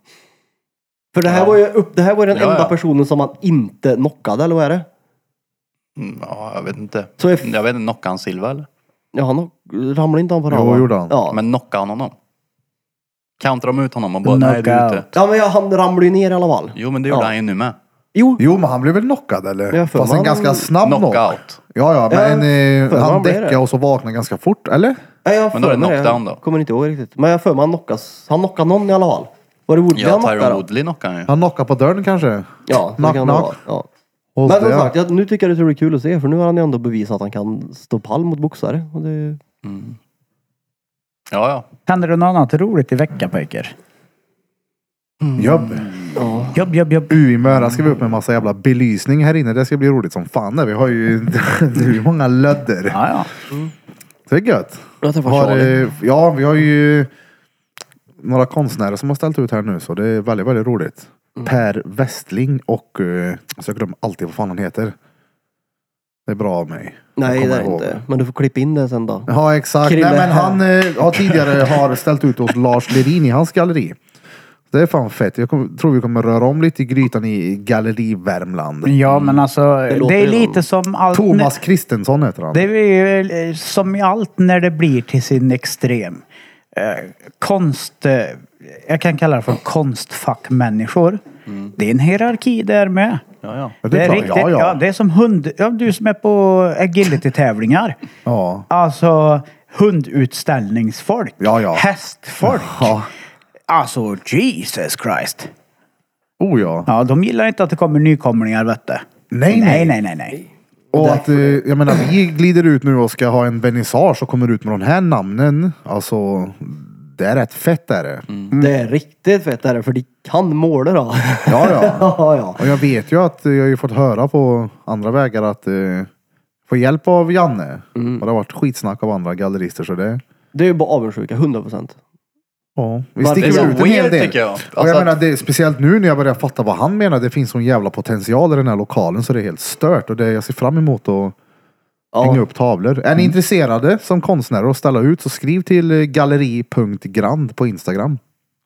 För det här var ju upp, det här var ju den Ja, enda ja. personen som han inte knockade, eller vad är det? Mm, Ja, jag vet inte. Så if- Jag vet inte, knockade han Silva eller? Ja, han knock- ramlade inte han på det? Jo, va? gjorde han. Ja. Men knockade han honom? Countade de ut honom och bara, nej du är ute. Knockout. ja, men ja, han ramlade ju ner i alla fall. Jo, men det gjorde Ja. han ju nu med. Jo, Jo, men han blev väl knockad eller? Ja, för Fast en man- ganska snabb knock. Knockout. Ja, ja, men för eh, man han blir det. däckade och så vaknade ganska fort, eller? nej, jag Men då är det för mig knockdown då. Jag kommer inte ihåg riktigt. Men jag har för mig han knockas. Han knockade någon i alla fall. Var det Woodley Ja, han knockade? Tyron då? Woodley knockade han ju. Han knockade på dörren kanske? Ja, det Knock, kan det knock. vara. Ja. Och Men som det- sagt, jag, nu tycker jag det ska bli kul att se för nu har han ju ändå bevisat att han kan stå pall mot boxare. Och det, Ja, ja. Händer det något annat roligt i veckan pojkar? Jobb. ja. Jobb, jobb, jobb. U i Möra ska vi upp med en massa jävla belysning här inne. Det ska bli roligt som fan. där. Vi har ju hur många lödder. Ja, ja. Det är gött. Jag träffade Har, Charlie. eh, ja, vi har ju några konstnärer som har ställt ut här nu så det är väldigt, väldigt roligt. Mm. Per Westling och, eh, så jag glömmer alltid vad fan han heter. Det är bra av mig. Jag Nej, kommer det är det ihåg. inte. Men du får klippa in det sen då. Ja, exakt. Krille Nej, men här. han eh, har tidigare har ställt ut hos Lars Lerin i hans galleri. Det är fan fett. Jag kommer, tror vi kommer röra om lite i grytan i Galleri Värmland. Ja, men alltså det, låter är ju lite som- som allt... Thomas Kristensson heter han. Det är ju eh, som i allt när det blir till sin extrem. Eh, konst... Eh, jag kan kalla det för konstfackmänniskor. Det är en hierarki där med. Mm. Ja, ja. Ja, det är klart. Ja, ja. det är som hund... Ja, du som är på agility-tävlingar. Ja. Alltså hundutställningsfolk. Ja, ja. Hästfolk. Ja. Alltså Jesus Christ. Oh ja. Ja, de gillar inte att det kommer nykomlingar vet du. Nej, nej. Nej, nej, nej. nej. Och att, eh, jag menar, vi glider ut nu och ska ha en vernissage och kommer ut med de här namnen. Alltså, det är rätt fett är det. Mm. Det är riktigt fett är det, för de kan måla då. Ja, ja. ja, ja. Och jag vet ju att eh, jag har ju fått höra på andra vägar att eh, få hjälp av Janne. Mm. Och det har varit skitsnack av andra gallerister så det... Det är ju bara avundsjuka, 100 procent. Ja, vi Varför sticker är det väl så ut en hel weird, del. tycker och jag? Alltså jag att- menar, det, är speciellt nu när jag börjar fatta vad han menar. Det finns sån jävla potential i den här lokalen så det är helt stört. Och det jag ser fram emot att hänga upp tavlor. Är ni intresserade som konstnärer att ställa ut så skriv till eh, galleri.grand på Instagram.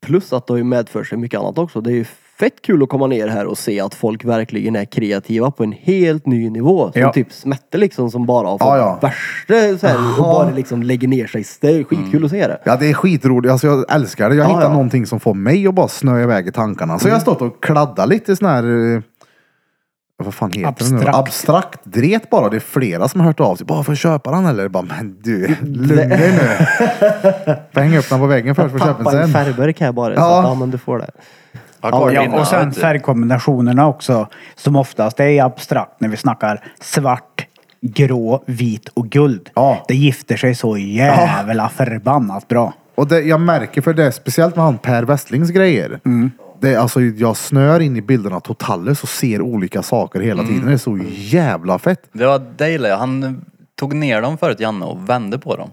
Plus att det har ju medfört sig mycket annat också. Det är ju fett kul att komma ner här och se att folk verkligen är kreativa på en helt ny nivå. Som Ja. typ Smette liksom som bara har fått Ja, ja. värsta så här, och bara liksom lägger ner sig. Det är skitkul Mm. att se det. Ja, det är skitroligt. Alltså, jag älskar det. Jag Ja, hittar ja. någonting som får mig att bara snöa iväg i tankarna. Så jag har stått och kladdat lite sån här... eh, Vad fan heter det nu? Abstrakt. Abstrakt dret bara. Det är flera som har hört av sig. Bara, får jag köpa den eller? Bara, men du, lugna dig nu. Får hänga upp den på väggen först för köpen Pappa en sen. färgburk här bara. Ja. Så Ja. att, ja men du får det. Har kvar Ja, dina, och sen vet du. färgkombinationerna också. Som oftast är abstrakt när vi snackar svart, grå, vit och guld. Ja. Det gifter sig så jävla förbannat bra. Och det, jag märker för det, är speciellt med han Per Westlings grejer. Mm. Det, är alltså, jag snör in i bilderna totalt och ser olika saker hela Mm. tiden. Det är så jävla fett. Det var det gillade jag. Han tog ner dem förut, Janne, och vände på dem.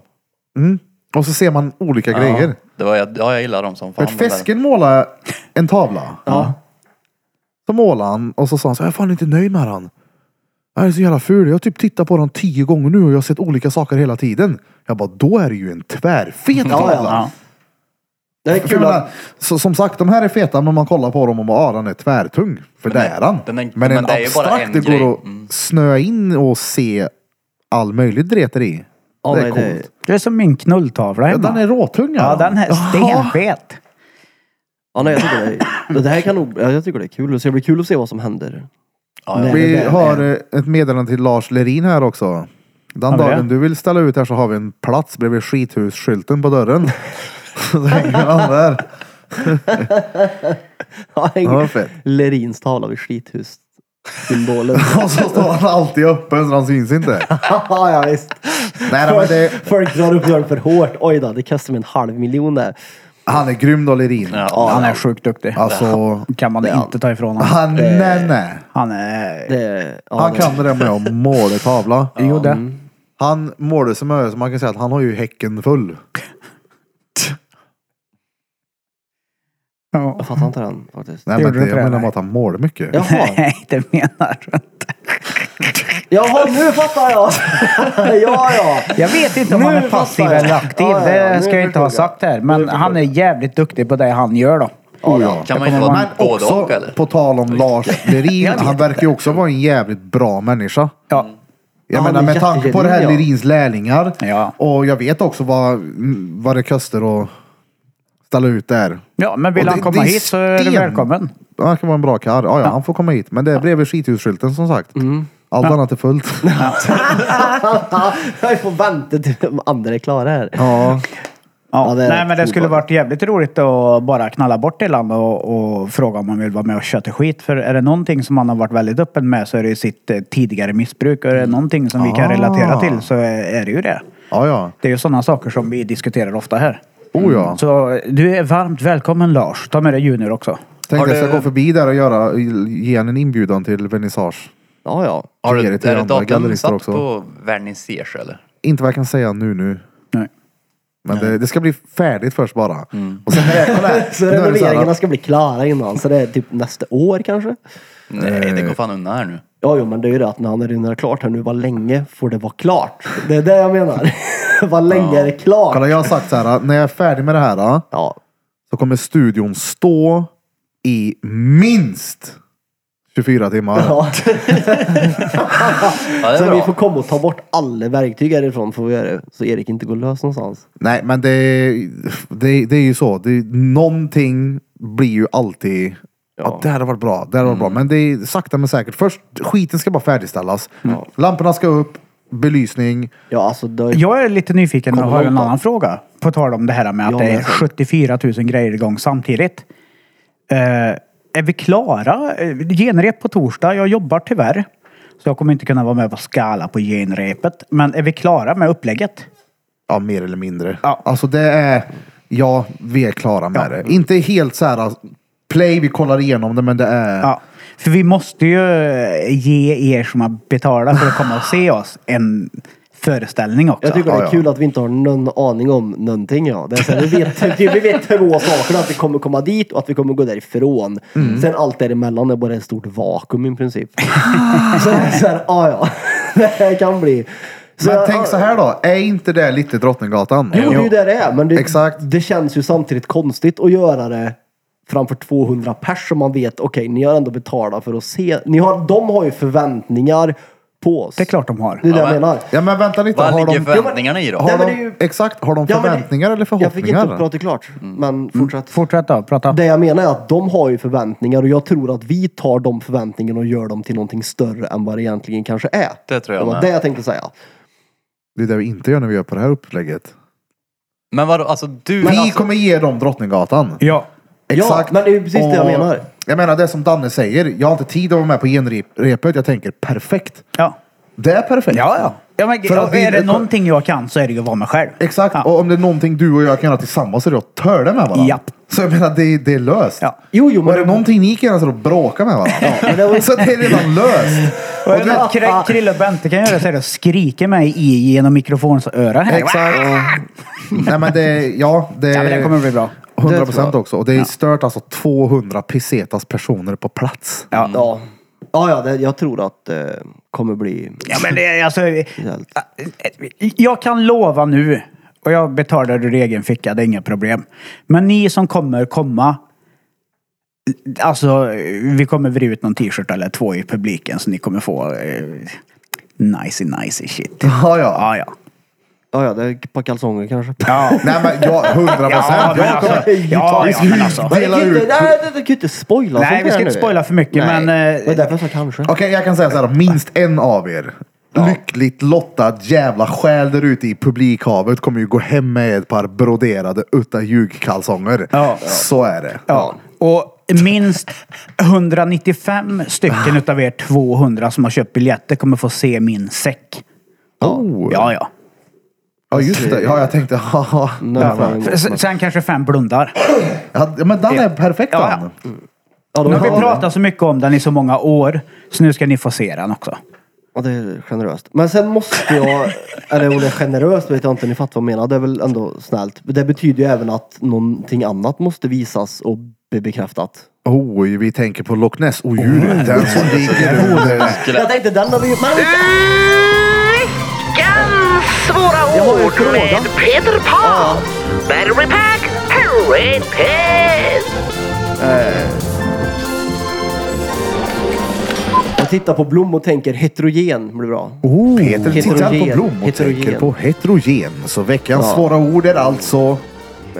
Mm. Och så ser man olika grejer. Det var, jag- ja, jag gillar dem som För fan. att Fesken målade en tavla. Så målade han och så sa han så här, jag är fan inte nöjd med han. Jag är så jävla ful. Jag har typ tittat på den tio gånger nu och jag har sett olika saker hela tiden. Jag bara, då är det ju en tvärfet Ja, tavla. ja. Det är För jag kul menar, att, så, som sagt, de här är feta, men man kollar på dem och bara, ah, den är tvärtung. För det är han. den är- men en men det är ju bara abstrakt, en det grej. Mm. går att snöa in och se all möjlig dreter i. Ja, det är nej, coolt. det- Det är som min knulltavla Ja, hemma. den är råtung. ja, den är stenfet. ja, nej, jag tycker det, är- det här kan nog, ja, jag tycker det är kul. Så det blir kul att se vad som händer. Ja, ja. Nej, det Vi där- har eh, ett meddelande till Lars Lerin här också. Den Har vi dagen det? du vill ställa ut här så har vi en plats bredvid skithusskylten på dörren. Så hänger han där. Ja, Ja, vad fett. Lerins tavla vid skithussymbolen. Och så står han alltid öppen så han syns inte. ja, ja, visst. Nej, nej men det, Folk drar upp dörren för hårt. Oj då, det kostar mig en halv miljon där. han är grym då Lerin. Ja, Han är sjukt duktig. Alltså, Kan man inte ta ifrån honom. han, nej nej. Han är... Det, ja, Han det- mm. kan det där med att måla tavla. Jo, det. Han målade så mycket så man kan säga att han har ju häcken full. Ja. Jag fattar inte den faktiskt. Nej men Gjorde det, du jag det, menar nej? bara att han målar mycket. Jaha, Nej, det menar du inte. Jaha nu fattar jag! ja, ja. Jag vet inte om Nu han är fattar passiv jag. eller aktiv. Ja, ja, ja, nu Det ska jag inte ha förstod jag. sagt här. Men han är jävligt duktig på det han gör då. Oh, ja. Kan man kommer inte vara man- Men med både också och eller? på tal om Lars Lerin, han verkar ju också vara en jävligt bra människa. Ja. Jag Ja, menar han är med tanke på det här jättegenuin, ja. Lerins lärlingar. Ja. Och jag vet också vad, vad det kostar att ställa ut där. Ja, men Och vill det- han komma det är hit så är du sten. välkommen. Han kan vara en bra karl. Ja, ja, han får komma hit. Men det är bredvid skithusskylten som sagt. Mm. Allt annat är fullt. Jag får vänta till de andra är klara här. ja. Ja, Ja, det är Nej, men det rätt skulle obehagligt. varit jävligt roligt att bara knalla bort till honom och, och fråga om han vill vara med och köta skit. För är det någonting som han har varit väldigt öppen med så är det ju sitt eh, tidigare missbruk. Och är det någonting som vi kan Ah. relatera till så är är det ju det. ja, ja. Det är ju sådana saker som vi diskuterar ofta här. Oh ja. Så eh, du är varmt välkommen Lars. Ta med dig Junior också. Tänkte Har jag ska du- gå förbi där och göra, ge en inbjudan till vernissage. Ja, ja. Har du, Ge det till är det andra datum gallerister satt också. på vernissage eller? Inte vad jag kan säga nu nu. Nej. Men det, det ska bli färdigt först bara. Och sen är det, kolla här. Så Nu är det så här- renoveringarna ska bli klara innan. Så det är typ nästa år kanske. Nej, det går fan undan här nu. Ja, jo, men det är ju det att när han rinner klart här nu, vad länge får det vara klart? Det är det jag menar. vad länge är det klart? Kolla, jag har sagt så här, när jag är färdig med det här Ja, så kommer studion stå i minst 24 timmar. ja. Ja, det är Så vi bra. får komma och ta bort alla verktyg härifrån får vi göra det. Så Erik inte går lös någonstans. Nej, men det, det, det är ju så. Det, någonting blir ju alltid... Ja. det här hade varit bra. Det här hade varit Mm. bra. Men det är sakta men säkert. Först, skiten ska bara färdigställas. Lamporna ska upp, belysning. Ja, alltså det har ju- Jag är lite nyfiken och har en långt då. annan fråga. På tal om det här med att Ja, det är men- 74 000 grejer igång samtidigt. Eh, är vi klara? Eh, Genrep på torsdag. Jag jobbar tyvärr. Så jag kommer inte kunna vara med på skala på genrepet. Men är vi klara med upplägget? Ja, mer eller mindre. Alltså det är... Ja, vi är klara med det. Inte helt så här play, vi kollar igenom det, men det är... Ja. För vi måste ju eh, ge er som har betalat för att komma och se oss en föreställning också. Jag tycker det är kul att vi inte har någon aning om någonting. Ja. Det är så här, vi, vet, typ, vi vet två saker, att vi kommer komma dit och att vi kommer gå därifrån. Sen allt däremellan är bara ett stort vakuum i princip. så det är så här, ah, ja, det här kan bli. Men jag- tänk så här då, är inte det lite Drottninggatan? Jo, det är ju det det är. Men det, Exakt. det känns ju samtidigt konstigt att göra det framför 200 pers som man vet, okej, ni har ändå betalat för att se. Ni har, de har ju förväntningar på oss. Det är klart de har. Det är det Ja, jag men- menar. Ja, men vänta lite. Vad Har ligger de, förväntningarna i då? har Nej, men de, det är ju- Exakt, har de Ja, men det- förväntningar eller Jag fick inte förhoppningar? prata klart, Mm. men fortsätt. Mm. Fortsätt då, prata. Det jag menar är att de har ju förväntningar och jag tror att vi tar de förväntningarna och gör dem till någonting större än vad det egentligen kanske är. Det tror Det jag var med. det jag tänkte säga. Det är det vi inte gör när vi gör på det här upplägget. Men vadå, alltså du... vi alltså, kommer ge dem Drottninggatan. Ja. Exakt. Ja, men det är ju precis det jag Och menar. Jag menar det som Danne säger. Jag har inte tid att vara med på genrepet. Jag tänker perfekt. Ja. Det är perfekt. Ja, ja. ja men, För att vi- är det någonting jag kan så är det ju att vara mig själv. Exakt. Ja. Och om det är någonting du och jag kan göra tillsammans så är det att törda med varandra. Japp. Så jag menar, det, det är löst. Ja. Jo, jo, Och är det men... någonting ni kan göra så är det att bråka med varandra. men det var- Så det är redan löst. Och jag vet, Ah. Kr- Krille och Bente kan göra så här och skrika mig i genom mikrofons öra här. Exakt. Nej men det, ja, det, Ja, men det kommer bli bra. 100 Det tror procent jag. också. Och det är stört alltså 200 pesetas personer på plats. Ja, ja. ja, ja det, jag tror att det kommer bli... Ja, men det, är alltså, Helt. jag kan lova nu, och jag betalar ur egen ficka, det är inga problem. Men ni som kommer komma, alltså vi kommer vrida ut någon t-shirt eller två i publiken så ni kommer få eh, nice nice shit. Ja, ja. Ja, ja. Ja, ja, det är ett par kalsonger kanske. Ja, Nej men jag, 100 ja, procent. men alltså, ja, ja, men alltså. Men det kan ju Dela inte, ut. nej, det, det kan ju inte spoila sånt Nej, här vi ska nu. inte spoila för mycket, Nej. men... Det är Eh, därför jag sa kanske. Okej, jag kan säga så här. Minst en av er lyckligt lottad jävla själ där ute i publikhavet kommer ju gå hem med ett par broderade utta ljugkalsonger. Ja. Så är det. ja. Och minst 195 stycken utav er 200 som har köpt biljetter kommer få se min säck. Oh. Ja, ja. Ja, just det. Ja, jag tänkte, haha. Nej, fan. S- Sen kanske fem blundar. Ja, men den är perfekt Ja, ja. han. Ja, de Nu har vi har det. pratat så mycket om den i så många år, så nu ska ni få se den också. Ja, det är generöst. Men sen måste jag, eller om det är generöst vet jag inte, ni fattar vad jag menar. Det är väl ändå snällt. Det betyder ju även att någonting annat måste visas och bli bekräftat. Oj, vi tänker på Loch Ness. Och djuret, den som ligger under. Jag tänkte den har vi men Veckans Jag Mm, svåra har en ord fråga. med Peter Pan. Battery pack, Harry Piss. Eh. Jag tittar på Blom och tänker heterogen blir bra. Oh, Peter tittar på Heterogen. Blom och Heterogen. tänker på heterogen. Så veckans Ja. svåra ord är alltså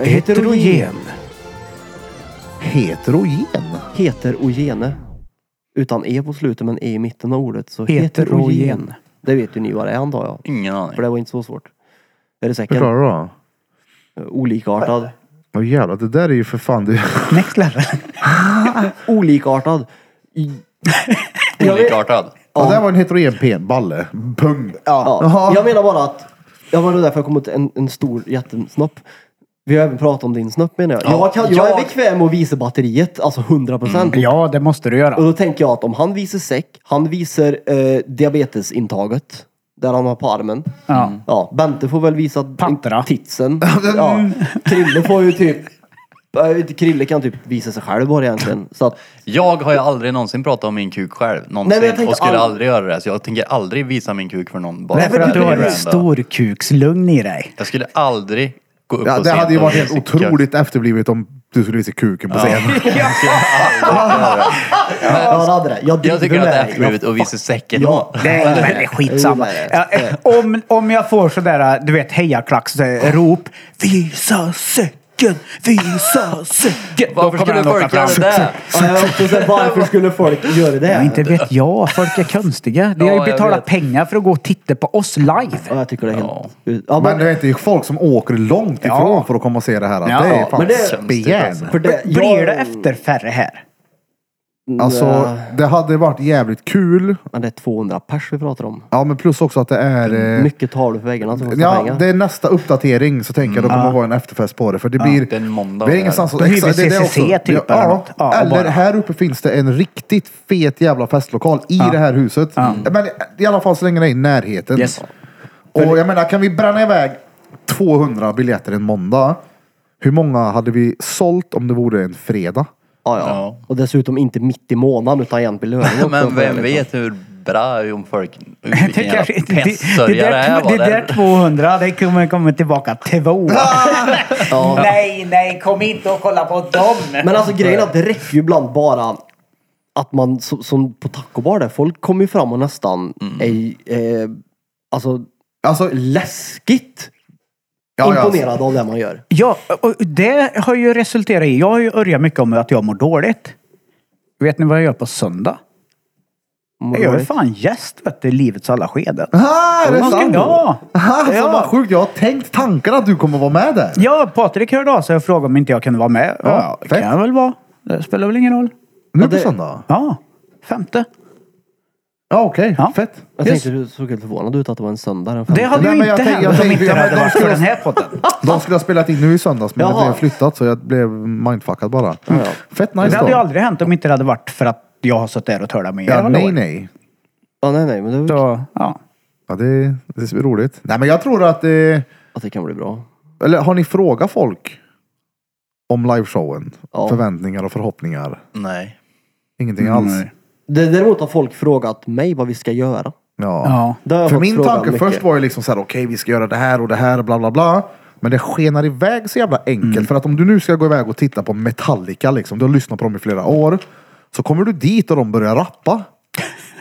heterogen. Heterogene. Utan e på slutet men e i mitten av ordet. Så Heterogen. heterogen. Det vet ju ni vad det är antar jag. ingen För aning. det var inte så svårt. Är det Hur säkert? klarar du då? Olikartad. Åh jävlar, det där är ju för fan... Det... Next level. Olikartad. I- Olikartad. Ja, där var en heterogen pen, balle. Pung. Ja. Jaha. Jag menar bara att, jag var därför jag kom åt en, en stor jättesnopp. Vi har även pratat om din snopp menar jag. Jag, kan, jag är Ja. bekväm med att visa batteriet, alltså 100%. procent. Ja, det måste du Och göra. då tänker jag att om han visar säck, han visar eh, diabetesintaget. Där han har på armen. Ja. Ja, Bente får väl visa Pattarna. titsen. Ja, Krille får ju typ Eh, Krille kan typ visa sig själv bara egentligen. Så att, Jag har ju aldrig någonsin pratat om min kuk själv. Någonsin. jag tänkte och skulle all- aldrig göra det. Så jag tänker aldrig visa min kuk för någon. Bara Nej, för för att du det har är ett random. storkukslugn i dig. Jag skulle aldrig gå upp Ja, på det scen hade ju och varit visa helt sin kuk. otroligt efterblivet om du skulle visa kuken på scen. jag hade det. Jag, Jag driver tycker att med det är dig. efterblivet att visa säcken. Ja. Nej, men det är skitsamma. Jo, Ja, eh, Om, om jag får sådär, du vet, hejaklack, så där, rop. Visa säcken! Visa säcken! Då Vad försöker kommer det han åka folk göra fram. det? Ja, jag också så här, varför skulle folk göra det? Ja, inte vet jag. Folk är konstiga. De har Ja, ju jag betalat vet. pengar för att gå och titta på oss Ja, live. jag tycker det är helt... Ja, Men men, du vet, det är ju folk som åker långt ifrån för att komma och se det här. Ja, Alltså. det är fan men det- spjärn. för det, Blir jag- det efter färre här? Alltså, det hade varit jävligt kul. Men det är 200 pers vi pratar om. Ja, men plus också att det är... eh, Mycket tavlor för väggarna som kostar Ja, pengar. det är nästa uppdatering så tänker jag då kommer det vara en efterfest på det. För det blir... Det är en måndag. Det är ingenstans Då hyr vi det är det CCC också. typ eller ja, något. Ja, och eller bara- här uppe finns det en riktigt fet jävla festlokal i det här huset. Mm. Men i alla fall så länge det är i närheten. Yes. Och jag menar, kan vi bränna iväg 200 biljetter en måndag? Hur många hade vi sålt om det vore en fredag? Ja, ja. Ja. Och dessutom inte mitt i månaden utan jämt vid lönen. Men vem vet hur bra om folk... Det, Vilken jävla kanske, det, det, pestsörjare det här där, var. det där där. 200, det kommer komma tillbaka två. Nej, nej, kom inte och kolla på dem. Men alltså grejen är att det räcker ju ibland bara att man, som, som på tacobar där, folk kommer ju fram och nästan Mm. är, eh, alltså Alltså, läskigt ja, ja, imponerade av det man gör. Ja, och det har ju resulterat i, jag har ju örjat mycket om att jag mår dåligt. Vet ni vad jag gör på söndag? Jag är fan gäst vet du, i livets alla skeden. Ah, är det Man ska- sant? Ja! Alltså Ja. vad sjukt, jag har tänkt tanken att du kommer vara med där. Ja, Patrik hörde av sig och frågade om inte jag kunde vara med. Ja, fett. kan jag väl vara. Det spelar väl ingen roll. Nu på söndag? Ja, femte. Ja okej, Ja. fett. Jag Just. tänkte du såg helt förvånad ut att det var en söndag den Det femte. hade Nej, ju men inte jag tänk- jag hänt om tänk- inte det men hade de varit för skulle- den här podden. De skulle ha spelat in nu i söndags men Jaha. det blev flyttat så jag blev mindfuckad bara. Fett Det nice hade ju då. aldrig hänt om inte det hade varit för att jag har suttit där och tölat med er. Ja, alla nej år. nej. Ja, nej, nej, men det, Så, ja. Ja det, det är roligt. Nej men jag tror att... Eh, att det kan bli bra. eller har ni frågat folk? Om liveshowen? Ja. Förväntningar och förhoppningar? Nej. Ingenting alls? Nej. Det, däremot har folk frågat mig vad vi ska göra. Ja. Ja. Det har jag För fått min frågan tanke mycket. först var ju liksom så här, okej vi ska göra det här och det här bla bla bla. Men det skenar iväg så jävla enkelt. För att om du nu ska gå iväg och titta på Metallica liksom, du har lyssnat på dem i flera år. Så kommer du dit och de börjar rappa.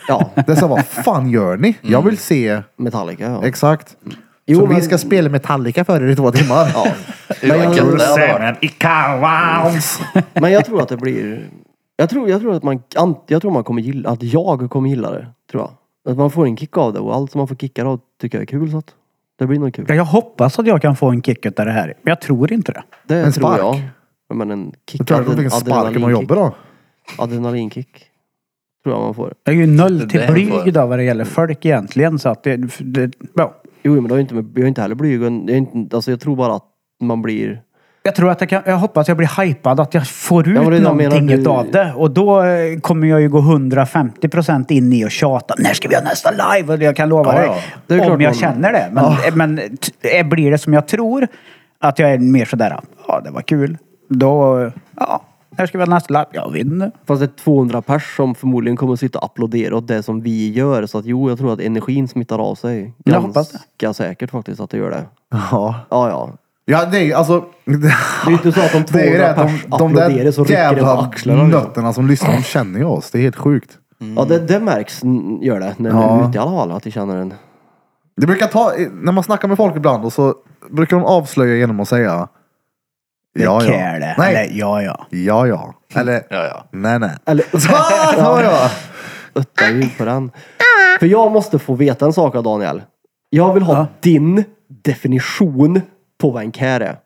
Ja, Det är så här, vad fan gör ni? Jag vill se, Metallica ja. exakt. Jo, så vi men- ska spela Metallica för er i två timmar. ja. Men jag, det hade varit. Men jag tror att det blir... Jag tror, jag tror att man, an- jag tror man kommer gilla, att jag kommer gilla det. Tror jag. Att man får en kick av det och allt som man får kickar av tycker jag är kul så att det blir nog kul. Ja, Jag hoppas att jag kan få en kick utav det här, men jag tror inte det. Det En tror spark. jag. Ja, Men en kick. Jag tror att de fick en sparken av jobbet då. Adrenalinkick. Tror jag man får. Jag är ju noll till Det är blyg för- då vad det gäller folk egentligen, så att det... det ja. Jo men det har ju inte med, jag är inte heller blyg. och Jag, är inte, alltså, jag tror bara att man blir... Jag tror att jag kan, jag hoppas jag blir hypad, att jag får ut Ja, men det är det jag någonting menar, du- utav det. Och då eh, kommer jag ju gå 150 procent in i och tjata. När ska vi ha nästa live? Och jag kan lova Ja, dig. ja. Det är om jag klart man- känner det. Men, men t- eh, blir det som jag tror, att jag är mer sådär, ja det var kul. Då, eh, ja, när ska vi ha nästa live? Jag vet inte. Fast det är 200 pers som förmodligen kommer att sitta och applådera åt det som vi gör. Så att jo, jag tror att energin smittar av sig. Jag hoppas det. Ganska säkert faktiskt att det gör det. Ja. Ja, ja. Ja, det är ju alltså... Det är ju inte så att de 200 Det är ju det, pers de, de applåderar så där rycker det på jävla axlarna. Liksom. nötterna som lyssnar, de känner ju oss. Det är helt sjukt. Ja, det, det märks, mm, gör det, när man är ute i alla fall, att de känner en. Det brukar ta, när man snackar med folk ibland och så brukar de avslöja genom att säga Ja, Det ja. care det. Nej, Eller, ja, ja. ja, ja. Eller Ja, ja. nej, nej. Eller Så, ja, ja. ötta ljud på den. För jag måste få veta en sak av Daniel. Jag vill ha din definition på vad en care är.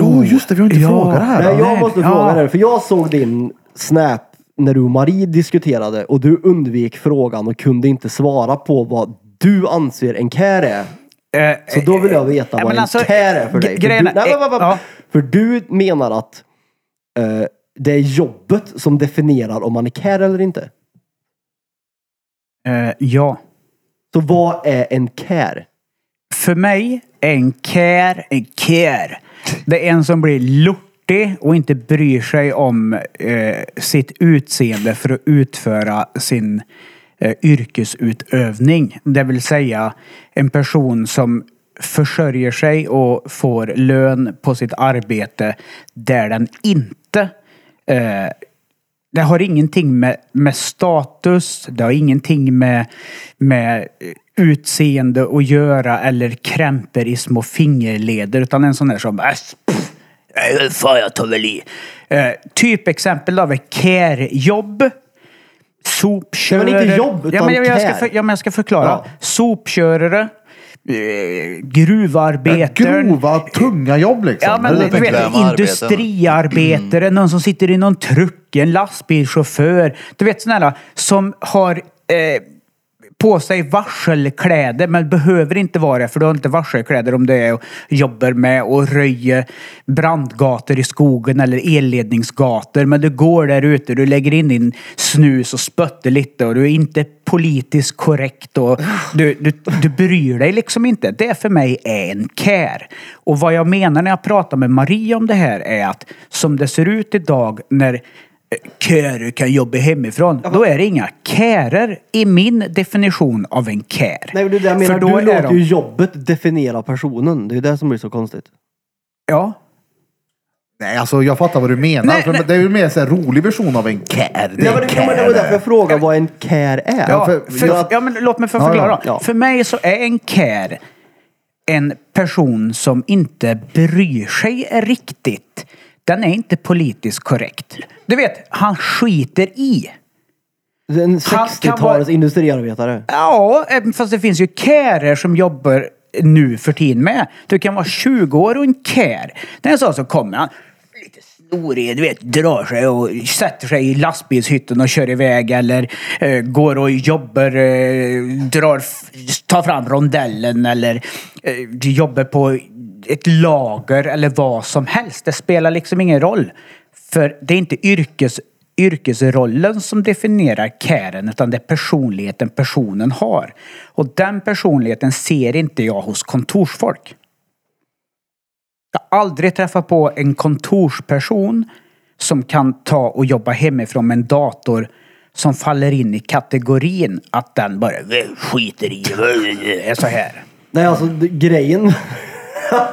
Oh, just det, vi har inte Ja. frågat det här. Nej, då. jag måste Ja. fråga dig, för jag såg din snap när du och Marie diskuterade och du undvek frågan och kunde inte svara på vad du anser en care är. Eh, Så då vill jag veta Nej, vad men en alltså, care är för dig. För grejen du, är- eh, nej, men, men, men, ja. för du menar att eh, det är jobbet som definierar om man är care eller inte. eh, ja. Så vad är en care? För mig är en care en care. Det är en som blir lort 40 och inte bryr sig om eh, sitt utseende för att utföra sin eh, yrkesutövning. Det vill säga en person som försörjer sig och får lön på sitt arbete där den inte eh, det har ingenting med, med status, det har ingenting med, med utseende att göra eller krämper i små fingerleder. Utan en sån där som... "Äsch, pff, äh, Fan, jag tar väl i. Eh, typ exempel av ett care-jobb. Sopkörare. Ja, men inte jobb, ja, utan men jag, jag, ska care. för, ja, men jag ska förklara. Ja. Sopkörare. eh, Gruvarbetaren. Grova, tunga jobb liksom. Ja, men Eller du tänker jag. vet, Mm. bekväma industriarbetare, någon som sitter i någon truck, en lastbilschaufför. Du vet sådana här som har eh, på sig varselkläder, men behöver inte vara det, för du har inte varselkläder om du är och jobbar med och röjer brandgator i skogen eller elledningsgator. Men du går där ute, du lägger in din snus och spötter lite och du är inte politiskt korrekt och du, du, du bryr dig liksom inte. Det för mig är en care. Och vad jag menar när jag pratar med Maria om det här är att som det ser ut idag när Care kan jobba hemifrån. Då är det inga kärer i min definition av en care. Nej men det är det jag menar, För då du är låter de- ju jobbet definiera personen. Det är ju det som blir så konstigt. Ja. Nej, alltså jag fattar vad du menar. Nej, för nej. Det är ju mer en rolig version av en care. Det Ja, är men en det, ja, men det var därför jag frågade vad en care är. Ja, för- för, jag- ja, men låt mig få Ja, förklara. ja, ja. För mig så är en care en person som inte bryr sig riktigt. Den är inte politiskt korrekt. Du vet, han skiter i. En kan 60-talets vara- industriarbetare. Ja, eh, fast det finns ju kärer som jobbar nu för tiden med. Du kan vara 20 år och en kär. Den sa så kommer han lite snorig, du vet, drar sig och sätter sig i lastbilshytten och kör iväg eller eh, går och jobbar, eh, drar, f- tar fram rondellen eller eh, jobbar på ett lager eller vad som helst. Det spelar liksom ingen roll. För det är inte yrkes yrkesrollen som definierar kären utan det är personligheten personen har. Och den personligheten ser inte jag hos kontorsfolk. Jag har aldrig träffat på en kontorsperson som kan ta och jobba hemifrån med en dator som faller in i kategorin att den bara "Vä, skiter i vä, är så här. Nej alltså det- grejen.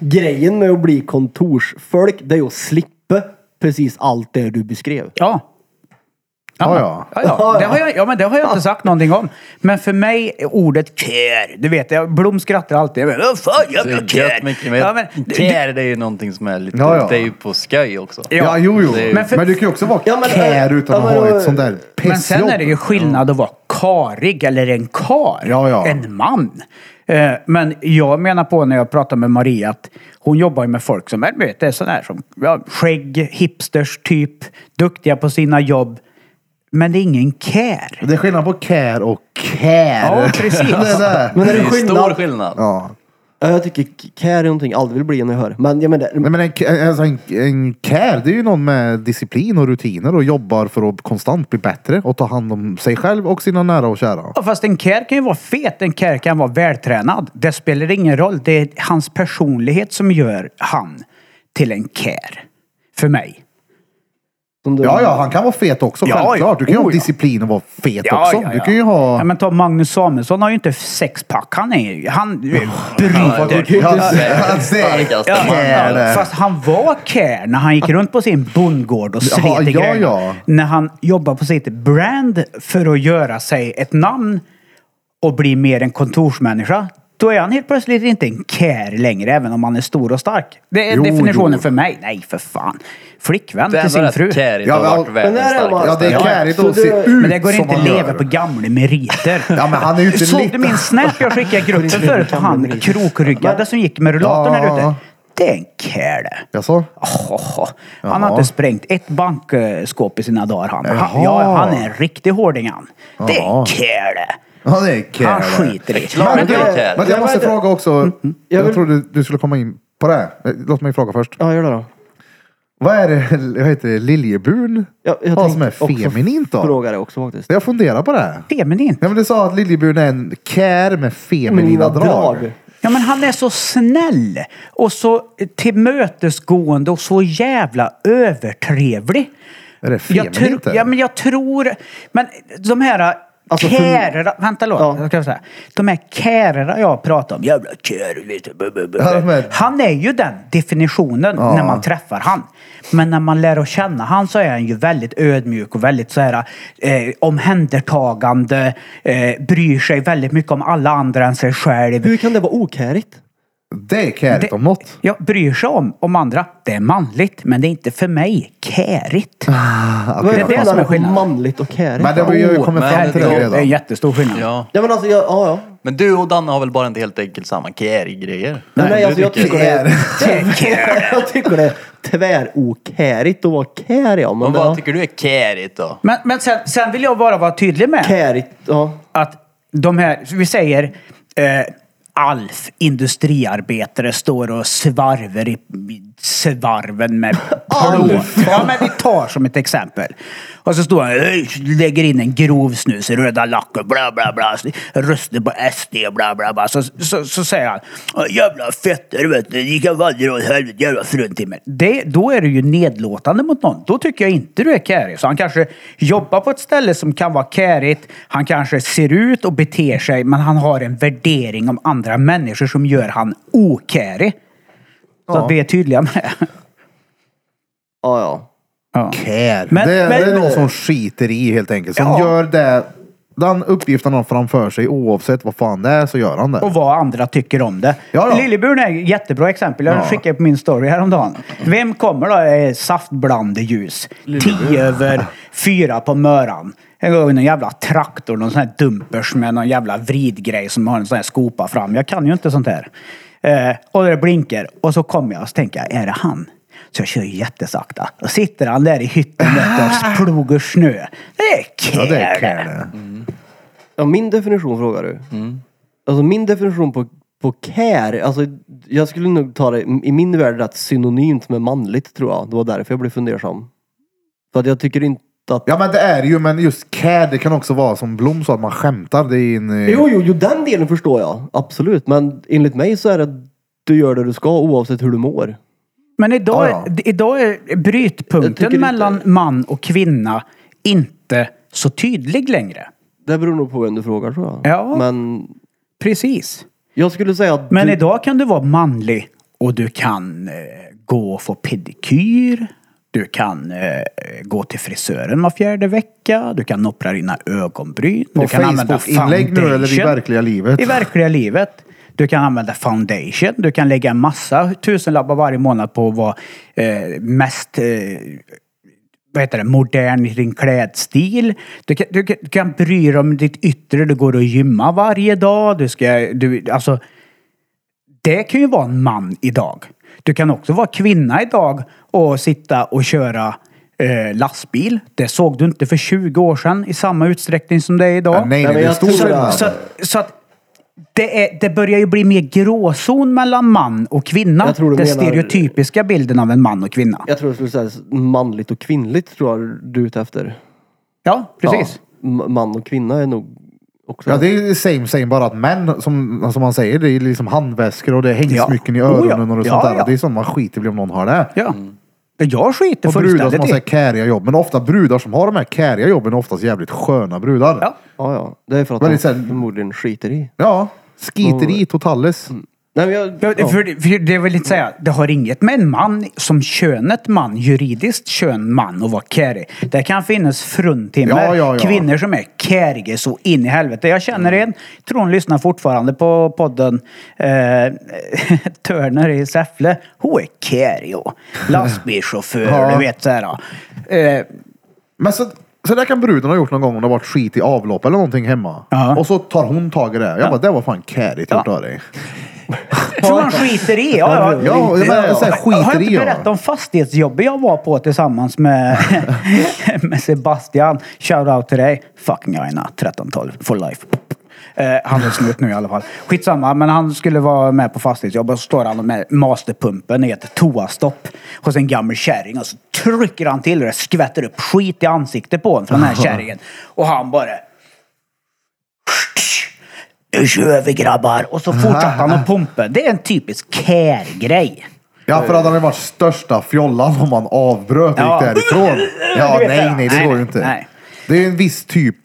grejen med att bli kontorsfolk det är ju att slippa precis allt det du beskrev. Ja. Ja, ja. Ja, ja. Det har jag, ja, men det har jag inte sagt någonting om. Men för mig är ordet kär. Du vet, jag, Blom skrattar alltid. Men, Vad fan, jag Det är blir gött mycket mer. Ja, men, care, det är ju någonting som är lite... Ja, ja. Det är ju på skoj också. Ja, jo, jo. Det är Men, ju- Men eh, för- du kan ju också vara Ja, men- care utan ja, att men- ha ett sånt där pissjobb. men sen är det ju skillnad att vara karig eller en kar. Ja, ja. En man. Eh, Men jag menar på när jag pratar med Maria att hon jobbar ju med folk som är, du vet, det är sådana här som ja, skägg, hipsters typ, duktiga på sina jobb. Men det är ingen care. Det är skillnad på care och care. Ja, precis. Det är det. Men Det är det är ju stor skillnad? skillnad. Ja. Ja, jag tycker k- care är någonting jag aldrig vill bli när jag hör. Men jag menar, Nej, men en, alltså en, en care, det är ju någon med disciplin och rutiner och jobbar för att konstant bli bättre och ta hand om sig själv och sina nära och kära. Ja, Fast en care kan ju vara fet, en care kan vara vältränad. Det spelar ingen roll. Det är hans personlighet som gör han till en care. För mig. som du, Ja, ja, han kan vara fet också, Ja, självklart. Du kan ju ha oh, ja. disciplin och vara fet också. Du kan ju ha... Ja, men ta Magnus Samuelsson har ju inte sexpack. Han är ju... Han bryter. Ja, Ja, det är starkaste care. Fast han var care när han gick runt på sin bondgård och slet Ja, i ja, grejerna. ja. När han jobbade på sitt brand för att göra sig ett namn och bli mer en kontorsmänniska. Då är han helt plötsligt inte en care längre, även om han är stor och stark. Det är Jo, definitionen jo. för mig. Nej, för fan. Flickvän Det är till sin ändå fru. rätt care Ja, ja, men- har varit men världens där är man- starkaste. Ja, det är Ja, carrigt så att se det- ut Men det går inte som att han leva gör. på gamla meriter. Ja, men han är ju inte Såg du liten. min snap jag skickade i gruppen förut på han krokryggade som gick med rullatorn här Ja. ute? Det är en kärle. Jaså? Han Jaha. har inte sprängt ett bankskåp i sina dagar han. han Jaha. ja, han är en riktig hårding han. Det är Jaha. en kärle. Ja, det är care. Han skiter i Klart Men, att det är care. men jag måste Jag vet- fråga också. Jag vill- trodde du skulle komma in på det. här. Eh, Låt mig fråga först. ja, gör det då. Vad är det, vad heter det, liljebun Jag, jag ja, som är tänkte också feminint då? Fråga det också faktiskt. Jag funderar på det. här. feminin. Ja, men du sa att liljebun är en care med feminina Mina drag. drag. Ja, men han är så snäll och så tillmötesgående och så jävla övertrevlig. Är det jag, tror- feminint, eller? ja, men jag tror... Men de här Alltså, för- kärera... Vänta, låt. Ja. jag Ska säga. De här kärera jag pratar om. Jävla kär, vet du, bu- bu- bu- Ja, men- Han är ju den definitionen när man träffar han. Men när man lär att känna han så är han ju väldigt ödmjuk och väldigt så här eh, omhändertagande. Eh, bryr sig väldigt mycket om alla andra än sig själv. Hur kan det vara okärigt? Det är kärigt om något. Jag bryr sig om, om andra. Det är manligt, men det är inte för mig kärigt. Ah, Vad okej, är då. fan som är skillnaden på skillnaden? manligt och kärigt? Men det var ju Åh, kommit men fram till då- det Det är en redan. jättestor skillnad. Ja. Ja men alltså, jag, ja ja. Men du och Danne har väl bara inte helt enkelt samma kär-grejer? Nej, nej, alltså, jag dricker- tycker det är... jag tycker det är tvärokärigt att vara kär ja. Men Men vad det, tycker du är kärigt då? Men, men sen, sen vill jag bara vara tydlig med kärigt, ja. att de här, vi säger eh, Alf, industriarbetare, står och svarver i svarven med plåt. Ja, men vi tar som ett exempel. Och så står han "Ej", lägger in en grov snus, röda lacker, bla bla bla, röster på SD, bla bla bla. Så, så, så säger han, "Åh, jävla fetter vet du, ni kan vandra åt helvete, jävla fruntimmer. Det, då är du ju nedlåtande mot någon. Då tycker jag inte du är kärig. Så han kanske jobbar på ett ställe som kan vara kärigt. Han kanske ser ut och beter sig, men han har en värdering om andra människor som gör han okärig. Så att vi är tydliga med det. ja, ja. Ja. Kär. Men- det, det är men- någon som skiter i helt enkelt. Som Ja. gör det. Den uppgiften han har framför sig oavsett vad fan det är så gör han det. och vad andra tycker om det. Ja, ja. Lilleburn är ett jättebra exempel. Jag Ja. skickade på min story häromdagen. Vem kommer då? Eh, Saftblandeljus. Tio över fyra på Möran. Jag går in i en jävla traktor, någon sån här dumpers med någon jävla vridgrej som har en sån här skopa fram. Jag kan ju inte sånt här. Eh, och det blinkar. Och så kommer jag och så tänker jag, är det han? Så jag kör ju jättesakta. Och sitter han där i hytten med ett plog och snö. Det är Ja, kul! det är kär det. Ja, min definition frågar du. Mm. Alltså min definition på, på care, alltså jag skulle nog ta det i min värld rätt synonymt med manligt tror jag. Det var därför jag blev fundersam. För att jag tycker inte att... Ja men det är det ju, men just kär det kan också vara som Blom sa, att man skämtar. Det är en, eh, Jo, jo, jo, den delen förstår jag. Absolut. Men enligt mig så är det att du gör det du ska oavsett hur du mår. Men idag, Ja, ja. d- idag är Jag tycker brytpunkten inte- mellan man och kvinna inte så tydlig längre. Det beror nog på vem du frågar tror jag. Ja. Men Precis. jag skulle säga att Men du, idag kan du vara manlig och du kan eh, gå och få pedikyr. Du kan eh, gå till frisören var fjärde vecka. Du kan noppra dina ögonbryn. På du kan använda Facebook-inlägg nu, eller i verkliga livet? I verkliga livet. Du kan använda foundation. Du kan lägga en massa tusenlappar varje månad på att vara eh, mest eh, vad heter det, modern i din klädstil. Du kan, du, kan- du kan bry dig om ditt yttre, du går och gymmar varje dag. Du ska, du, alltså, det kan ju vara en man idag. Du kan också vara kvinna idag och sitta och köra eh, lastbil. Det såg du inte för 20 år sedan i samma utsträckning som det är idag. nej, nej, men det är jag stor tror Så, skillnad. så, så att det, är, det börjar ju bli mer gråzon mellan man och kvinna. Jag tror Den du menar- stereotypiska bilden av en man och kvinna. jag tror jag skulle säga manligt och kvinnligt tror jag du är ute efter. Ja, precis. Ja. M- Man och kvinna är nog också... Ja det är ju same same bara att män, som, som man säger, det är liksom handväskor och det är hängsmycken Ja. i Oh, ja. öronen och Ja, sånt där. ja. Det är sånt man skiter i om någon har det. Ja. Mm. Jag skiter Och brudar som fullständigt har i. så här käriga jobb. Men ofta brudar som har de här käriga jobben är oftast jävligt sköna brudar. Ja. Ja, ja. Det är för att Men de det är så här- förmodligen skiter i. Ja, Oh. skiteri totales. Nej, men jag, Ja, ja. För, för det vill inte säga, det har inget med en man som könet man, juridiskt kön man och vara carry. Det kan finnas fruntimmer, Ja, Mm. ja, ja. kvinnor som är carriga så in i helvete. Jag känner en, tror hon lyssnar fortfarande på podden, eh, Törner i Säffle. Hon är carry och lastbilschaufför, Ja. du vet såhär. Eh, Men så, så där kan bruden ha gjort någon gång om det har varit skit i avlopp eller någonting hemma. Ja. Och så tar hon tag i det. Jag bara, det var fan kärigt gjort av dig. tror han skiter i? Ja, ja. Ja, jag menar, så här, Jag har skiter inte i ja. berättat om fastighetsjobbet jag var på tillsammans med, med Sebastian. Shoutout till dig. Fucking Aina, 1312, for life. Eh, han är slut nu i alla fall. Skitsamma, men han skulle vara med på fastighetsjobb och så står han med masterpumpen i ett toastopp hos en gammal kärring och så trycker han till och det skvätter upp skit i ansiktet på honom från den här kärringen. Och han bara Nu kör vi grabbar! Och så fortsatte han att pumpa. Det är en typisk care-grej. Ja, för hade han ju varit största fjollan om han avbröt och Ja. gick därifrån. Ja, Du nej, vet det. nej, det Nej, går nej, ju inte. nej. Det är en viss typ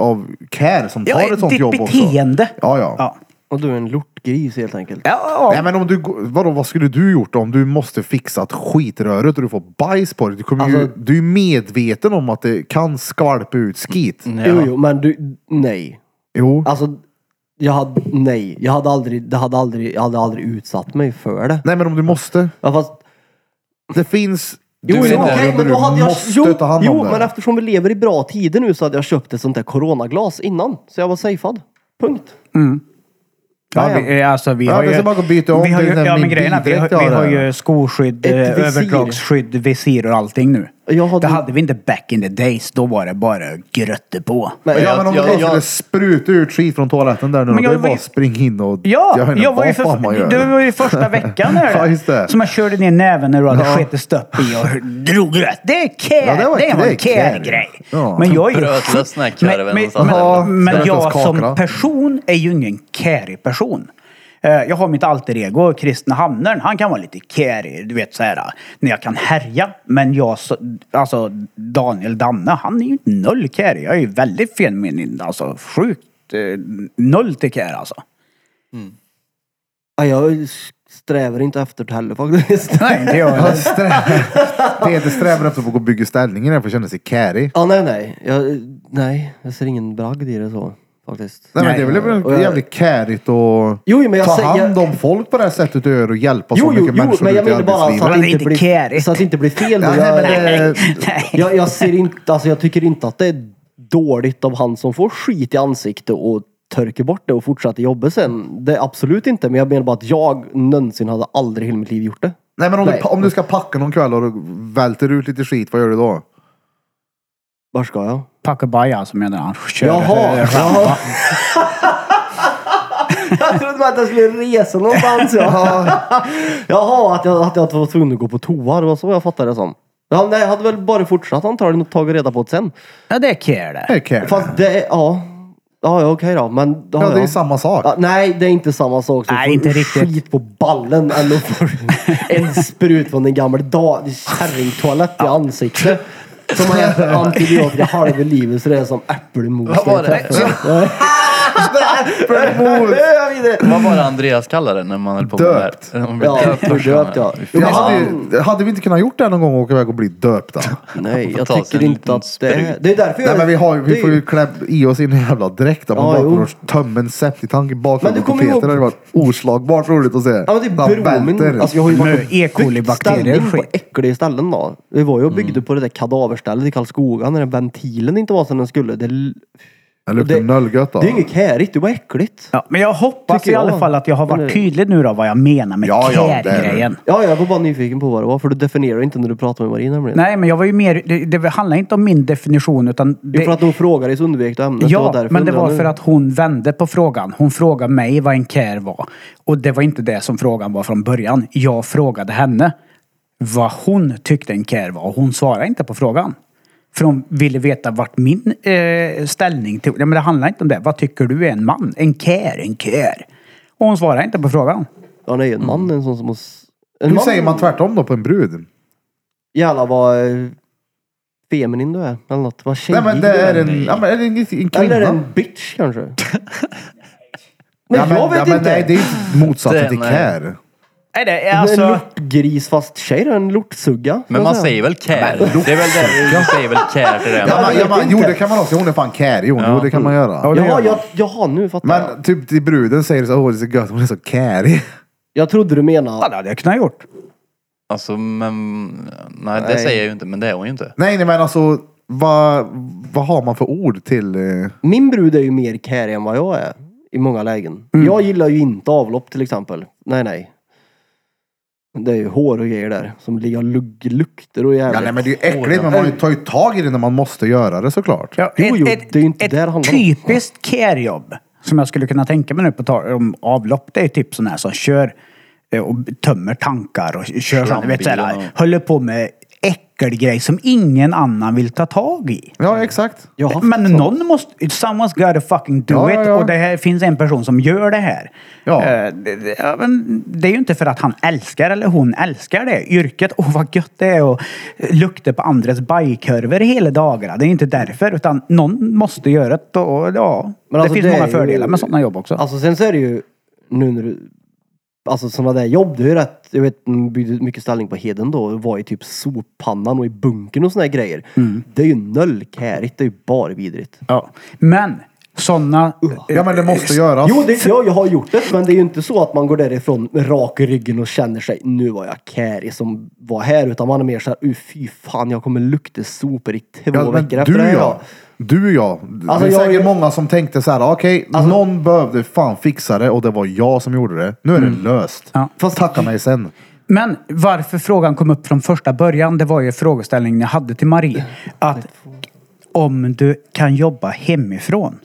av care som Ja, tar ett sånt ditt jobb beteende. också. Ja, ja. Ja. Och du är en lortgris helt enkelt. Ja, ja, Nej men om du, går- vadå, vad skulle du gjort om du måste fixa ett skitröret och du får bajs på dig? Du, kommer ju, Alltså- du är ju medveten om att det kan skvalpa ut skit. Jo, jo, men du, nej. Jo. Alltså, jag hade, nej. Jag hade aldrig, det hade aldrig, jag hade aldrig utsatt mig för det. Nej men om du måste. Ja, fast, Det finns... Jo, jo, scenarion okej, där du måste jo, ta hand jo om men det. eftersom vi lever i bra tider nu så hade jag köpt ett sånt där coronaglas innan. Så jag var safead. Punkt. Ja, Ja, ja. vi, alltså, vi Ja, har det ju... ska bara gå och byta om vi har till ju, den ja, min men grejen är, att vi, har, bildräkt vi jag har har där. ju skoskydd, eh, Ett visir. överdragsskydd, visir och allting nu. Jag hade- Det hade vi inte back in the days. Då var det bara grötte på. Nej, Ja men om du jag- skulle jag- spruta ut skit från toaletten där nu, då Men är jag det var bara ju- att springa in och... Ja, jag, inte var ju vad fan man för, gör. det var ju första veckan här. Ja, just det. Som jag körde ner näven när du hade skitit stöpp i och drog gröt. Det är care. Ja, det det, var- var det är en care. care-grej. Ja. Men jag är ju... Brötlös den här alltså. Men, karven. men, och sånt där. Ja. men, men jag Brötlös kakra. som person är ju ingen carig person. Eh, Jag har mitt alter ego, Kristna Hamnaren. Han kan vara lite carig, du vet så här, när jag kan härja. Men jag, så- alltså Daniel Danne, han är ju inte noll carig. Jag är ju väldigt feminin, alltså sjukt eh, noll till care alltså. Ja, jag strävar inte efter det heller faktiskt. Nej, inte jag heller. Peter strävar efter att få gå och bygga ställningen här för att känna sig carry. Ja, nej, nej. Jag, nej, jag ser ingen bragd i det så faktiskt. Nej, men det är Nej, väl och jag- jävligt carrigt att Jo, men jag ta säger- hand om folk på det här sättet du gör och hjälpa så Jo, jo, mycket jo, människor men jag ut i menar bara så arbetslivet. att, Men det det är inte inte blir, carry. så att det inte blir fel. Ja, Och nej, jag, eh, men eh, det, jag, jag ser inte, alltså jag tycker inte att det är dåligt av han som får skit i ansiktet och törker bort det och fortsätter jobba sen. Det är absolut inte, men jag menar bara att jag någonsin hade aldrig i hela mitt liv gjort det. Nej men om, Nej. Du, om du ska packa någon kväll och du välter ut lite skit, vad gör du då? Var ska jag? Packa baja alltså menar han. Kör. Jaha! jaha. jag trodde bara att jag skulle resa någonstans. Ja. Jaha, att jag, att jag var tvungen att gå på toa. Det var så jag fattade det som. Ja, nej, jag hade väl bara fortsatt antagligen och tagit reda på det sen. Ja, det är care det. Det är carry. Fast det, är- ja. Ja, ja, okej då. Men, ja, Ja, det är ja. ju samma sak. Ja, nej, det är inte samma sak som Nej, att få inte riktigt. skit på ballen än att få en sprut från en gammal da- kärringtoalett i ansiktet. Som har ätit antibiotika halva livet så det är som äppelmos. Vad var det? Äppelmos! Vad var det Andreas kallade det när man höll på med det här? Döpt. Man blir Ja, döpt döpt, först. döpt ja. Jag hade, alltså, ju- hade vi inte kunnat gjort det här någon gång och åka iväg och bli döpta? Nej, jag ta sig tycker en inte liten att det är... Det är därför jag... Nej men vi, har, ju- det är vi får ju klä i oss in i en jävla dräkt. Om man Ja, bara jo. kommer och tömmer en septitank i bakgrunden Men du på kommer Peter. ihåg- Det hade varit oslagbart roligt att se. Ja men det Han är bro, men välter. alltså jag har ju Nu, varit och E. byggt coli-bakterier ställning på skit. äckliga ställen då. Vi var ju och byggde på det där kadaverstället i Karlskoga när den ventilen inte var som den skulle. Det, Det luktar det- nöllgött då. det är inget kärigt, det var äckligt. Ja, men jag hoppas Tycker i alla jag. fall att jag har Eller- varit tydlig nu då vad jag menar med Ja, ja, det är det. care-grejen. Ja, jag var bara nyfiken på vad det var, för du definierar inte när du pratar med Marie nämligen. Nej, men jag var ju mer... Det, det handlar inte om min definition utan... Jo, Det, för att hon frågade i så undvek du ämnet. det var ja, därför men det jag var undrade för nu. att hon vände på frågan. Hon frågade mig vad en care var. Och det var inte det som frågan var från början. Jag frågade henne vad hon tyckte en care var och hon svarade inte på frågan. För hon ville veta vart min eh, ställning till... Ja, men det handlar inte om det. Vad tycker du är en man? En care, en care. Och hon svarade inte på frågan. Ja, nej, en man är en sån som måste... En Hur man- säger man tvärtom då på en brud? Jävlar vad eh, feminin du är, eller något. Vad Nej tjejig men du det är är. en, ja, men är det en, en kvinna. Eller en bitch kanske. men ja, men, jag vet ja, inte. men nej, det är inte motsatsen till Det- nej. care. Nej, det är Alltså... En alltså... lortgris fast tjej då, en lortsugga. Men man Så- säger väl care? Det är väl det, man säger väl care till det. Ja, jag men, ja, vet men, jo inte. det kan man också. Hon är fan carry hon. Jo det kan man göra. det Jaha, gör jag, jaha, nu fattar jag. Men typ till bruden säger det så åh det är så gött, hon är så carry. Jag trodde du menade... Ja, det hade jag kunnat gjort. Alltså, men... Nej, det Nej. säger jag ju inte, men det är hon ju inte. Nej nej men alltså vad, vad har man för ord till? eh, Min brud är ju mer carry än vad jag är. I många lägen. Mm. Jag gillar ju inte avlopp till exempel. Nej, nej. Det är ju hår och grejer där. Som ligger och lugg, lukter och jävligt. Ja nej men det är ju äckligt men man tar ju tag i det när man måste göra det såklart. Ja, Jo, ett jo, ett, det är ju inte ett det det handlar om. typiskt care-jobb som jag skulle kunna tänka mig nu på tal om avlopp. Det är ju typ sådana här som kör eh, och tömmer tankar och kör sånt. du Vet, så här, Slambilen och- håller på med äck äcklig grej som ingen annan vill ta tag i. Ja, exakt. Jag har Men haft så. någon måste... Someone's gotta fucking do Ja, it. ja, ja. Och det här, finns en person som gör det här. Ja. Eh, det, det, ja, men det är ju inte för att han älskar eller hon älskar det yrket. Åh, vad gött det är att lukta på andres bajkorvar hela dagarna. Det är inte därför. Utan någon måste göra det. Och, ja, Men alltså, det det finns många är ju- fördelar med sådana jobb också. Alltså sen så är det ju nu när du... Alltså sådana där jobb, det är ju rätt... Jag vet, de byggde mycket ställning på Heden då. och var i typ soppannan och i bunkern och såna här grejer. Mm. Det är ju nöllkärigt. Det är ju bara vidrigt. ja. Men sådana... Ja, Eh, men det måste göras. Jo, det, ja, jag har gjort det. Men det är ju inte så att man går därifrån med rak i ryggen och känner sig nu var jag kärig som var här. Utan man är mer såhär, "Uh, fy fan jag kommer lukta sopor i två Ja, men veckor efter det du här. ja. ja." Du ja. Alltså, det är jag- säkert många som tänkte så här, okej, någon behövde fan fixa det och det var jag som gjorde det. Nu är det löst. Ja. Fast tacka mig sen. Men varför frågan kom upp från första början, det var ju frågeställningen jag hade till Marie. Att om du kan jobba hemifrån,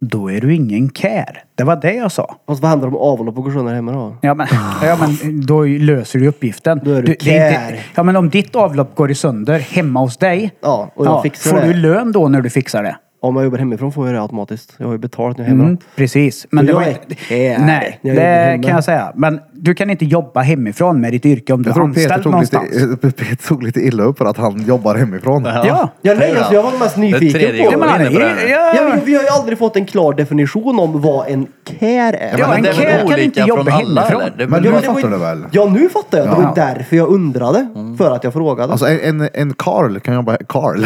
då är du ingen care. Det var det jag sa. Fast vad händer om avlopp och personer hemma då? Ja men, ja, men då löser du uppgiften. Då är du det är care. ja men om ditt avlopp går i sönder hemma hos dig. Ja, och jag fixar Får det. du lön då när du fixar det? Om jag jobbar hemifrån får jag det automatiskt. Jag har ju betalt nu hemma. Mm, precis. Men Så det jag var är inte, care. nej, Jag jobbar det hemma. kan jag säga. Men du kan inte jobba hemifrån med ditt yrke om du Jag är tror Peter anställd tog lite, någonstans. Peter tog lite illa upp för att han jobbar hemifrån. Ja. Ja, nej, alltså, jag var mest nyfiken Det är tredje på- gången Ja, men han vi är inne på det är, här. ja, Ja, men vi har ju aldrig fått en klar definition om vad en care är. Ja, men en det är väl care kan olika inte jobba från alla, hemifrån. eller? Det är Men nu väl- men det var fattar ju- du väl? Ja, nu fattar jag. Det Ja. var därför jag undrade. För att jag frågade. Alltså en, en, en Karl kan jobba... Karl?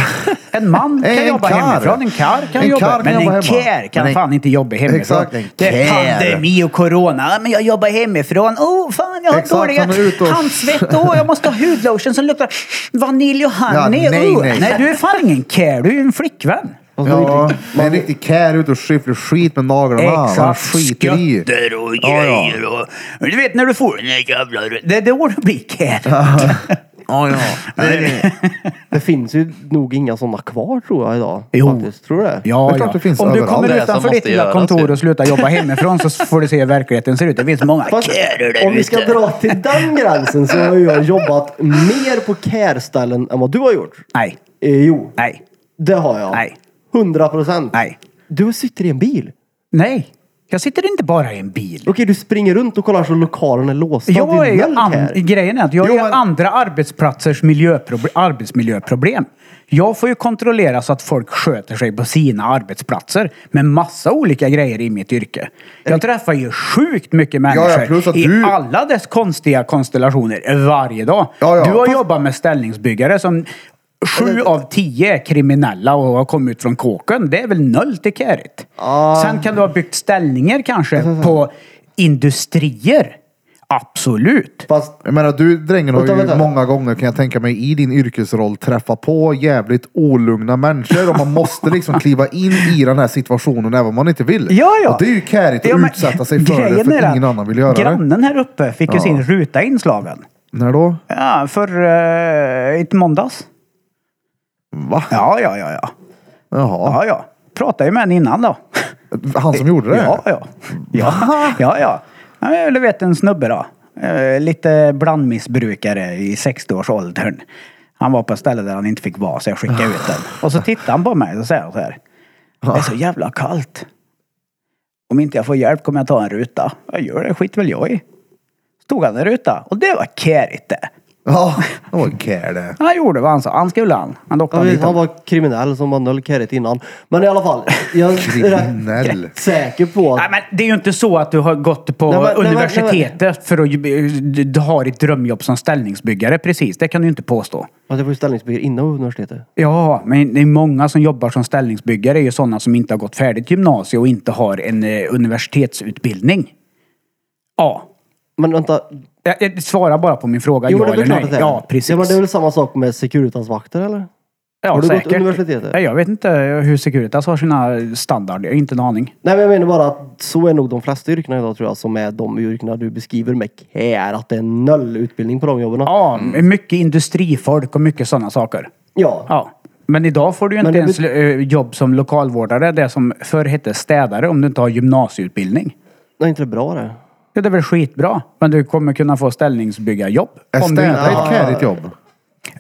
En man kan En jobba karl. hemifrån, en karl kan En jobba. karl kan men jobba en hemma. care kan Men en- fan inte jobba hemifrån. Exakt, en det är care. pandemi och corona. Ja, Men jag jobbar hemifrån. Oh, fan, jag har Exakt, dåliga han är ute och- handsvett. Oh, jag måste ha hudlotion som luktar vanilj och honey. Ja, nej, oh. nej. nej, du är fan ingen care. Du är en flickvän. Ja, en riktig kär ute och skyfflar skit med naglarna. Han skiter i. Skötter och ja. grejer. Och, du vet när du får den där jävla... Det är då du blir care. Ja, ja. Det finns ju nog inga sådana kvar tror jag idag. Jo. Faktiskt, tror du det? Ja, Det är klart det finns Om du överallt. kommer Det som utanför måste ditt lilla göras, kontor ju. och slutar jobba hemifrån så får du se hur verkligheten ser ut. Det finns många Fast, kärer där om vi ska ute. dra till den gränsen så har ju jag jobbat mer på care-ställen än vad du har gjort. Nej, Eh, jo, nej, det har jag. Nej. 100 procent. nej. Du sitter i en bil. Nej, jag sitter inte bara i en bil. Okej, du springer runt och kollar så lokalen är låst. Det Jag är ju noll an- care. grejen är att jag Jo, är men- andra arbetsplatsers miljöproble- arbetsmiljöproblem. Jag får ju kontrollera så att folk sköter sig på sina arbetsplatser med massa olika grejer i mitt yrke. Jag träffar ju sjukt mycket ja, människor plus att i du- alla dess konstiga konstellationer varje dag. Ja, ja. Du har jobbat med ställningsbyggare som Sju av tio är kriminella och har kommit ut från kåken. Det är väl noll till kärigt. Ah. Sen kan du ha byggt ställningar kanske på industrier. Absolut. Fast Jag menar du drängen har Vänta, ju vänta. många gånger kan jag tänka mig i din yrkesroll träffa på jävligt olugna människor och man måste liksom kliva in i den här situationen även om man inte vill. Ja, ja. Och det är ju kärigt att Ja, men utsätta sig för det grejen är för att ingen annan vill göra det. Grannen här uppe fick ju sin ruta inslagen. När då? Ja, för eh, i måndags. Va? Ja, ja, ja, ja. Jaha. Ja, ja. Pratade ju med henne innan då. Han som gjorde det? Ja, ja. Ja, ja. ja. ja du vet en snubbe då. Eh, Lite blandmissbrukare i 60-årsåldern. Han var på ett ställe där han inte fick vara så jag skickade ut den. Och så tittade han på mig och säger han så här. Det är så jävla kallt. Om inte jag får hjälp kommer jag ta en ruta. Jag gör det, skit väl jag i. Så tog han en ruta och det var kärigt det. Ja, det var care det. Han gjorde vad han sa. Han skulle han. Han jag dockade vet, dit. han var kriminell som var noll caret innan. Men i alla fall, jag är Kriminell. rätt säker på Nej, att... men det är ju inte så att du har gått på Nej, men- nej, men- universitetet för att ju- du, du har ett drömjobb som ställningsbyggare. Precis, det kan du ju inte påstå. Att jag får ju ställningsbyggare innan universitetet. Ja, men det är många som jobbar som ställningsbyggare är ju sådana som inte har gått färdigt gymnasium och inte har en eh, universitetsutbildning. Ja. Men vänta. Jag, jag svarar bara på min fråga, Jo, men ja det är eller väl klart nej. att det är. Ja, precis. Ja, men det är väl samma sak med Securitas-vakter eller? Ja, har du gått säkert. universitetet? Ja, Jag vet inte hur Securitas har sina standarder. Jag har inte en aning. Nej men jag menar bara att så är nog de flesta yrkena idag tror jag som är de yrkena du beskriver med care. Att det är noll utbildning på de jobben. Ja. Ja, mycket industrifolk och mycket sådana saker. Ja. Men idag får du ju Men inte det ens bet- eh, jobb som lokalvårdare, det som förr hette städare, om du inte har gymnasieutbildning. Det är inte det bra det. Ja, det är väl skitbra. Men du kommer kunna få ställningsbyggarjobb. Är Om du städa inte... ett carigt jobb?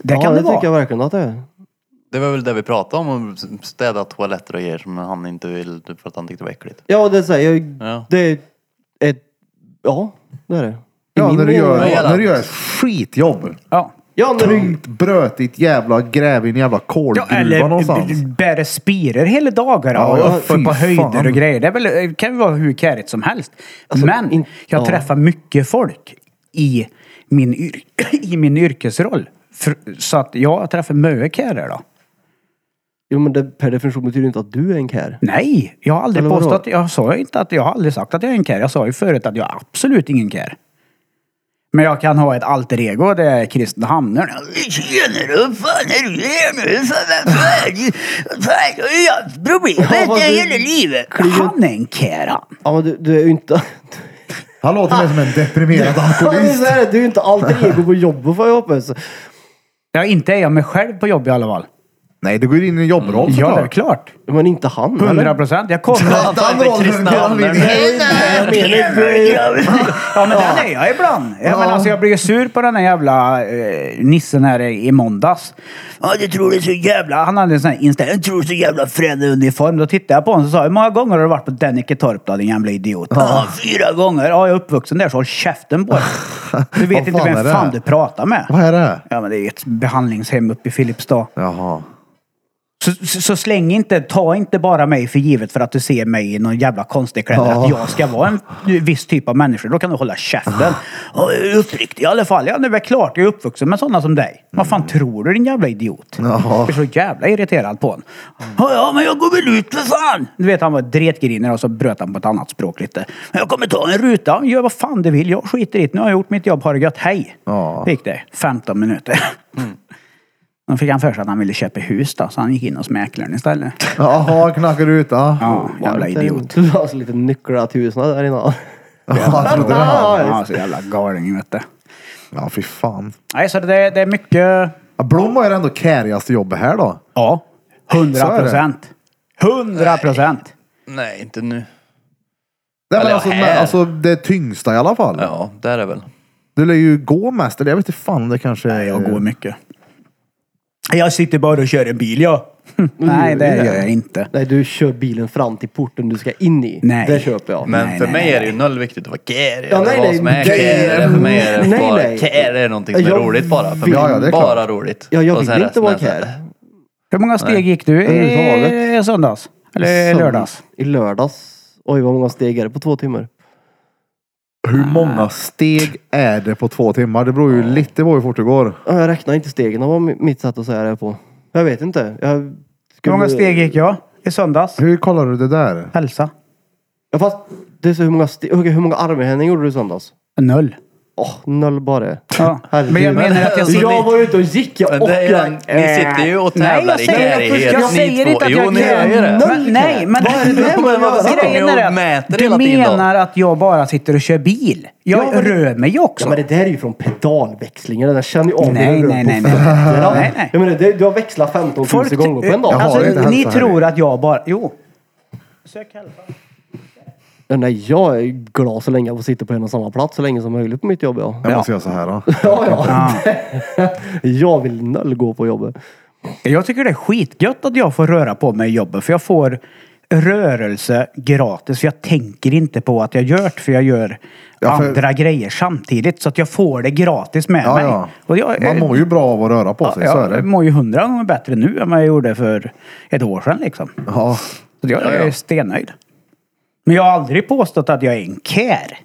Det ja, kan det, det tycker vara. jag verkligen att det är. Det var väl det vi pratade om, att städa toaletter och grejer som han inte vill typ för att han tyckte det var äckligt. Ja, det säger jag. Ja. Det är ett... Ja, det är det. I Ja, min när du, mening gör, är det- hela- när du gör ett skitjobb. Ja. Ja, när du... Tungt, brötigt jävla gräv i en jävla Ja, kolgruva eller b- någonstans. bära spirer hela dagar Ja, och ja, uppför fy på höjder fan. och grejer. Det, är väl, det kan ju vara hur kärigt som helst. Men in- jag ja. träffar mycket folk i min, yr- i min yrkesroll. För, så att jag träffar mycket kärer då. Jo, men det per definition betyder inte att du är en kär. Nej, jag har aldrig Eller vadå? påstått. Jag sa ju inte att jag har aldrig sagt att jag är en kär. Jag sa ju förut att jag är absolut ingen kär. Men jag kan ha ett alter ego, det är Kristen Hamner. Tjenare, vad fan är du här nu? Fan, vad fan? Fan, jag har ju haft problem Ja, vad med det du- hela livet. Han är en kär han. Ja, men du, du är ju inte... Han låter mer som en deprimerad Ja, det är så alkoholist. här, du är ju inte alter ego på jobbet får jag hoppas. Ja, inte är jag mig själv på jobb i alla fall. Nej, du går in i en jobbroll Ja, det är såklart. klart. Men inte han Hundra eller? procent. Jag kommer... Ja, det är Den rollen Kristna går han Hamner. in i. Jag menar, du är ju- Ja, men den är jag ibland. Ja, men alltså, jag blir ju sur på den här jävla eh, nissen här i måndags. Ja, du tror det är så jävla... Han hade en sån här inställning. Du tror det är så jävla frän uniform. Då tittade jag på honom och sa, hur många gånger har du varit på Dennike Torp då, din jävla idiot? Ja, fyra gånger. Ja, jag är uppvuxen där, så håll käften på dig. Du Vad vet inte fan vem är det? fan du pratar med. Vad är det? Ja, men det är ett behandlingshem uppe i Filipstad. Jaha. Så, så, så släng inte, ta inte bara mig för givet för att du ser mig i någon jävla konstig kläder. Ja. Att jag ska vara en viss typ av människa. Då kan du hålla käften. Ja, jag är Uppriktig i alla fall. Ja, det är väl klart. Jag är uppvuxen med sådana som dig. Vad fan tror du din jävla idiot? Jag blir så jävla irriterad på honom. Ja, ja, men jag går väl ut för fan! Du vet, han var dretgrinig och så bröt han på ett annat språk lite. Jag kommer ta en ruta. Ja, Gör vad fan du vill. Jag skiter i det. Nu har jag gjort mitt jobb. Ha det gött. Hej! Ja. Gick det? 15 minuter. Då fick han för sig att han ville köpa hus då, så han gick in hos mäklaren istället. Jaha, knackar ut. Ja. Ja, jävla idiot. Du har så lite nycklar till husen där innan. Ja, trodde det. Ja, så jävla galning vet du. Ja, fy fan. Nej, så det, det är mycket... Ja, Blom har ju ändå kärigaste jobbet här då. Ja. Så är 100 det. procent. 100 procent. Nej, inte nu. Nej, men Eller alltså, här. men, alltså det tyngsta i alla fall. Ja, där är väl. Du lär ju gå mest. Eller jag vet inte fan om det kanske är... Jag går mycket. Jag sitter bara och kör en bil, jag. Nej, det gör jag inte. Nej, du kör bilen fram till porten du ska in i. Nej. Det köper jag. Men Nej, för nej, mig nej, är det ju noll viktigt att vara kär. Ja, eller nej, vad nej, som det- är kär. För mig är det nej, bara nej. kär är någonting som är Jag roligt bara. För vill- mig. Ja, ja, det är klart. bara roligt. Ja, jag Och vill sen inte resten vara är så här- kär. Hur många steg gick du i, i Överhuvudtaget. söndags? Eller i lördags? I lördags. Oj, vad många steg är det på två timmar? Hur många steg är det på två timmar? Det beror ju lite på hur fort det går. Ja, Jag räknar inte stegen, det var mi- mitt sätt att säga det på. Jag vet inte. Jag Hur skulle... många steg gick jag i söndags? Hur kollar du det där? Hälsa? Ja, fast det är så hur många steg... Okej, hur många armhävningar gjorde du i söndags? Noll. Åh, noll bara. Ja. Herregud. Men jag menar att jag sitter... Jag var ute och gick, jag Alltså, Men det är- åkte. Ni sitter ju och tävlar nej, i jag säger- kärighet. Jag säger inte att Jo, jag ni gör ju det. Men, nej, men... Vad är det du kommer att göra? Grejen Jag är att mäter du hela tiden då. menar att jag bara sitter och kör bil. Jag Ja, men- rör mig ju också. Ja, men det där är ju från pedalväxlingen. Den där känner ju av Nej, när du nej, rör på nej, nej. fötterna. Nej, nej. Jag menar, det, du har växlat 15 000 gånger på en dag. Jag har alltså, inte ni hälsa här. tror att jag bara... Jo. Ja, nej, jag är glad så länge jag får sitta på en och samma plats så länge som möjligt på mitt jobb. Ja, Jag måste göra så här då. ja. ja. jag vill noll gå på jobbet. Jag tycker det är skitgött att jag får röra på mig i jobbet. För jag får rörelse gratis. För jag tänker inte på att jag gör det. För jag gör Ja, för- andra grejer samtidigt. Så att jag får det gratis med Ja, mig. ja. Och jag, Man mår ju bra av att röra på sig, så är jag, jag det. mår ju hundra gånger bättre nu än vad jag gjorde för ett år sedan liksom. Ja. Så jag är stennöjd. Men jag har aldrig påstått att jag är en kär.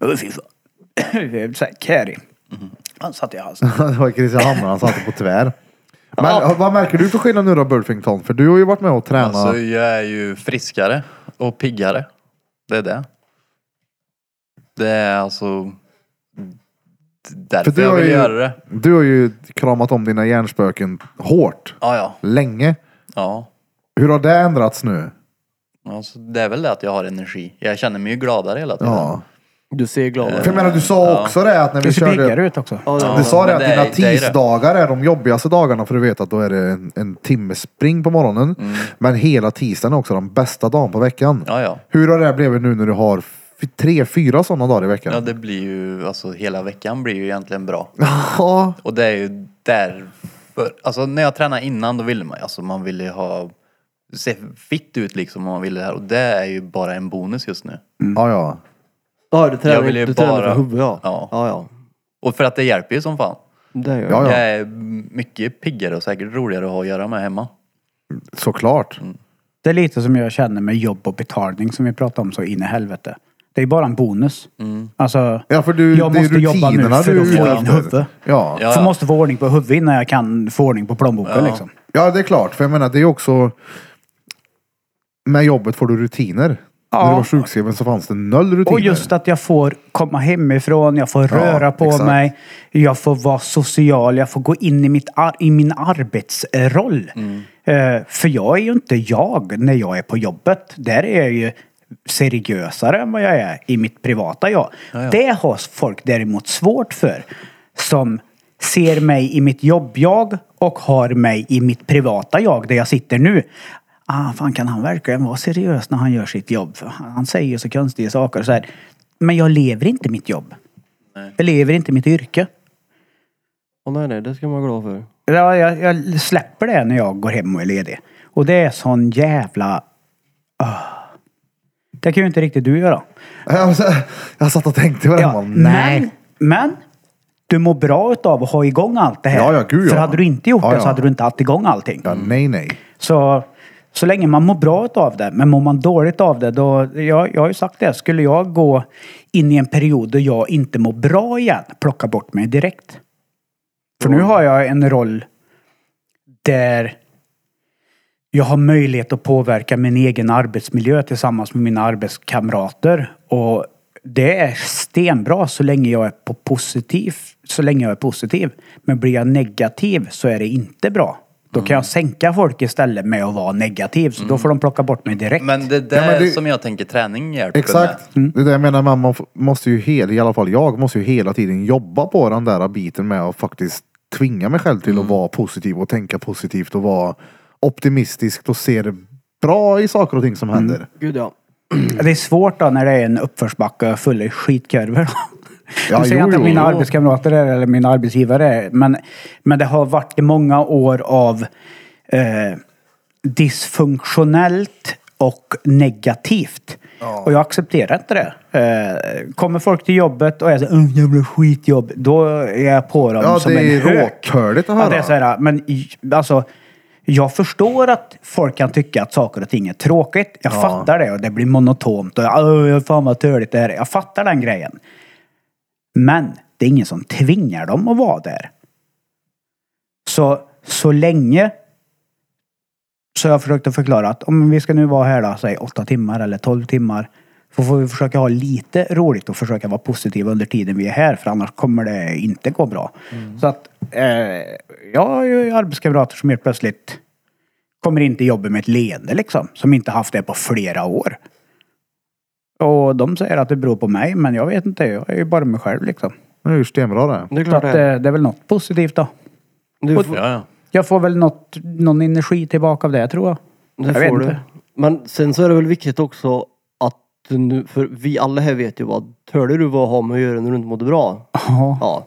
Åh, fy fan. Jag är så här Kärig. Mm-hmm. Han satt i halsen. Det var Christian Hammar, han satt på tvär. Men vad märker du för skillnad nu då, Burfington? För du har ju varit med och tränat. Alltså jag är ju friskare och piggare. Det är det. Det är alltså För därför du jag har, vill ju, göra det. du har ju kramat om dina hjärnspöken hårt, Ja, ja. länge. ja. Hur har det ändrats nu? Alltså, det är väl det att jag har energi. Jag känner mig ju gladare hela tiden. Ja. Du ser glad ut. För jag menar, du sa också det att när vi Du ser piggare körde... ut också. Ja, Du ja. sa det men att det dina är- det är det. tisdagar är de jobbigaste dagarna för du vet att då är det en, en timmes spring på morgonen. Men hela tisdagen är också den bästa dagen på veckan. Mm. Ja, ja. Hur har det blivit nu när du har f- tre, fyra sådana dagar i Ja, veckan? det blir ju, alltså hela veckan blir ju egentligen bra. Ja, Och det är ju där För, alltså när jag tränade innan då ville man alltså man ville ha, se fitt ut liksom om man ville det här och det är ju bara en bonus just nu. Mm. Ja, ja. Ja, du tränar, Jag vill ju du tränar för bara- huvudet ja. Ja. ja. Ja, Och för att det hjälper ju som fan. Det Ja, gör jag. ja. Jag är mycket piggare och säkert roligare att ha att göra med hemma. Såklart. Det är lite som jag känner med jobb och betalning som vi pratade om så in i helvete. Det är bara en bonus. Alltså, Mm. Ja, för du, jag det är måste jobba nu rutinerna för du är att få ute in efter. huvudet. Ja. Ja, Så ja. måste få ordning på huvudet innan jag kan få ordning på plånboken Ja. liksom. ja, det är klart. För jag menar, det är också... Med jobbet får du rutiner. Ja. När du var sjukskriven så fanns det noll rutiner. Och just att jag får komma hemifrån, jag får röra på exakt. mig, jag får vara social, jag får gå in i, mitt ar- i min arbetsroll. Eh, för jag är ju inte jag när jag är på jobbet. Där är jag ju seriösare än vad jag är i mitt privata jag. Det har folk däremot svårt för. Som ser mig i mitt jobb-jag och har mig i mitt privata jag där jag sitter nu. Ah, fan kan han verkligen vara seriös när han gör sitt jobb? För han han säger ju så konstiga saker och så här. Men jag lever inte mitt jobb. Jag lever inte mitt yrke. Åh, nej, nej, det ska man vara glad för. Ja, jag, jag släpper det när jag går hem och är ledig. Och det är sån jävla... Ah. Det kan ju inte riktigt du göra. Jag, jag satt och tänkte på det. Ja, Ja. Nej. Men, men du mår bra utav att ha igång allt det här. Ja, ja, gud, För ja. hade du inte gjort Ja, det ja. så hade du inte haft igång allting. Ja, nej, nej. Så, så länge man mår bra av det, men mår man dåligt av det, då, jag, jag har ju sagt det, skulle jag gå in i en period då jag inte mår bra igen, plocka bort mig direkt. För nu har jag en roll där jag har möjlighet att påverka min egen arbetsmiljö tillsammans med mina arbetskamrater. Och det är stenbra så länge jag är på positiv, så länge jag är positiv. Men blir jag negativ så är det inte bra. Då kan jag sänka folk istället med att vara negativ. Så då får de plocka bort mig direkt. Men det är Ja, där men det- som jag tänker träning hjälper med. Exakt. Det är det jag menar. Man må- måste ju hela, i alla fall jag, måste ju hela tiden jobba på den där biten med att faktiskt tvinga mig själv Mm. till att vara positiv och tänka positivt och vara optimistisk och se det bra i saker och ting Mm. som händer. Gud ja. Det är svårt då när det är en uppförsbacke full av skitkurvor. Ja, nu säger jag jo, inte att jo, mina jo. arbetskamrater är det, eller min arbetsgivare är det, men, men det har varit i många år av eh, dysfunktionellt och negativt. Och jag accepterar inte det. Eh, kommer folk till jobbet och är så här, "Åh, jävla skitjobb, då är jag på dem Ja, som det en är hök. råtörligt att höra. Ja, det är så här, men i- alltså, jag förstår att folk kan tycka att saker och ting är tråkigt. Jag fattar det och det blir monotont och "Åh, fan vad törligt det här är." Jag fattar den grejen. Men det är ingen som tvingar dem att vara där. Så, så länge så jag försökte förklara att om vi ska nu vara här då, säg åtta timmar eller 12 timmar. Så får vi försöka ha lite roligt och försöka vara positiva under tiden vi är här för annars kommer det inte gå bra. Mm. Så att eh, jag har ju arbetskamrater som helt plötsligt kommer in till jobbet med ett leende liksom. Som inte haft det på flera år. Och de säger att det beror på mig men jag vet inte, jag är ju bara mig själv liksom. Det är ju stenbra det. Det är Så klart att, eh, det. det är väl något positivt då. Du, får- Ja, ja. Jag får väl något, någon energi tillbaka av det tror jag. Det Jag vet får du. inte. Men sen så är det väl viktigt också att du nu, för vi alla här vet ju vad törlig du var att ha med att göra när du inte mådde bra. Ja. Ja.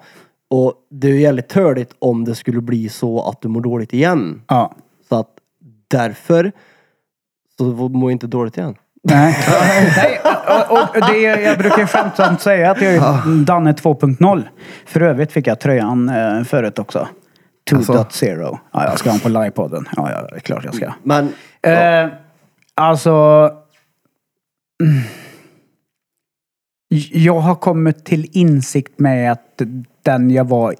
Och det är ju jävligt törligt om det skulle bli så att du mår dåligt igen. Ja. Så att därför så mår jag inte dåligt igen. Nej. Nej. Och, och det, är- jag brukar skämtsamt säga att jag är Danne 2.0. För övrigt fick jag tröjan eh, förut också. 2.0. Ja, jag ska ha den på livepodden. Ja, ja, det är klart jag ska. Men Eh, alltså... mm. Jag har kommit till insikt med att den jag var eh,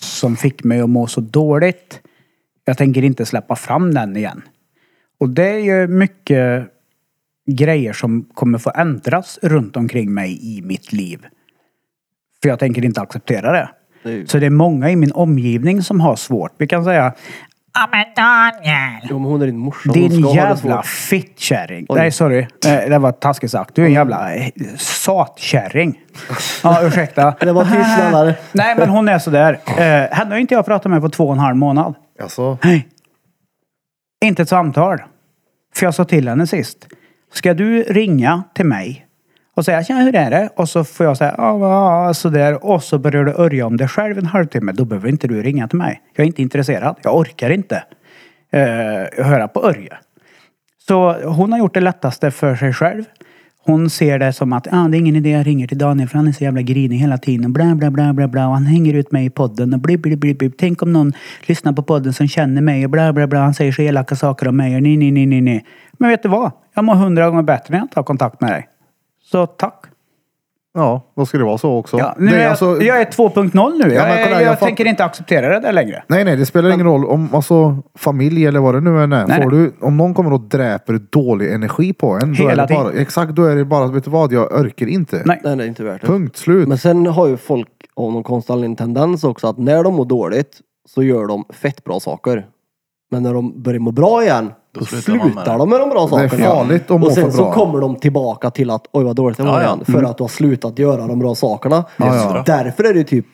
som fick mig att må så dåligt. Jag tänker inte släppa fram den igen. Och det är ju mycket grejer som kommer få ändras runt omkring mig i mitt liv. För jag tänker inte acceptera det. Så det är många i min omgivning som har svårt. Vi kan säga Ja men Daniel. om hon är din morsa, hon Din ska ha jävla det svårt. fittkärring. Oj. Nej, sorry. Eh, Det var taskigt sagt. Du är en jävla eh, satkärring. Ja, ursäkta. Det var tyst, snällare. Nej, men hon är sådär. Eh, Henne har inte jag pratat med på två och en halv månad. Alltså, Nej. Inte ett samtal. För jag sa till henne sist. Ska du ringa till mig och säga tja, hur är det? Och så får jag säga ja, ja, sådär. Och så börjar du örja om dig själv en halvtimme. Då behöver inte du ringa till mig. Jag är inte intresserad. Jag orkar inte eh, höra på Örje. Så hon har gjort det lättaste för sig själv. Hon ser det som att ah, det är ingen idé jag ringer till Daniel för han är så jävla grinig hela tiden. Bla, bla, bla, bla, bla. Och han hänger ut mig i podden och bli, bli, bli, bli. Tänk om någon lyssnar på podden som känner mig och bla, bla, bla. Han säger så elaka saker om mig och ni, ni, ni, ni, ni. Men vet du vad? Jag mår hundra gånger bättre när jag tar kontakt med dig. Så tack. Ja, då ska det vara så också. Ja, nu det är är jag, alltså- jag är 2.0 nu. men jag kolla, jag, jag fatt- tänker inte acceptera det där längre. Nej, nej, det spelar ingen roll om alltså, familj eller vad det nu än är. Nej, Får nej. du, om någon kommer och dräper dålig energi på en. då Hela är det bara, tiden. Exakt, då är det bara, vet du vad, jag orkar inte. Nej. Nej, det är inte värt det. Punkt slut. Men sen har ju folk av någon konstig anledning tendens också att när de mår dåligt så gör de fett bra saker. Men när de börjar må bra igen, då, slutar de slutar, med det. de med de bra Det är sakerna. farligt att må Och sen för så bra. Mm. kommer de tillbaka till att oj vad dåligt det var Ja, ja. igen. För att du har slutat göra de bra sakerna. ja. Därför är det ju typ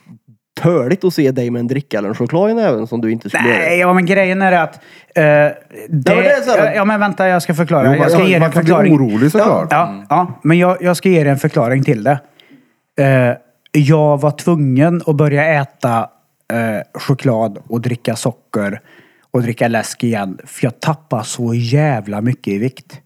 töligt att se dig med en dricka eller en choklad i näven som du inte skulle Nej, göra. ja, men grejen är att... eh, det, men det är så här- ja, men vänta, jag ska förklara. Jo, man jag ska kan, ge er en man kan bli förklaring. orolig såklart. Ja, ja men jag, jag ska ge er en förklaring till det. Eh, jag var tvungen att börja äta eh, choklad och dricka socker och dricka läsk igen. För jag tappade så jävla mycket i vikt.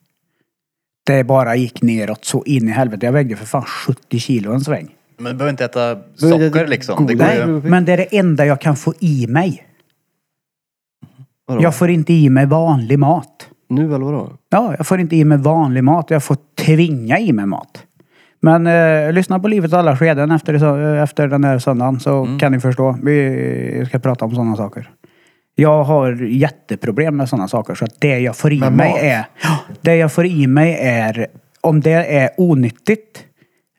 Det bara gick neråt så in i helvete. Jag vägde för fan 70 kilo en sväng. Men du behöver inte äta Du behöver inte socker äta liksom. Det går godis. Nej, ju... men det är det enda jag kan få i mig. Vadå? Jag får inte i mig vanlig mat. Nu eller vadå? Ja, jag får inte i mig vanlig mat. Jag får tvinga i mig mat. Men eh, lyssna på Livets alla skeden efter, så- eh, efter den här söndagen så Mm. kan ni förstå. Vi ska prata om sådana saker. Jag har jätteproblem med sådana saker. Så att det jag får i Med mig mat? är... Det jag får i mig är... Om det är onyttigt,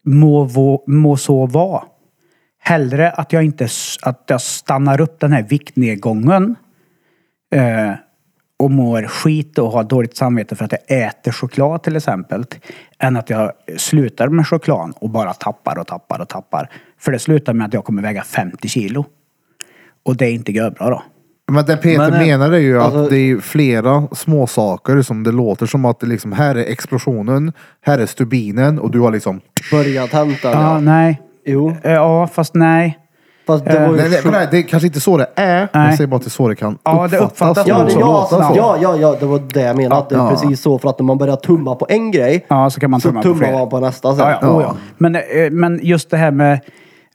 må, vå- må så vara. Hellre att jag inte s- att jag stannar upp den här viktnedgången eh, och mår skit och har dåligt samvete för att jag äter choklad till exempel. Än att jag slutar med choklad och bara tappar och tappar och tappar. För det slutar med att jag kommer väga 50 kilo. Och det är inte görbra då. Men det Peter Men, eh, menar är ju alltså- att det är ju flera små saker som det låter som att det liksom, här är explosionen, här är stubinen och du har liksom... Börjat hämta? Ja, Ja. nej. Jo. Eh, Ja, fast nej. Fast det var ju... Eh, Nej, nej, men nej, det är kanske inte så det är. Nej. Jag säger bara att det är så det kan Ja, det uppfattas och Ja, det, också ja, låta så. ja, ja, ja, det var det jag menade. Att det är precis så. För att när man börjar tumma på en grej Ja, så kan man så tumma på tummar fler. man på nästa sen. Ja, ja, oh, ja. Men, eh, men just det här med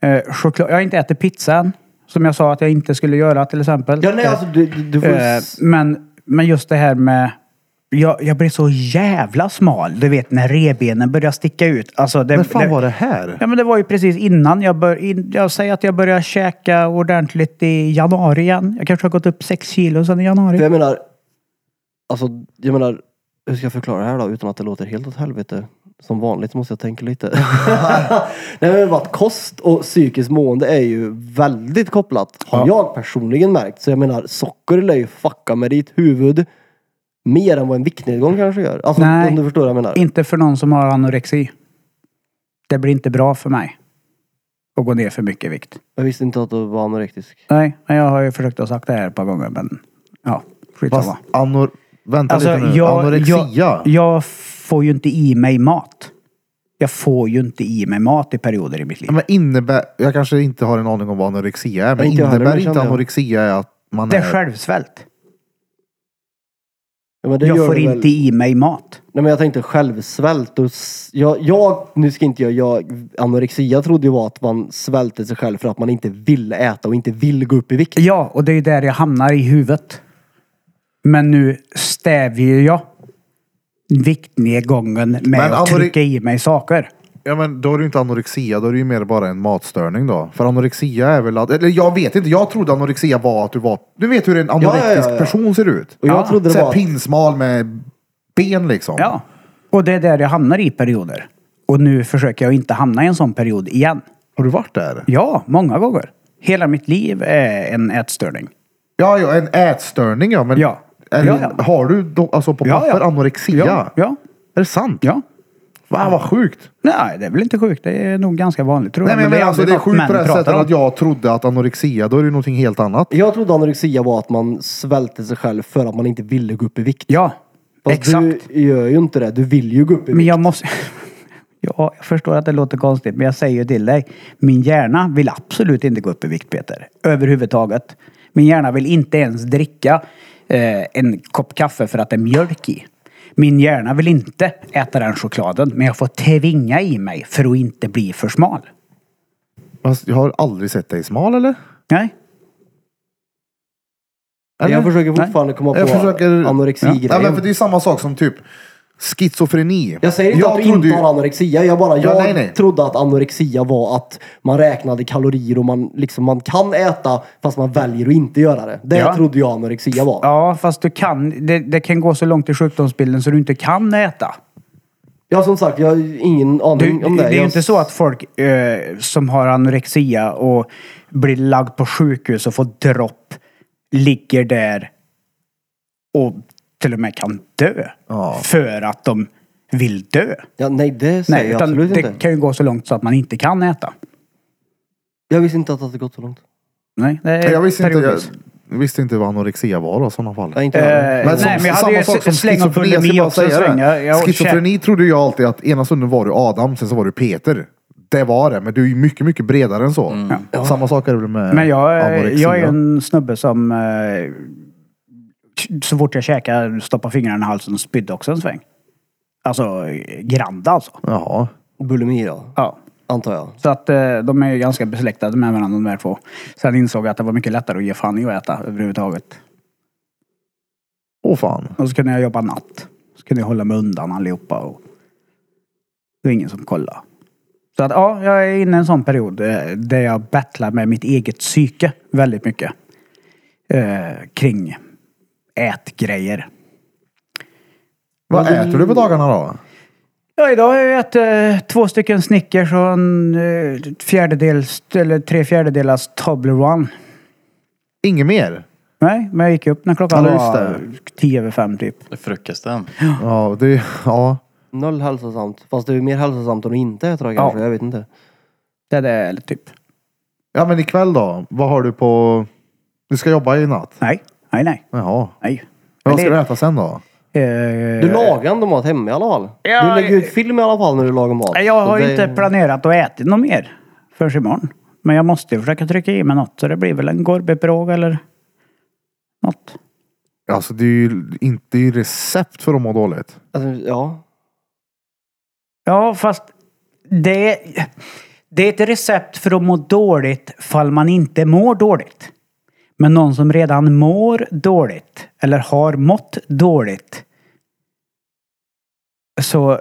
eh, choklad. Jag har inte ätit pizza än. Som jag sa att jag inte skulle göra till exempel. Ja, nej, alltså du, du, du får... ju Eh, s- men, men just det här med... Jag, jag blev så jävla smal. Du vet när revbenen började sticka ut. Alltså, det, Men fan var det här? Ja, men det var ju precis innan jag började... Jag säger att jag började käka ordentligt i januari igen. Jag kanske har gått upp sex kilo sedan i För januari. jag menar... Alltså, jag menar... Hur ska jag förklara det här då utan att det låter helt åt helvete? Som vanligt måste jag tänka lite. nej men vad kost och psykiskt mående är ju väldigt kopplat. Har jag personligen märkt. Så jag menar socker lär ju fucka med ditt huvud. Mer än vad en viktnedgång kanske gör. Alltså Nej. om du förstår vad jag menar. Inte för någon som har anorexi. Det blir inte bra för mig. Att gå ner för mycket i vikt. Jag visste inte att du var anorektisk. Nej, men jag har ju försökt att sagt det här ett par gånger men... Ja, skitsamma. Fast anor... Vänta Alltså, lite nu. jag, Anorexia. Jag, jag får ju inte i mig mat. Jag får ju inte i mig mat i perioder i mitt liv. Ja, Men innebär, jag kanske inte har en aning om vad anorexia är, men Inte jag heller, innebär men inte kände jag. anorexia är att man det är är... självsvält. Ja, men det jag gör får du väl- inte i mig mat. Nej men jag tänkte självsvält och s- jag, jag, nu ska inte jag, jag, anorexia trodde ju var att man svälte sig själv för att man inte ville äta och inte vill gå upp i vikt. Ja, och det är ju där jag hamnar i huvudet. Men nu stävjer jag viktnedgången med Men att anorexi- trycka i mig saker. Ja men då är det ju inte anorexia, då är det ju mer bara en matstörning då. För anorexia är väl att, eller jag vet inte, jag trodde anorexia var att du var, du vet hur en anorektisk ja, ja, ja. person ser ut. Och jag trodde det Såhär var... pinsmal med ben liksom. Ja. Och det är där jag hamnar i perioder. Och nu försöker jag inte hamna i en sån period igen. Har du varit där? Ja, många gånger. Hela mitt liv är en ätstörning. Ja, ja, en ätstörning ja. Men Ja. Är, Ja, ja. Har du då, alltså på Ja, papper ja. anorexia? ja. Är det sant? ja. Va, vad sjukt. Nej, det är väl inte sjukt. Det är nog ganska vanligt tror Nej jag. men, jag menar alltså, det är aldrig sjukt något på det här män pratar sättet om. att jag trodde att anorexia, då är det ju någonting helt annat. Jag trodde anorexia var att man svälte sig själv för att man inte ville gå upp i vikt. Ja, Fast exakt. du gör ju inte det, du vill ju gå upp i vikt. Men jag måste... Ja, jag förstår att det låter konstigt, men jag säger ju till dig. Min hjärna vill absolut inte gå upp i vikt, Peter. Överhuvudtaget. Min hjärna vill inte ens dricka eh, en kopp kaffe för att det är mjölk i. Min hjärna vill inte äta den chokladen, men jag får tvinga i mig för att inte bli för smal. Fast jag har aldrig sett dig smal eller? Nej, eller? Jag försöker fortfarande komma på jag försöker... Ja. Nej, men anorexigrejen. för det är samma sak som typ schizofreni. Jag säger inte att du trodde inte ju- har anorexia. Jag bara, jag nej, nej. trodde att anorexia var att man räknade kalorier och man liksom, man kan äta fast man väljer att inte göra det. Det Ja. trodde jag anorexia var. ja fast du kan, det, det kan gå så långt i sjukdomsbilden så du inte kan äta. Ja, som sagt, jag har ju ingen Du, aning det, om det. är ju jag... inte så att folk eh, som har anorexia och blir lagd på sjukhus och får dropp ligger där och till och med kan dö. För att de vill dö. Ja, nej, det säger Nej, jag utan absolut det inte. kan ju gå så långt så att man inte kan äta. Jag visste inte att det hade gått så långt. Nej, det är Nej, Jag visste inte, jag, periodvis. jag visste inte vad anorexia var i sådana fall. Jag inte Eh, heller. Men som, nej, men jag hade samma ju sak som en släng av schizofreni, jag ska bulimi bara också. säga det. Sväng. Jag, jag, Schizofreni trodde jag alltid att ena stunden var du Adam, sen så var du Peter. Det var det, men du är ju mycket, mycket bredare än så. Samma sak är det väl med Mm. Men jag, eh, anorexia. jag är ju en snubbe som eh, så fort jag käkar stoppar fingrarna i halsen och spydde också en sväng. Alltså eh, Granda alltså. Jaha. Bulimi då, Ja. antar jag. Så att eh, de är ju ganska besläktade med varandra de här två. Sen insåg jag att det var mycket lättare att ge fan i att äta överhuvudtaget. Åh fan. Och så kunde jag jobba natt. Så kunde jag hålla mig undan allihopa. Och det var ingen som kollade. Så att ja, jag är inne i en sån period eh, där jag battlar med mitt eget psyke väldigt mycket. Eh, kring ätgrejer. Vad äter du på dagarna då? Ja, idag har jag ätit eh, två stycken Snickers och en eh, fjärdedels, eller tre fjärdedelars Toblerone. Inget mer? Nej, men jag gick upp när klockan Ja, just var tio över fem typ. Det är frukosten. Ja, det, ja. Noll hälsosamt. Fast det är ju mer hälsosamt än att inte äta det kanske. Jag vet inte. Det är det, eller typ. ja, men ikväll då? Vad har du på... Du ska jobba i natt? Nej, nej, nej. Jaha. nej. Men vad ska Eller- du äta sen då? Eh, Du lagar ändå mat hemma i alla fall. Ja, eh. du lägger ut film i alla fall när du lagar mat. Nej, Jag Så har ju det- inte planerat att äta något mer förrän imorgon. Men jag måste ju försöka trycka i mig något så det blir väl en gourmetpirogue eller något. Alltså det är ju inte det är ju recept för att må dåligt. Alltså, ja. Ja, fast det, det är ett recept för att må dåligt fall man inte mår dåligt. Men någon som redan mår dåligt eller har mått dåligt så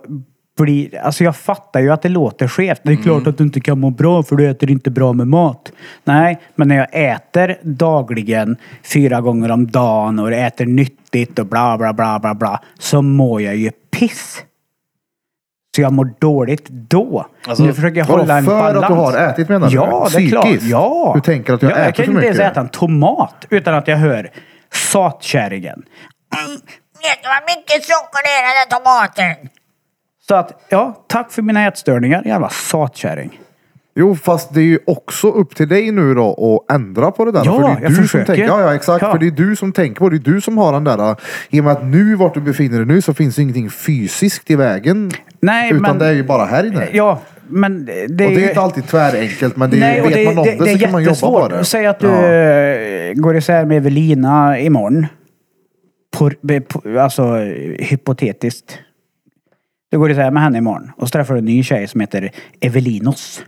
blir... Alltså jag fattar ju att det låter skevt. Det är klart att du inte kan må bra för du äter inte bra med mat. Nej, men när jag äter dagligen fyra gånger om dagen och äter nyttigt och bla bla bla bla bla så mår jag ju piss. Så jag mår dåligt då. Alltså, nu försöker jag vadå, hålla en för att balans. du har ätit, menar du? Ja, det är Psykiskt? klart. Ja. Du tänker att jag ja, äter Jag kan för ju inte ens mycket. äta en tomat utan att jag hör satkärringen. Mm, Vet du vad mycket socker det är i den där tomaten? Så att, ja, tack för mina ätstörningar, jävla satkärring. Jo, fast det är ju också upp till dig nu då att ändra på det där. Ja, för det är ju jag du försöker. Som tänker, ja, ja, exakt. Ja. För det är du som tänker på det. Det är du som har den där... äh, I och med att nu, vart du befinner dig nu, så finns det ingenting fysiskt i vägen. Nej, utan men- det är ju bara här inne. Ja, men det är och det är ju- ju inte alltid tvärenkelt, men det är, Nej, och vet man om det, är så kan man jobba på jättesvårt. det. Säg att du Ja. eh, går isär med Evelina imorgon. På, be- på, alltså eh, hypotetiskt. Du går isär med henne imorgon och så träffar du en ny tjej som heter Evelinos.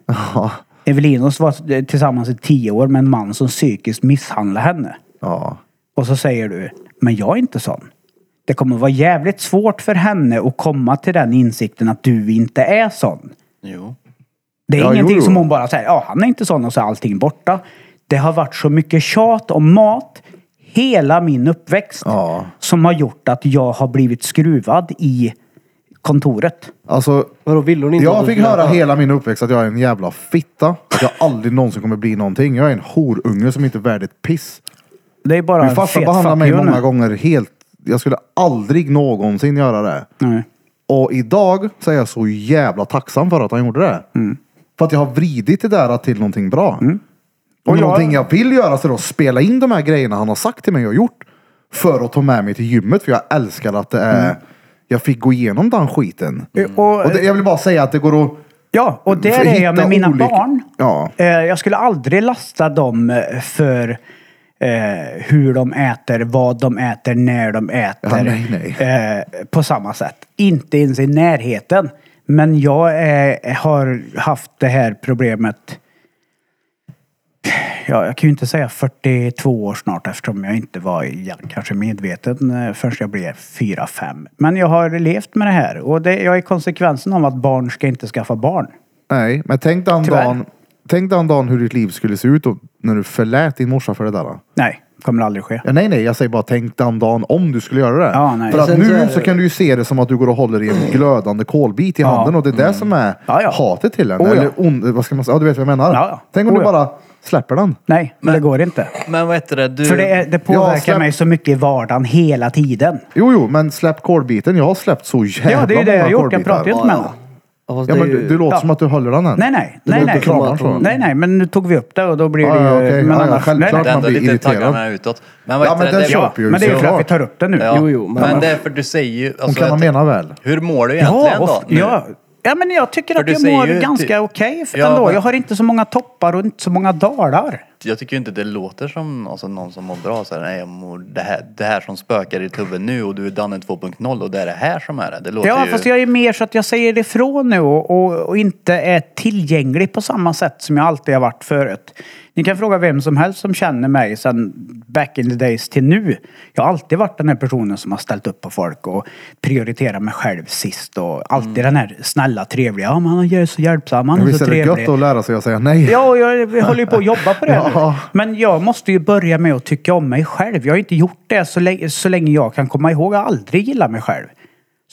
Evelinos var eh, tillsammans i tio år med en man som psykiskt misshandlade henne. Ja. Och så säger du, men jag är inte sån. Det kommer vara jävligt svårt för henne att komma till den insikten att du inte är sån. Jo. Det är Ja, ingenting jo, jo. som hon bara säger, ja han är inte sån och så är allting borta. Det har varit så mycket tjat om mat hela min uppväxt Ja. som har gjort att jag har blivit skruvad i kontoret. Alltså, Vadå, vill hon inte att Jag du fick skulle höra äta? hela min uppväxt att jag är en jävla fitta. Att jag aldrig någonsin kommer bli någonting. Jag är en horunge som inte är värd ett piss. Det är bara Min en farsa fet behandlade fuck mig you nu. många gånger helt... Jag skulle aldrig någonsin göra det. Nej. Och idag så är jag så jävla tacksam för att han gjorde det. För att jag har vridit det där till någonting bra. Och, Och jag- någonting jag vill göra så är det att spela in de här grejerna han har sagt till mig och gjort. För att ta med mig till gymmet. För jag älskar att det är jag fick gå igenom den skiten. Och, Och det, jag vill bara säga att det går att... ja, och där hitta är jag med mina olika- barn. Ja. Eh, Jag skulle aldrig lasta dem eh, för eh, hur de äter, vad de äter, när de äter. Ja, nej, nej. Eh, på samma sätt. Inte ens i närheten. Men jag eh, har haft det här problemet Ja, jag kan ju inte säga 42 år snart eftersom jag inte var egentligen kanske medveten eh, förrän jag blev 4-5. Men jag har levt med det här och det, jag är konsekvensen av att barn ska inte skaffa barn. Nej, men tänk den, Tyvärr. dagen, tänk den dagen hur ditt liv skulle se ut och, när du förlät din morsa för det där. då. Nej, kommer aldrig ske. Ja, nej, nej, jag säger bara tänk den dagen om du skulle göra det. Ja, nej. För Och att sen så är nu det- så kan du ju se det som att du går och håller i en glödande kolbit i handen och det är det som är Mm. Ja, ja. hatet till henne. Oh, ja. Eller ond, vad ska man säga? Ja, du vet vad jag menar. Ja, ja. Tänk om Oh, du ja. bara släpper den. Nej, det går inte. Men vad heter det? Du... För det, är- det påverkar Ja, släpp- mig så mycket i vardagen hela tiden. Jo, jo, men släpp kolbiten. Jag har släppt så jävla Ja, det är ju det jag många har gjort. Jag kolbitar. pratar ju inte med henne. Ja, fast Ja, det är men ju- du, du låter Ja. som att du håller den än. Nej, nej. Det Nej låter nej. som att hon- nej, nej. Men nu tog vi upp det och då blir det Ja, ju... ja, okej. men Ja, ja, annars- självklart. nej, det nej. man är ändå blir lite irriterad. taggarna utåt. Men vad Ja, heter men den det? Ja, köper ju. men det är ju för att vi såklart. tar upp det nu. Ja, Jo, jo, men, men- det är för du säger ju... Hon alltså, kan man jag- mena väl? Hur mår du egentligen Ja, då? och, nu? ja. ja, men jag tycker För att du jag säger mår ju ganska ty- okej Ja, ändå. men- Jag har inte så många toppar och inte så många dalar. Jag tycker ju inte det låter som alltså, någon som mår bra. Så här, nej, jag mår det, här, det här som spökar i tuben nu och du är Danne 2.0 och det är det här som är det. Det låter Ja, ju... fast jag är mer så att jag säger det ifrån nu och, och, och inte är tillgänglig på samma sätt som jag alltid har varit förut. Ni kan fråga vem som helst som känner mig sedan back in the days till nu. Jag har alltid varit den här personen som har ställt upp på folk och prioriterat mig själv sist och alltid den här snälla, trevliga. Ja, men han är så hjälpsam, han är Mm. Visst så är det trevlig. gött att lära sig att säga nej? Ja, och jag håller ju på att jobba på det här Ja. nu. Men jag måste ju börja med att tycka om mig själv. Jag har ju inte gjort det så länge, så länge jag kan komma ihåg. Jag har aldrig gillat mig själv.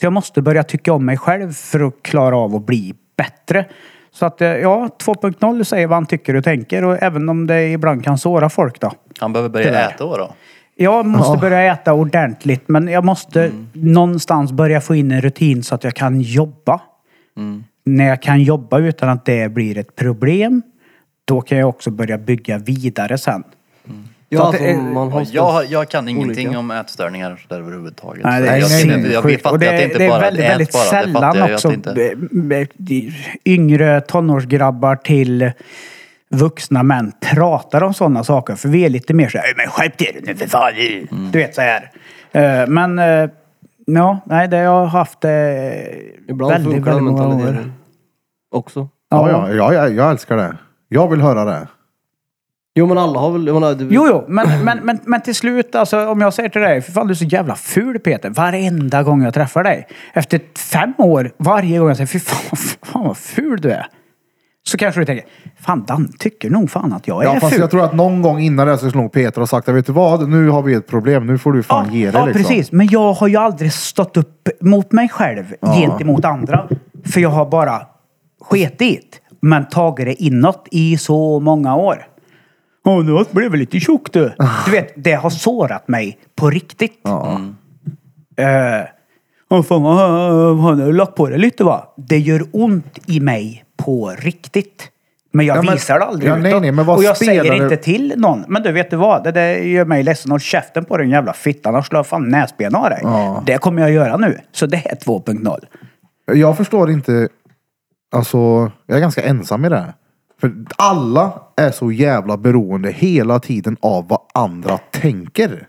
Så jag måste börja tycka om mig själv för att klara av att bli bättre. Så att eh, ja, 2.0 säger vad han tycker och tänker och även om det ibland kan såra folk då. Han behöver börja Tyvärr. äta då. då. Jag måste börja äta ordentligt men jag måste någonstans börja få in en rutin så att jag kan jobba. När jag kan jobba utan att det blir ett problem, då kan jag också börja bygga vidare sen. Ja, Så att det alltså, är- man har Jag, har- jag kan ingenting Olika. om ätstörningar och så där överhuvudtaget. Nej, det Så är jag, jag, jag, jag sinnessjukt. fattar Och att det inte det bara är är väldigt, väldigt ät bara. det fattar jag sällan ju också att inte... b- b- de- yngre tonårsgrabbar till vuxna män pratar om sådana saker. För vi är lite mer såhär, men skärp till dig nu för fan. Mm. Du vet så här. Eh, Men eh, ja, nej, det har jag haft eh, Ibland väldigt, funkar väldigt den många år. mentaliteten. Också. Ja, ja, ja, ja, jag älskar det. Jag vill höra det. Jo, men alla har väl... Jag menar, du, Jo, jo, men, men, men, men till slut, alltså, om jag säger till dig, för fan du är så jävla ful Peter, varenda gång jag träffar dig. Efter fem år, varje gång jag säger, fy fan, fan vad ful du är. Så kanske du tänker, fan Dan tycker nog fan att jag är Ja, fast ful. jag tror att någon gång innan det så skulle nog Peter ha sagt att vet du vad, nu har vi ett problem, nu får du fan ge dig ja, liksom. precis. Men jag har ju aldrig stått upp mot mig själv gentemot andra. För jag har bara sketit. Men tagit det inåt i så många år. Åh, nu blev jag lite tjock du. Du vet, det har sårat mig på riktigt. Ja. Eh, "Åh, fan, vad- han har lagt på det lite va? Det gör ont i mig på riktigt. Men jag Ja, men- visar det aldrig Ja, nej, utåt. nej, men vad Och jag spelar säger det- inte till någon. Men du, vet du vad? Det där gör mig ledsen. Håll käften på den jävla fittan. Annars slår jag fan näsben av dig. Ja. Det kommer jag göra nu. Så det är 2.0. Jag förstår inte, alltså, jag är ganska ensam i det här. För alla är så jävla beroende hela tiden av vad andra tänker.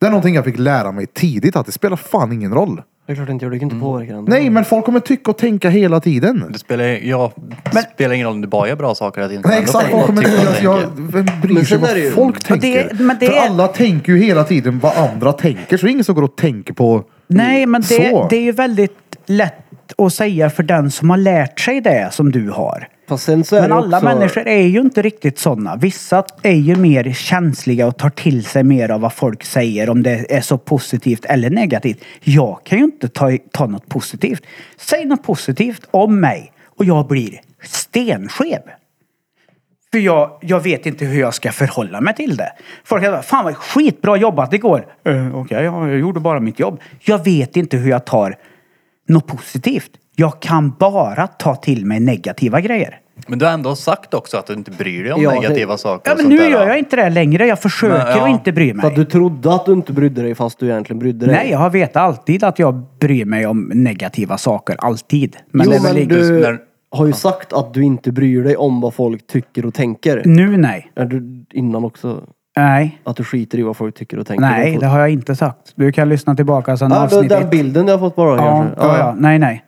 Det är någonting jag fick lära mig tidigt, att det spelar fan ingen roll. Det är klart det inte gör. Du kan Mm. inte påverka den. Nej, men folk kommer tycka och tänka hela tiden. Det spelar, ja, det spelar ingen roll om du bara gör bra saker. Att inte Nej, ändå exakt. tänka Folk kommer tycka och tycka, jag, tänka. vem bryr Men sig sen vad är det ju- folk Men det- tänker? men det För är- alla tänker ju hela tiden vad andra tänker, så det är ingen som går och tänker på Nej, Mm, men så. det, det är ju väldigt lätt att säga för den som har lärt sig det som du har. Fast sen så är Men det alla också, människor är ju inte riktigt sådana. Vissa är ju mer känsliga och tar till sig mer av vad folk säger, om det är så positivt eller negativt. Jag kan ju inte ta, ta något positivt. Säg något positivt om mig och jag blir stenskev. För jag, jag vet inte hur jag ska förhålla mig till det. Folk säger fan vad skitbra jobbat igår. Uh, Okej, ja, jag gjorde bara mitt jobb. Jag vet inte hur jag tar något positivt. Jag kan bara ta till mig negativa grejer. Men du har ändå sagt också att du inte bryr dig om Ja, det- negativa saker Ja, och men sånt nu där, gör jag inte det längre. Jag försöker Nej, ja. att inte bry För att mig. du trodde att du inte brydde dig fast du egentligen brydde dig. Nej, jag har vetat alltid att jag bryr mig om negativa saker. Alltid. Men jo, det är väl men inte- du när- har ju sagt att du inte bryr dig om vad folk tycker och tänker. Nu nej. Är du innan också Nej. att du skiter i vad folk tycker och tänker? Nej, det har jag inte sagt. Du kan lyssna tillbaka sen ah, det är avsnitt den ett. bilden jag har fått bara Ja, kanske. ja, ja. Nej, nej.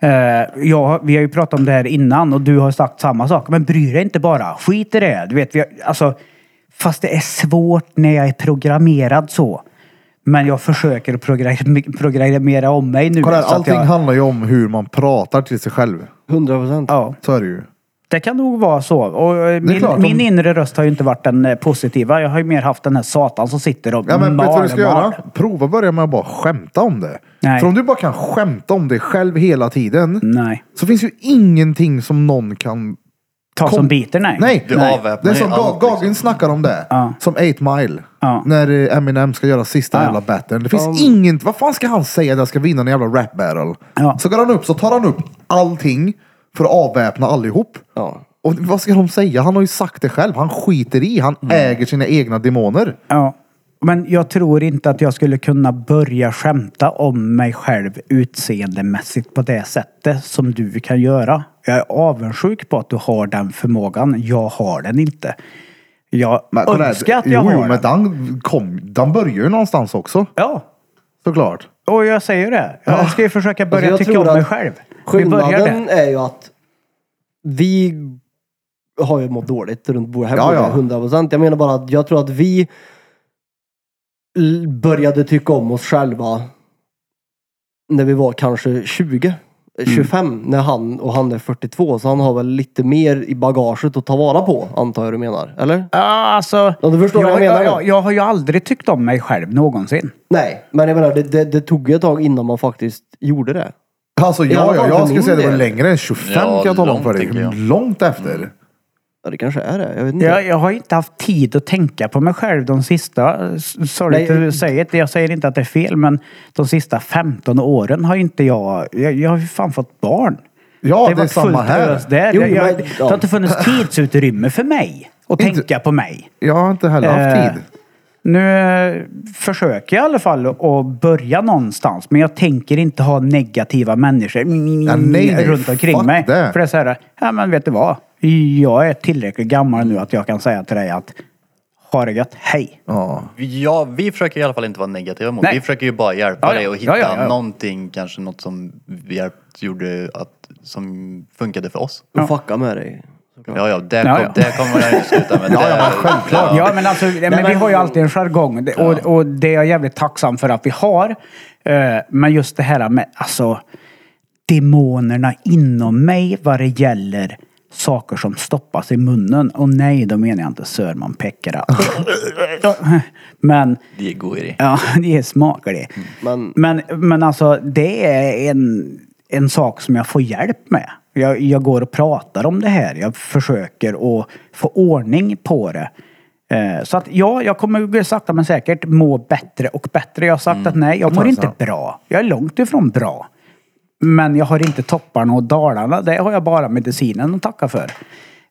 Eh, ja, vi har ju pratat om det här innan och du har sagt samma sak. Men bry dig inte bara. Skit i det. Du vet, vi har, alltså, fast det är svårt när jag är programmerad så. Men jag försöker att program- programmera om mig nu. Kolla här, så att allting jag, handlar ju om hur man pratar till sig själv. 100 procent. ja, Så är det ju. det kan nog vara så. Och eh, min, klart, om- min inre röst har ju inte varit den eh, positiva. Jag har ju mer haft den här satan som sitter och Ja, men vet du vad du ska mal. göra? Prova att börja med att bara skämta om det. Nej. För om du bara kan skämta om dig själv hela tiden Nej. så finns ju ingenting som någon kan... Ta Kom- som biter, nej. Nej! Du Det avväpnar är ju som Ga- allt, Gagen liksom. snackar om det. Ja. Som 8 Mile. Ja. När eh, Eminem ska göra sista jävla battlen. Det finns inget... Vad fan ska han säga när han ska vinna en jävla rap battle? Ja. Så går han upp så tar han upp allting för att avväpna allihop. Ja. Och vad ska de säga? Han har ju sagt det själv. Han skiter i. Han Mm. äger sina egna demoner. Ja. Men jag tror inte att jag skulle kunna börja skämta om mig själv utseendemässigt på det sättet som du kan göra. Jag är avundsjuk på att du har den förmågan. Jag har den inte. Jag Men kolla här. önskar att jag jo, har jo, den. men den, kom, den börjar ju någonstans också. Ja, Såklart. och jag säger det. Jag ska ju försöka Alltså, börja jag tycka tror om att mig själv. Vi börjar Skillnaden det. är ju att vi har ju mått dåligt runt bordet här. Ja, bordet, ja. 100 procent. Jag menar bara att jag tror att vi l- började tycka om oss själva när vi var kanske 20. 25 när han och han är 42 så han har väl lite mer i bagaget att ta vara på antar jag du menar, eller? Ja, alltså, Ja, du förstår vad jag menar. Jag, jag har ju aldrig tyckt om mig själv någonsin. Nej, men jag menar det, det, det tog ju ett tag innan man faktiskt gjorde det. Alltså I alla ja, ja, jag fall för skulle min säga det var del. längre än 25 Ja, kan jag tala om för långt, tänker dig. jag. Långt efter. Ja, det kanske är det. Jag vet inte. Jag, jag har inte haft tid att tänka på mig själv de sista, s- sorry Nej. eh, to say it, jag säger inte att det är fel, men de sista 15 åren har inte jag, jag, jag har ju fan fått barn. Ja, det, har är varit samma fullt här. ös Där. Jo, jag, jag, men- det har inte funnits tidsutrymme för mig att Inte- tänka på mig. Jag har inte heller haft Eh, tid. Nu eh, försöker jag i alla fall att börja någonstans, men jag tänker inte ha negativa människor mm, Ja, nej, nej, runt omkring fuck mig. det. För det är så här, ja men vet du vad? Jag är tillräckligt gammal nu att jag kan säga till dig att ha det gött, hej. Ja. Ja, vi försöker i alla fall inte vara negativa mot. Nej. Vi försöker ju bara hjälpa Ja, ja. dig och Ja, hitta ja, ja. någonting, kanske något som vi hjälpt, gjorde att, som funkade för oss. Och fucka med dig. Ja, ja, där, Ja, kom, ja. där kommer jag inte sluta med. ja, ja, självklart. Ja, men alltså, men vi har ju alltid en jargong Det- och, och det är jag jävligt tacksam för att vi har. Eh, Men just det här med, alltså, demonerna inom mig vad det gäller saker som stoppas i munnen. Och nej, då menar jag inte sörmanpeckare. men, Det är god idé. ja, det är smakligt. Men Men, men alltså, det är en, en sak som jag får hjälp med. Jag, jag går och pratar om det här. Jag försöker att få ordning på det. Eh, Så att ja, jag kommer sakta men säkert må bättre och bättre. Jag har sagt att nej, jag mår inte bra. Jag är långt ifrån bra. Men jag har inte topparna och dalarna. Det har jag bara medicinen att tacka för.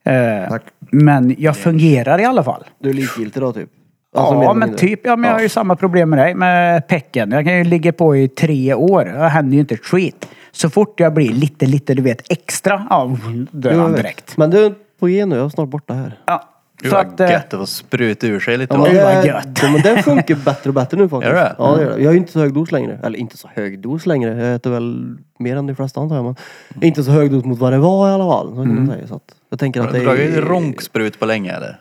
Eh, Men jag fungerar i alla fall. du är likgiltig då typ? Alltså, mer Ja, eller men mindre. typ. Ja, men jag har ju samma problem med dig, med pecken. Jag kan ju ligga på i tre år. Det händer ju inte ett skit. Så fort jag blir lite, lite, du vet, extra, ja, dör Jo, han jag vet. direkt. Men du, på igen nu. Jag är snart borta här. Ja. Gud Så vad att, eh, gött det var att spruta ur sig lite. Ja, men Oj, va? vad det- gött. Ja, men den funkar bättre och bättre nu faktiskt. Gör det? Mm. Ja, det gör det. Jag är inte så hög dos längre. Eller inte så hög dos längre. Jag äter väl mer än de flesta antar jag. Men Mm. inte så hög dos mot vad det var i alla fall. Så kan man säga. Så att jag tänker att Har det Mm. du dragit ronksprut på länge eller?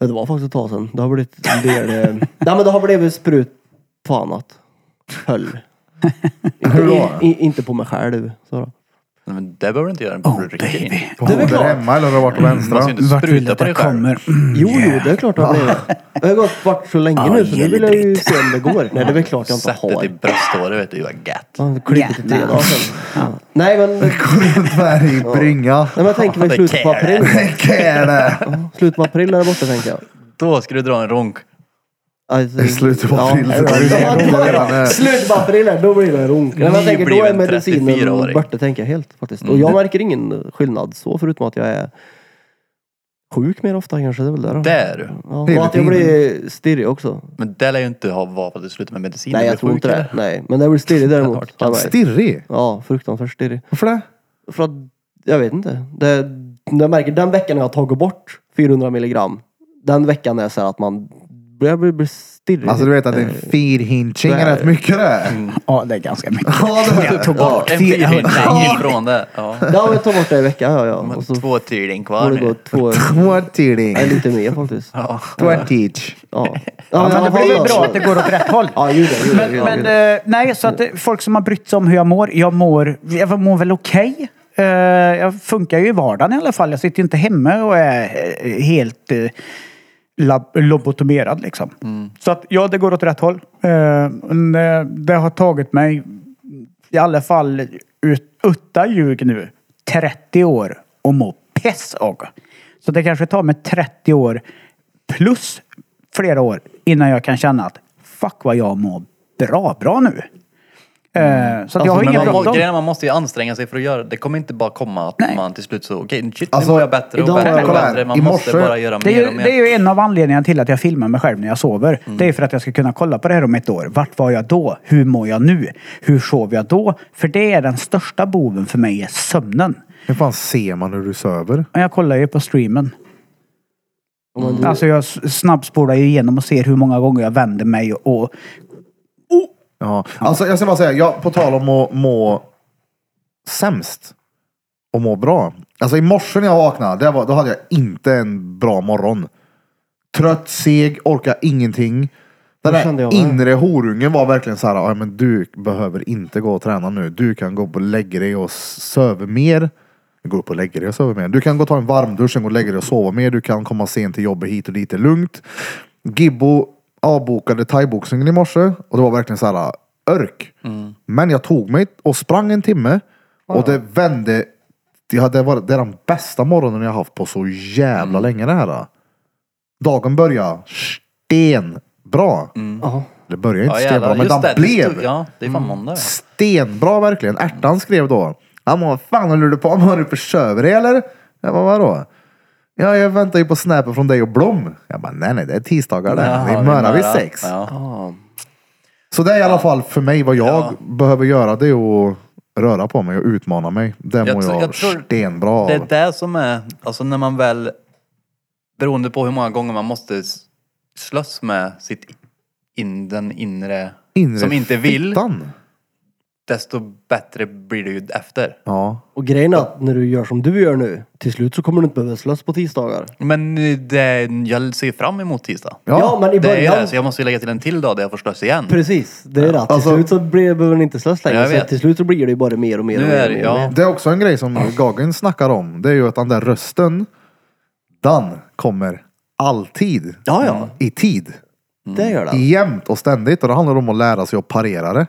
Ja, Det var faktiskt ett tag sedan. Det har blivit en del... eh, Nej men det har blivit sprut på annat. Höll. Hur då? Inte på mig själv. Så då. Nej, men det behöver du inte göra. Oh, baby. På det klart. hemma eller har det varit på Man vänstra? ska ju inte vart vill du spruta att på dig jag själv. kommer? Mm, Jo, jo, yeah. det är klart det har blivit. Jag har gått bort så länge nu så nu vill jag ju se om det går. Nej det är väl klart jag inte Sätt det har. i brösthåret vet du, vad gött. Han klippte till tre Jävlar. dagar sedan. Ja. Nej men, nej, Dvärg, brynga. men jag tänker mig Det slutet på kan jag. april. Käre! Slutet på april är det borta tänker jag. Då ska du dra en ronk. Alltså, I slutet på ja. april. så Ja, är det ja, jävla redan, ja. eh, Slutet på april är- då blir det runk. Nej, men jag Ni tänker blir då är en Mm. medicinen 34-åring. borta tänker jag helt faktiskt. Och jag märker ingen skillnad så förutom att jag är sjuk mer ofta kanske. Det är väl det då. Det är du. Ja, Det är och att jag lite blir stirrig också. Men det lär ju inte ha vara för att du slutar med medicin. Nej, Du jag blir tror sjuk, inte det. eller? Nej, men det blir stirrig däremot. Ja, nej. Stirrig? Ja, fruktansvärt stirrig. Varför det? För att, jag vet inte. Det, jag märker den veckan jag har tagit bort 400 milligram. Den veckan är så här att man börjar bli bli stirrig. Alltså du vet att en feedhinching är Mm. rätt mycket det. Ja, det är ganska mycket. Ja, det var- Jag tog bort En bil 400. är ifrån det. Ja. Ja, jag tar bort det i veckan. Ja, ja. Och så Två får tydligen kvar det gå nu. två, Tårtiding. nej, lite mer faktiskt. Ja. Tårtidge. ja. Men det men blir ju ja, bra ja. att det går åt rätt håll. Ja, ju det. Ju det, ju Men, det, ju men det. eh, nej, så att det, folk som har brytt sig om hur jag mår. Jag mår, jag mår väl okej. Eh, jag funkar ju i vardagen i alla fall. Jag sitter ju inte hemma och är eh, helt eh, lab- lobotomerad liksom. Mm. Så att ja, det går åt rätt håll. Eh, men, eh, det har tagit mig i alla fall ut, utta ljug nu 30 år och må piss och. Så det kanske tar mig 30 år plus flera år innan jag kan känna att fuck vad jag mår bra, bra nu. Eh, så att jag har Mm. Alltså, men ingen man, må- bråttom. grejen är, man måste ju anstränga sig för att göra det. Det kommer inte bara komma att man till slut så, okej shit nu Alltså, mår jag bättre och idag- bättre och kolla här, bättre. Man i måste morse- bara göra Det mer är, och ju, mer. Mm. det är ju en av anledningarna till att jag filmar mig själv när jag sover. Det är ju för att jag ska kunna kolla på det här om ett år. Vart var jag då? Hur mår jag nu? Hur sov jag då? För det är den största boven för mig, är sömnen. Hur fan ser man hur du söver? Men Jag kollar ju på streamen. Om man- Alltså jag s- snabbspolar ju igenom och ser hur många gånger jag vänder mig och... och Ja. Alltså jag ska bara säga, jag, på tal om att må sämst och må bra. Alltså i morse när jag vaknade, det var, då hade jag inte en bra morgon. Trött, seg, orkar ingenting. Den Det kände jag där med. inre horungen var verkligen så här, "Ja, men du behöver inte gå och träna nu. Du kan gå upp och lägga dig och söva mer. Gå upp och lägga dig och sova mer. Du kan gå och ta en varmdusch, sen gå och lägga dig och sova mer. Du kan komma sent till jobbet hit och dit, det är lugnt. Gibbo avbokade thaiboxningen i morse och det var verkligen så här örk. Mm. Men jag tog mig och sprang en timme och det vände. Det hade varit- det är den bästa morgonen jag har haft på så jävla Mm. länge det här. Dagen började stenbra. Ja. Det började inte Ja, jävlar, stenbra, men just den det, det blev stod- Ja, det är fan måndag. ja. stenbra verkligen. Ärtan skrev då. Han bara, vad fan håller du på med? Har du försöver dig eller? Jag bara, vadå? Ja, jag väntar ju på snäppen från dig och Blom. Jag bara, nej nej, det är tisdagar det. Jaha, det är nära. mördag vid sex. Ja. Så det är i alla fall för mig vad jag behöver göra. Det är att röra på mig och utmana mig. Det mår Jag jag, tror- jag tror stenbra av. Det är det som är, alltså när man väl, beroende på hur många gånger man måste s- slåss med sitt in, den inre, Inre som inte vill, fittan. desto bättre blir det ju efter. Ja. Och grejen är att när du gör som du gör nu, till slut så kommer du inte behöva slåss på tisdagar. Men eh, det, jag ser fram emot tisdag. Ja, Ja, men i Det är ju början. det, så jag måste ju lägga till en till dag där jag får slåss igen. Precis, det är det. Till Alltså- slut så blir, behöver ni inte slåss längre. Jag Så vet. till slut så blir det ju bara mer och mer och Nu mer. är och det, mer och mer. ja. Det är också en grej som Gagen snackar om. Det är ju att den där rösten, den kommer alltid Ja, ja. i tid. Mm. Det gör det. jämt och ständigt och det handlar om att lära sig att parera det.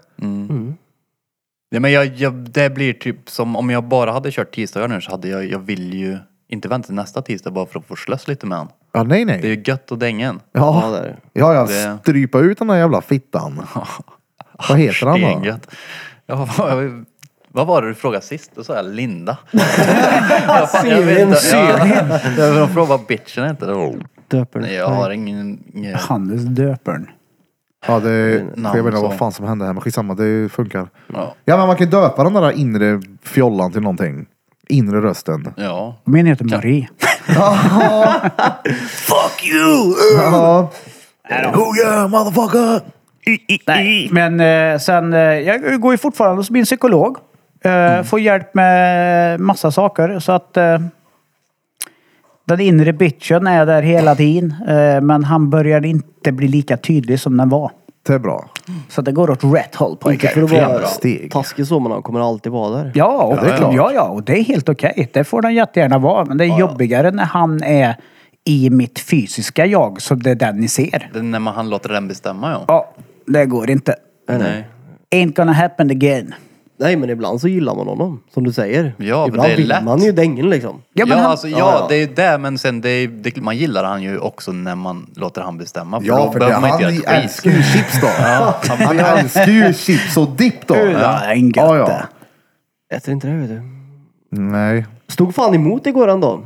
Nej, men jag, jag, det blir typ som om jag bara hade kört tisdagar nu så hade jag, jag vill ju inte vänta till nästa tisdag bara för att få slåss lite med han. Ja, nej, nej. Det är ju gött och dängen. Ja, det ja, är det. ja, ja Det- strypa ut den där jävla fittan. Vad heter han då? Stengött. Ja, vad, vad var det du frågade sist? Då sa jag Linda. jag, fan, jag vet inte. Ja, jag frågade vad bitchen hette. då. Döper Nej, det. Jag har ingen... ingen Hannes döpern. Ja, det, namn jag vet inte så. vad fan som hände här, men skitsamma, det funkar. ja. Ja, men man kan ju döpa den där inre fjollan till någonting. Inre rösten. ja. Min heter Marie. Ja. Oh yeah, motherfucker! Nej. Men eh, sen, eh, jag går ju fortfarande hos min psykolog. Eh, Får hjälp med massa saker så att eh, den inre bitchen är där hela tiden. Eh, men han börjar inte bli lika tydlig som den var. Det är bra. Så det går åt rätt håll Inte pojkar. för att Jävla vara steg. taskig så, men han kommer alltid vara där. Ja, och det är klart. ja, ja, och det är helt okej. Det får den jättegärna vara. Men det är jobbigare när han är i mitt fysiska jag, som det är den ni ser. Det är när man, han låter den bestämma ja. Ja, det går inte. Nej. Ain't gonna happen again. Nej, men ibland så gillar man honom, som du säger. Ja, men ibland det är vill lätt. man ju dängen liksom. Ja, Ja, men han- alltså, ja, ja, ja. det är det, men sen det, är- det, man gillar han ju också när man låter han bestämma. För Ja, då för det, behöver man han inte göra ett älskar skit. ju chips då. Han älskar ju chips och dipp då. Ja, det är en Ja, gött ja. det. Äter inte det, vet du. Nej. Stod fan emot igår ändå.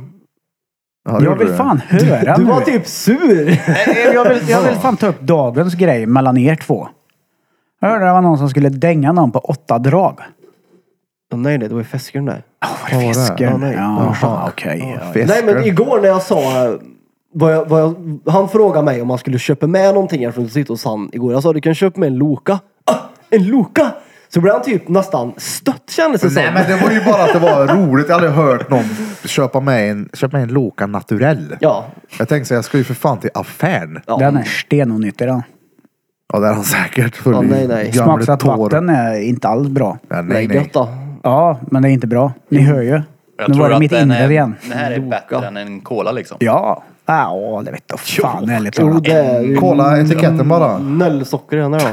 Ja, det Jag gjorde vill du. fan höra Du nu. var typ sur. Nej, jag, vill, jag vill fan ta upp dagens grej mellan er två. Jag hörde det var någon som skulle dänga någon på åtta drag. Åh, nej, nej, det var ju fäskaren där. Var det Ja, fisken? nej. Jaha, okej. Nej, Fiskar. men igår när jag sa... eh, Vad jag, vad jag, han frågade mig om han skulle köpa med någonting eftersom det sitter hos han igår. Jag sa du kan köpa med en Loka. Ah, en Loka! Så blev han typ nästan stött kändes det Nej som. men det var ju bara att det var roligt. Jag har aldrig hört någon köpa med en, köpa med en Loka Naturell. Ja. Jag tänkte säga, jag ska ju för fan till affären. ja. Den är stenonyttig den. Ja det är han säkert. Full Ja, i nej, nej. gamla Smaksatt tår. vatten är inte alls bra. Ja, Nej, nej, nej. gött då. Ja, men det är inte bra. Ni hör ju. Jag nu tror var det att mitt den är, inre igen. Den här är bättre Loka. än en cola liksom. Ja. Ja, det vet du fan ärligt Jo, talat. det är ju Kolla etiketten bara. Nöllsocker i den där då.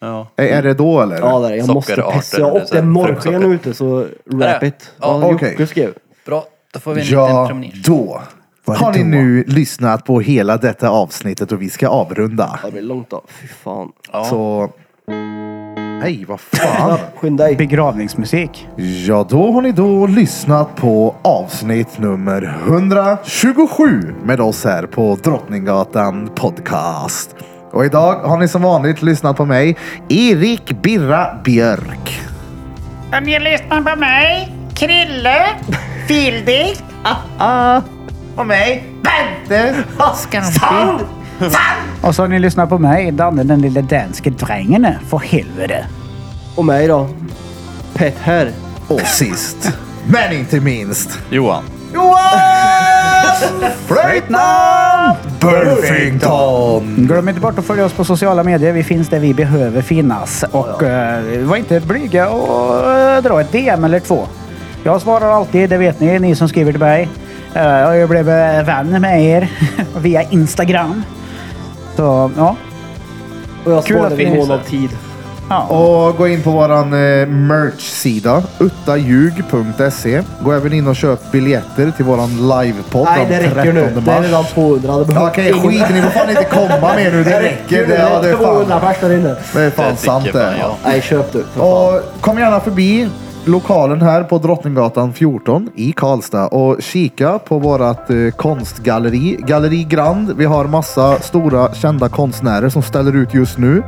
Ja. Är, är det då eller? Ja, det är, det. jag måste Sockerarter, pissa. Jag eller åkte så här, morgon fruktsocker. ute så wrap Där. it. Ja, okej. Jocke skrev. Bra, då får vi en liten Ja, promenad. då. Har ni nu lyssnat på hela detta avsnittet och vi ska avrunda. Ja, Det blir långt då. Fy fan. Så... Nej, vad fan. Snabbt, Skynda dig. Begravningsmusik. Ja, då har ni då lyssnat på avsnitt nummer 127 med oss här på Drottninggatan Podcast. Och idag har ni som vanligt lyssnat på mig, Erik Birra Björk. Om ni lyssnar på mig, Krille, Fildig Och mig, Bente. Skamfil. Och så har ni lyssnat på mig, Danne den lille danske drängen. För helvete. Och mig då. Pet här. Och sist, men inte minst, Johan. Johan Flöjtnant Burfington. Glöm inte bort att följa oss på sociala medier. Vi finns där vi behöver finnas. Och eh, var inte blyga och eh, dra ett DM eller två. Jag svarar alltid, det vet ni, ni som skriver till mig. Eh, och jag blev eh, vän med er via Instagram. Så ja. Och jag Kul sparade att vi en finns månad tid. Och gå in på våran eh, merch-sida, uttaljug.se. Gå även in och köp biljetter till våran livepodd Nej, det räcker nu. Det är mars. redan 200. Det Ja, behövs Okej, ingen- skit ni får fan inte komma med nu. Det räcker. Det, ja, det är 200 fan, pers där inne. det är fan Det tycker sant det. man, ja. Nej, köp du. Och kom gärna förbi lokalen här på Drottninggatan 14 i Karlstad och kika på vårat eh, konstgalleri, Galleri Grand. Vi har massa stora kända konstnärer som ställer ut just nu.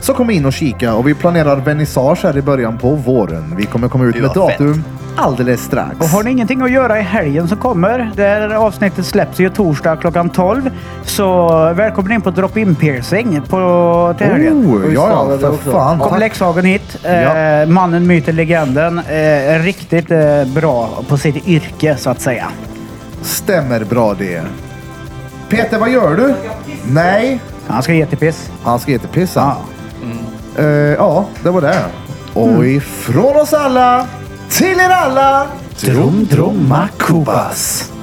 Så kom in och kika och vi planerar vernissage här i början på våren. Vi kommer komma ut med vad fett. datum alldeles strax. Och har ni ingenting att göra i helgen som kommer, det här avsnittet släpps ju torsdag klockan 12. Så välkommen in på Drop-In Piercing på, till helgen. Oh, Oj, ja, fan, ja, det för också. fan. Kom Tack. Lekshagen hit. Eh, Ja. Mannen, myten, legenden. Eh, riktigt eh, bra på sitt yrke så att säga. Stämmer bra det. Peter, vad gör du? Nej, Han ska ge till piss. Han ska heta Piss Ah. han. Eh, ja, det var det. Och ifrån oss alla, till er alla, Drom Dromma Kubas.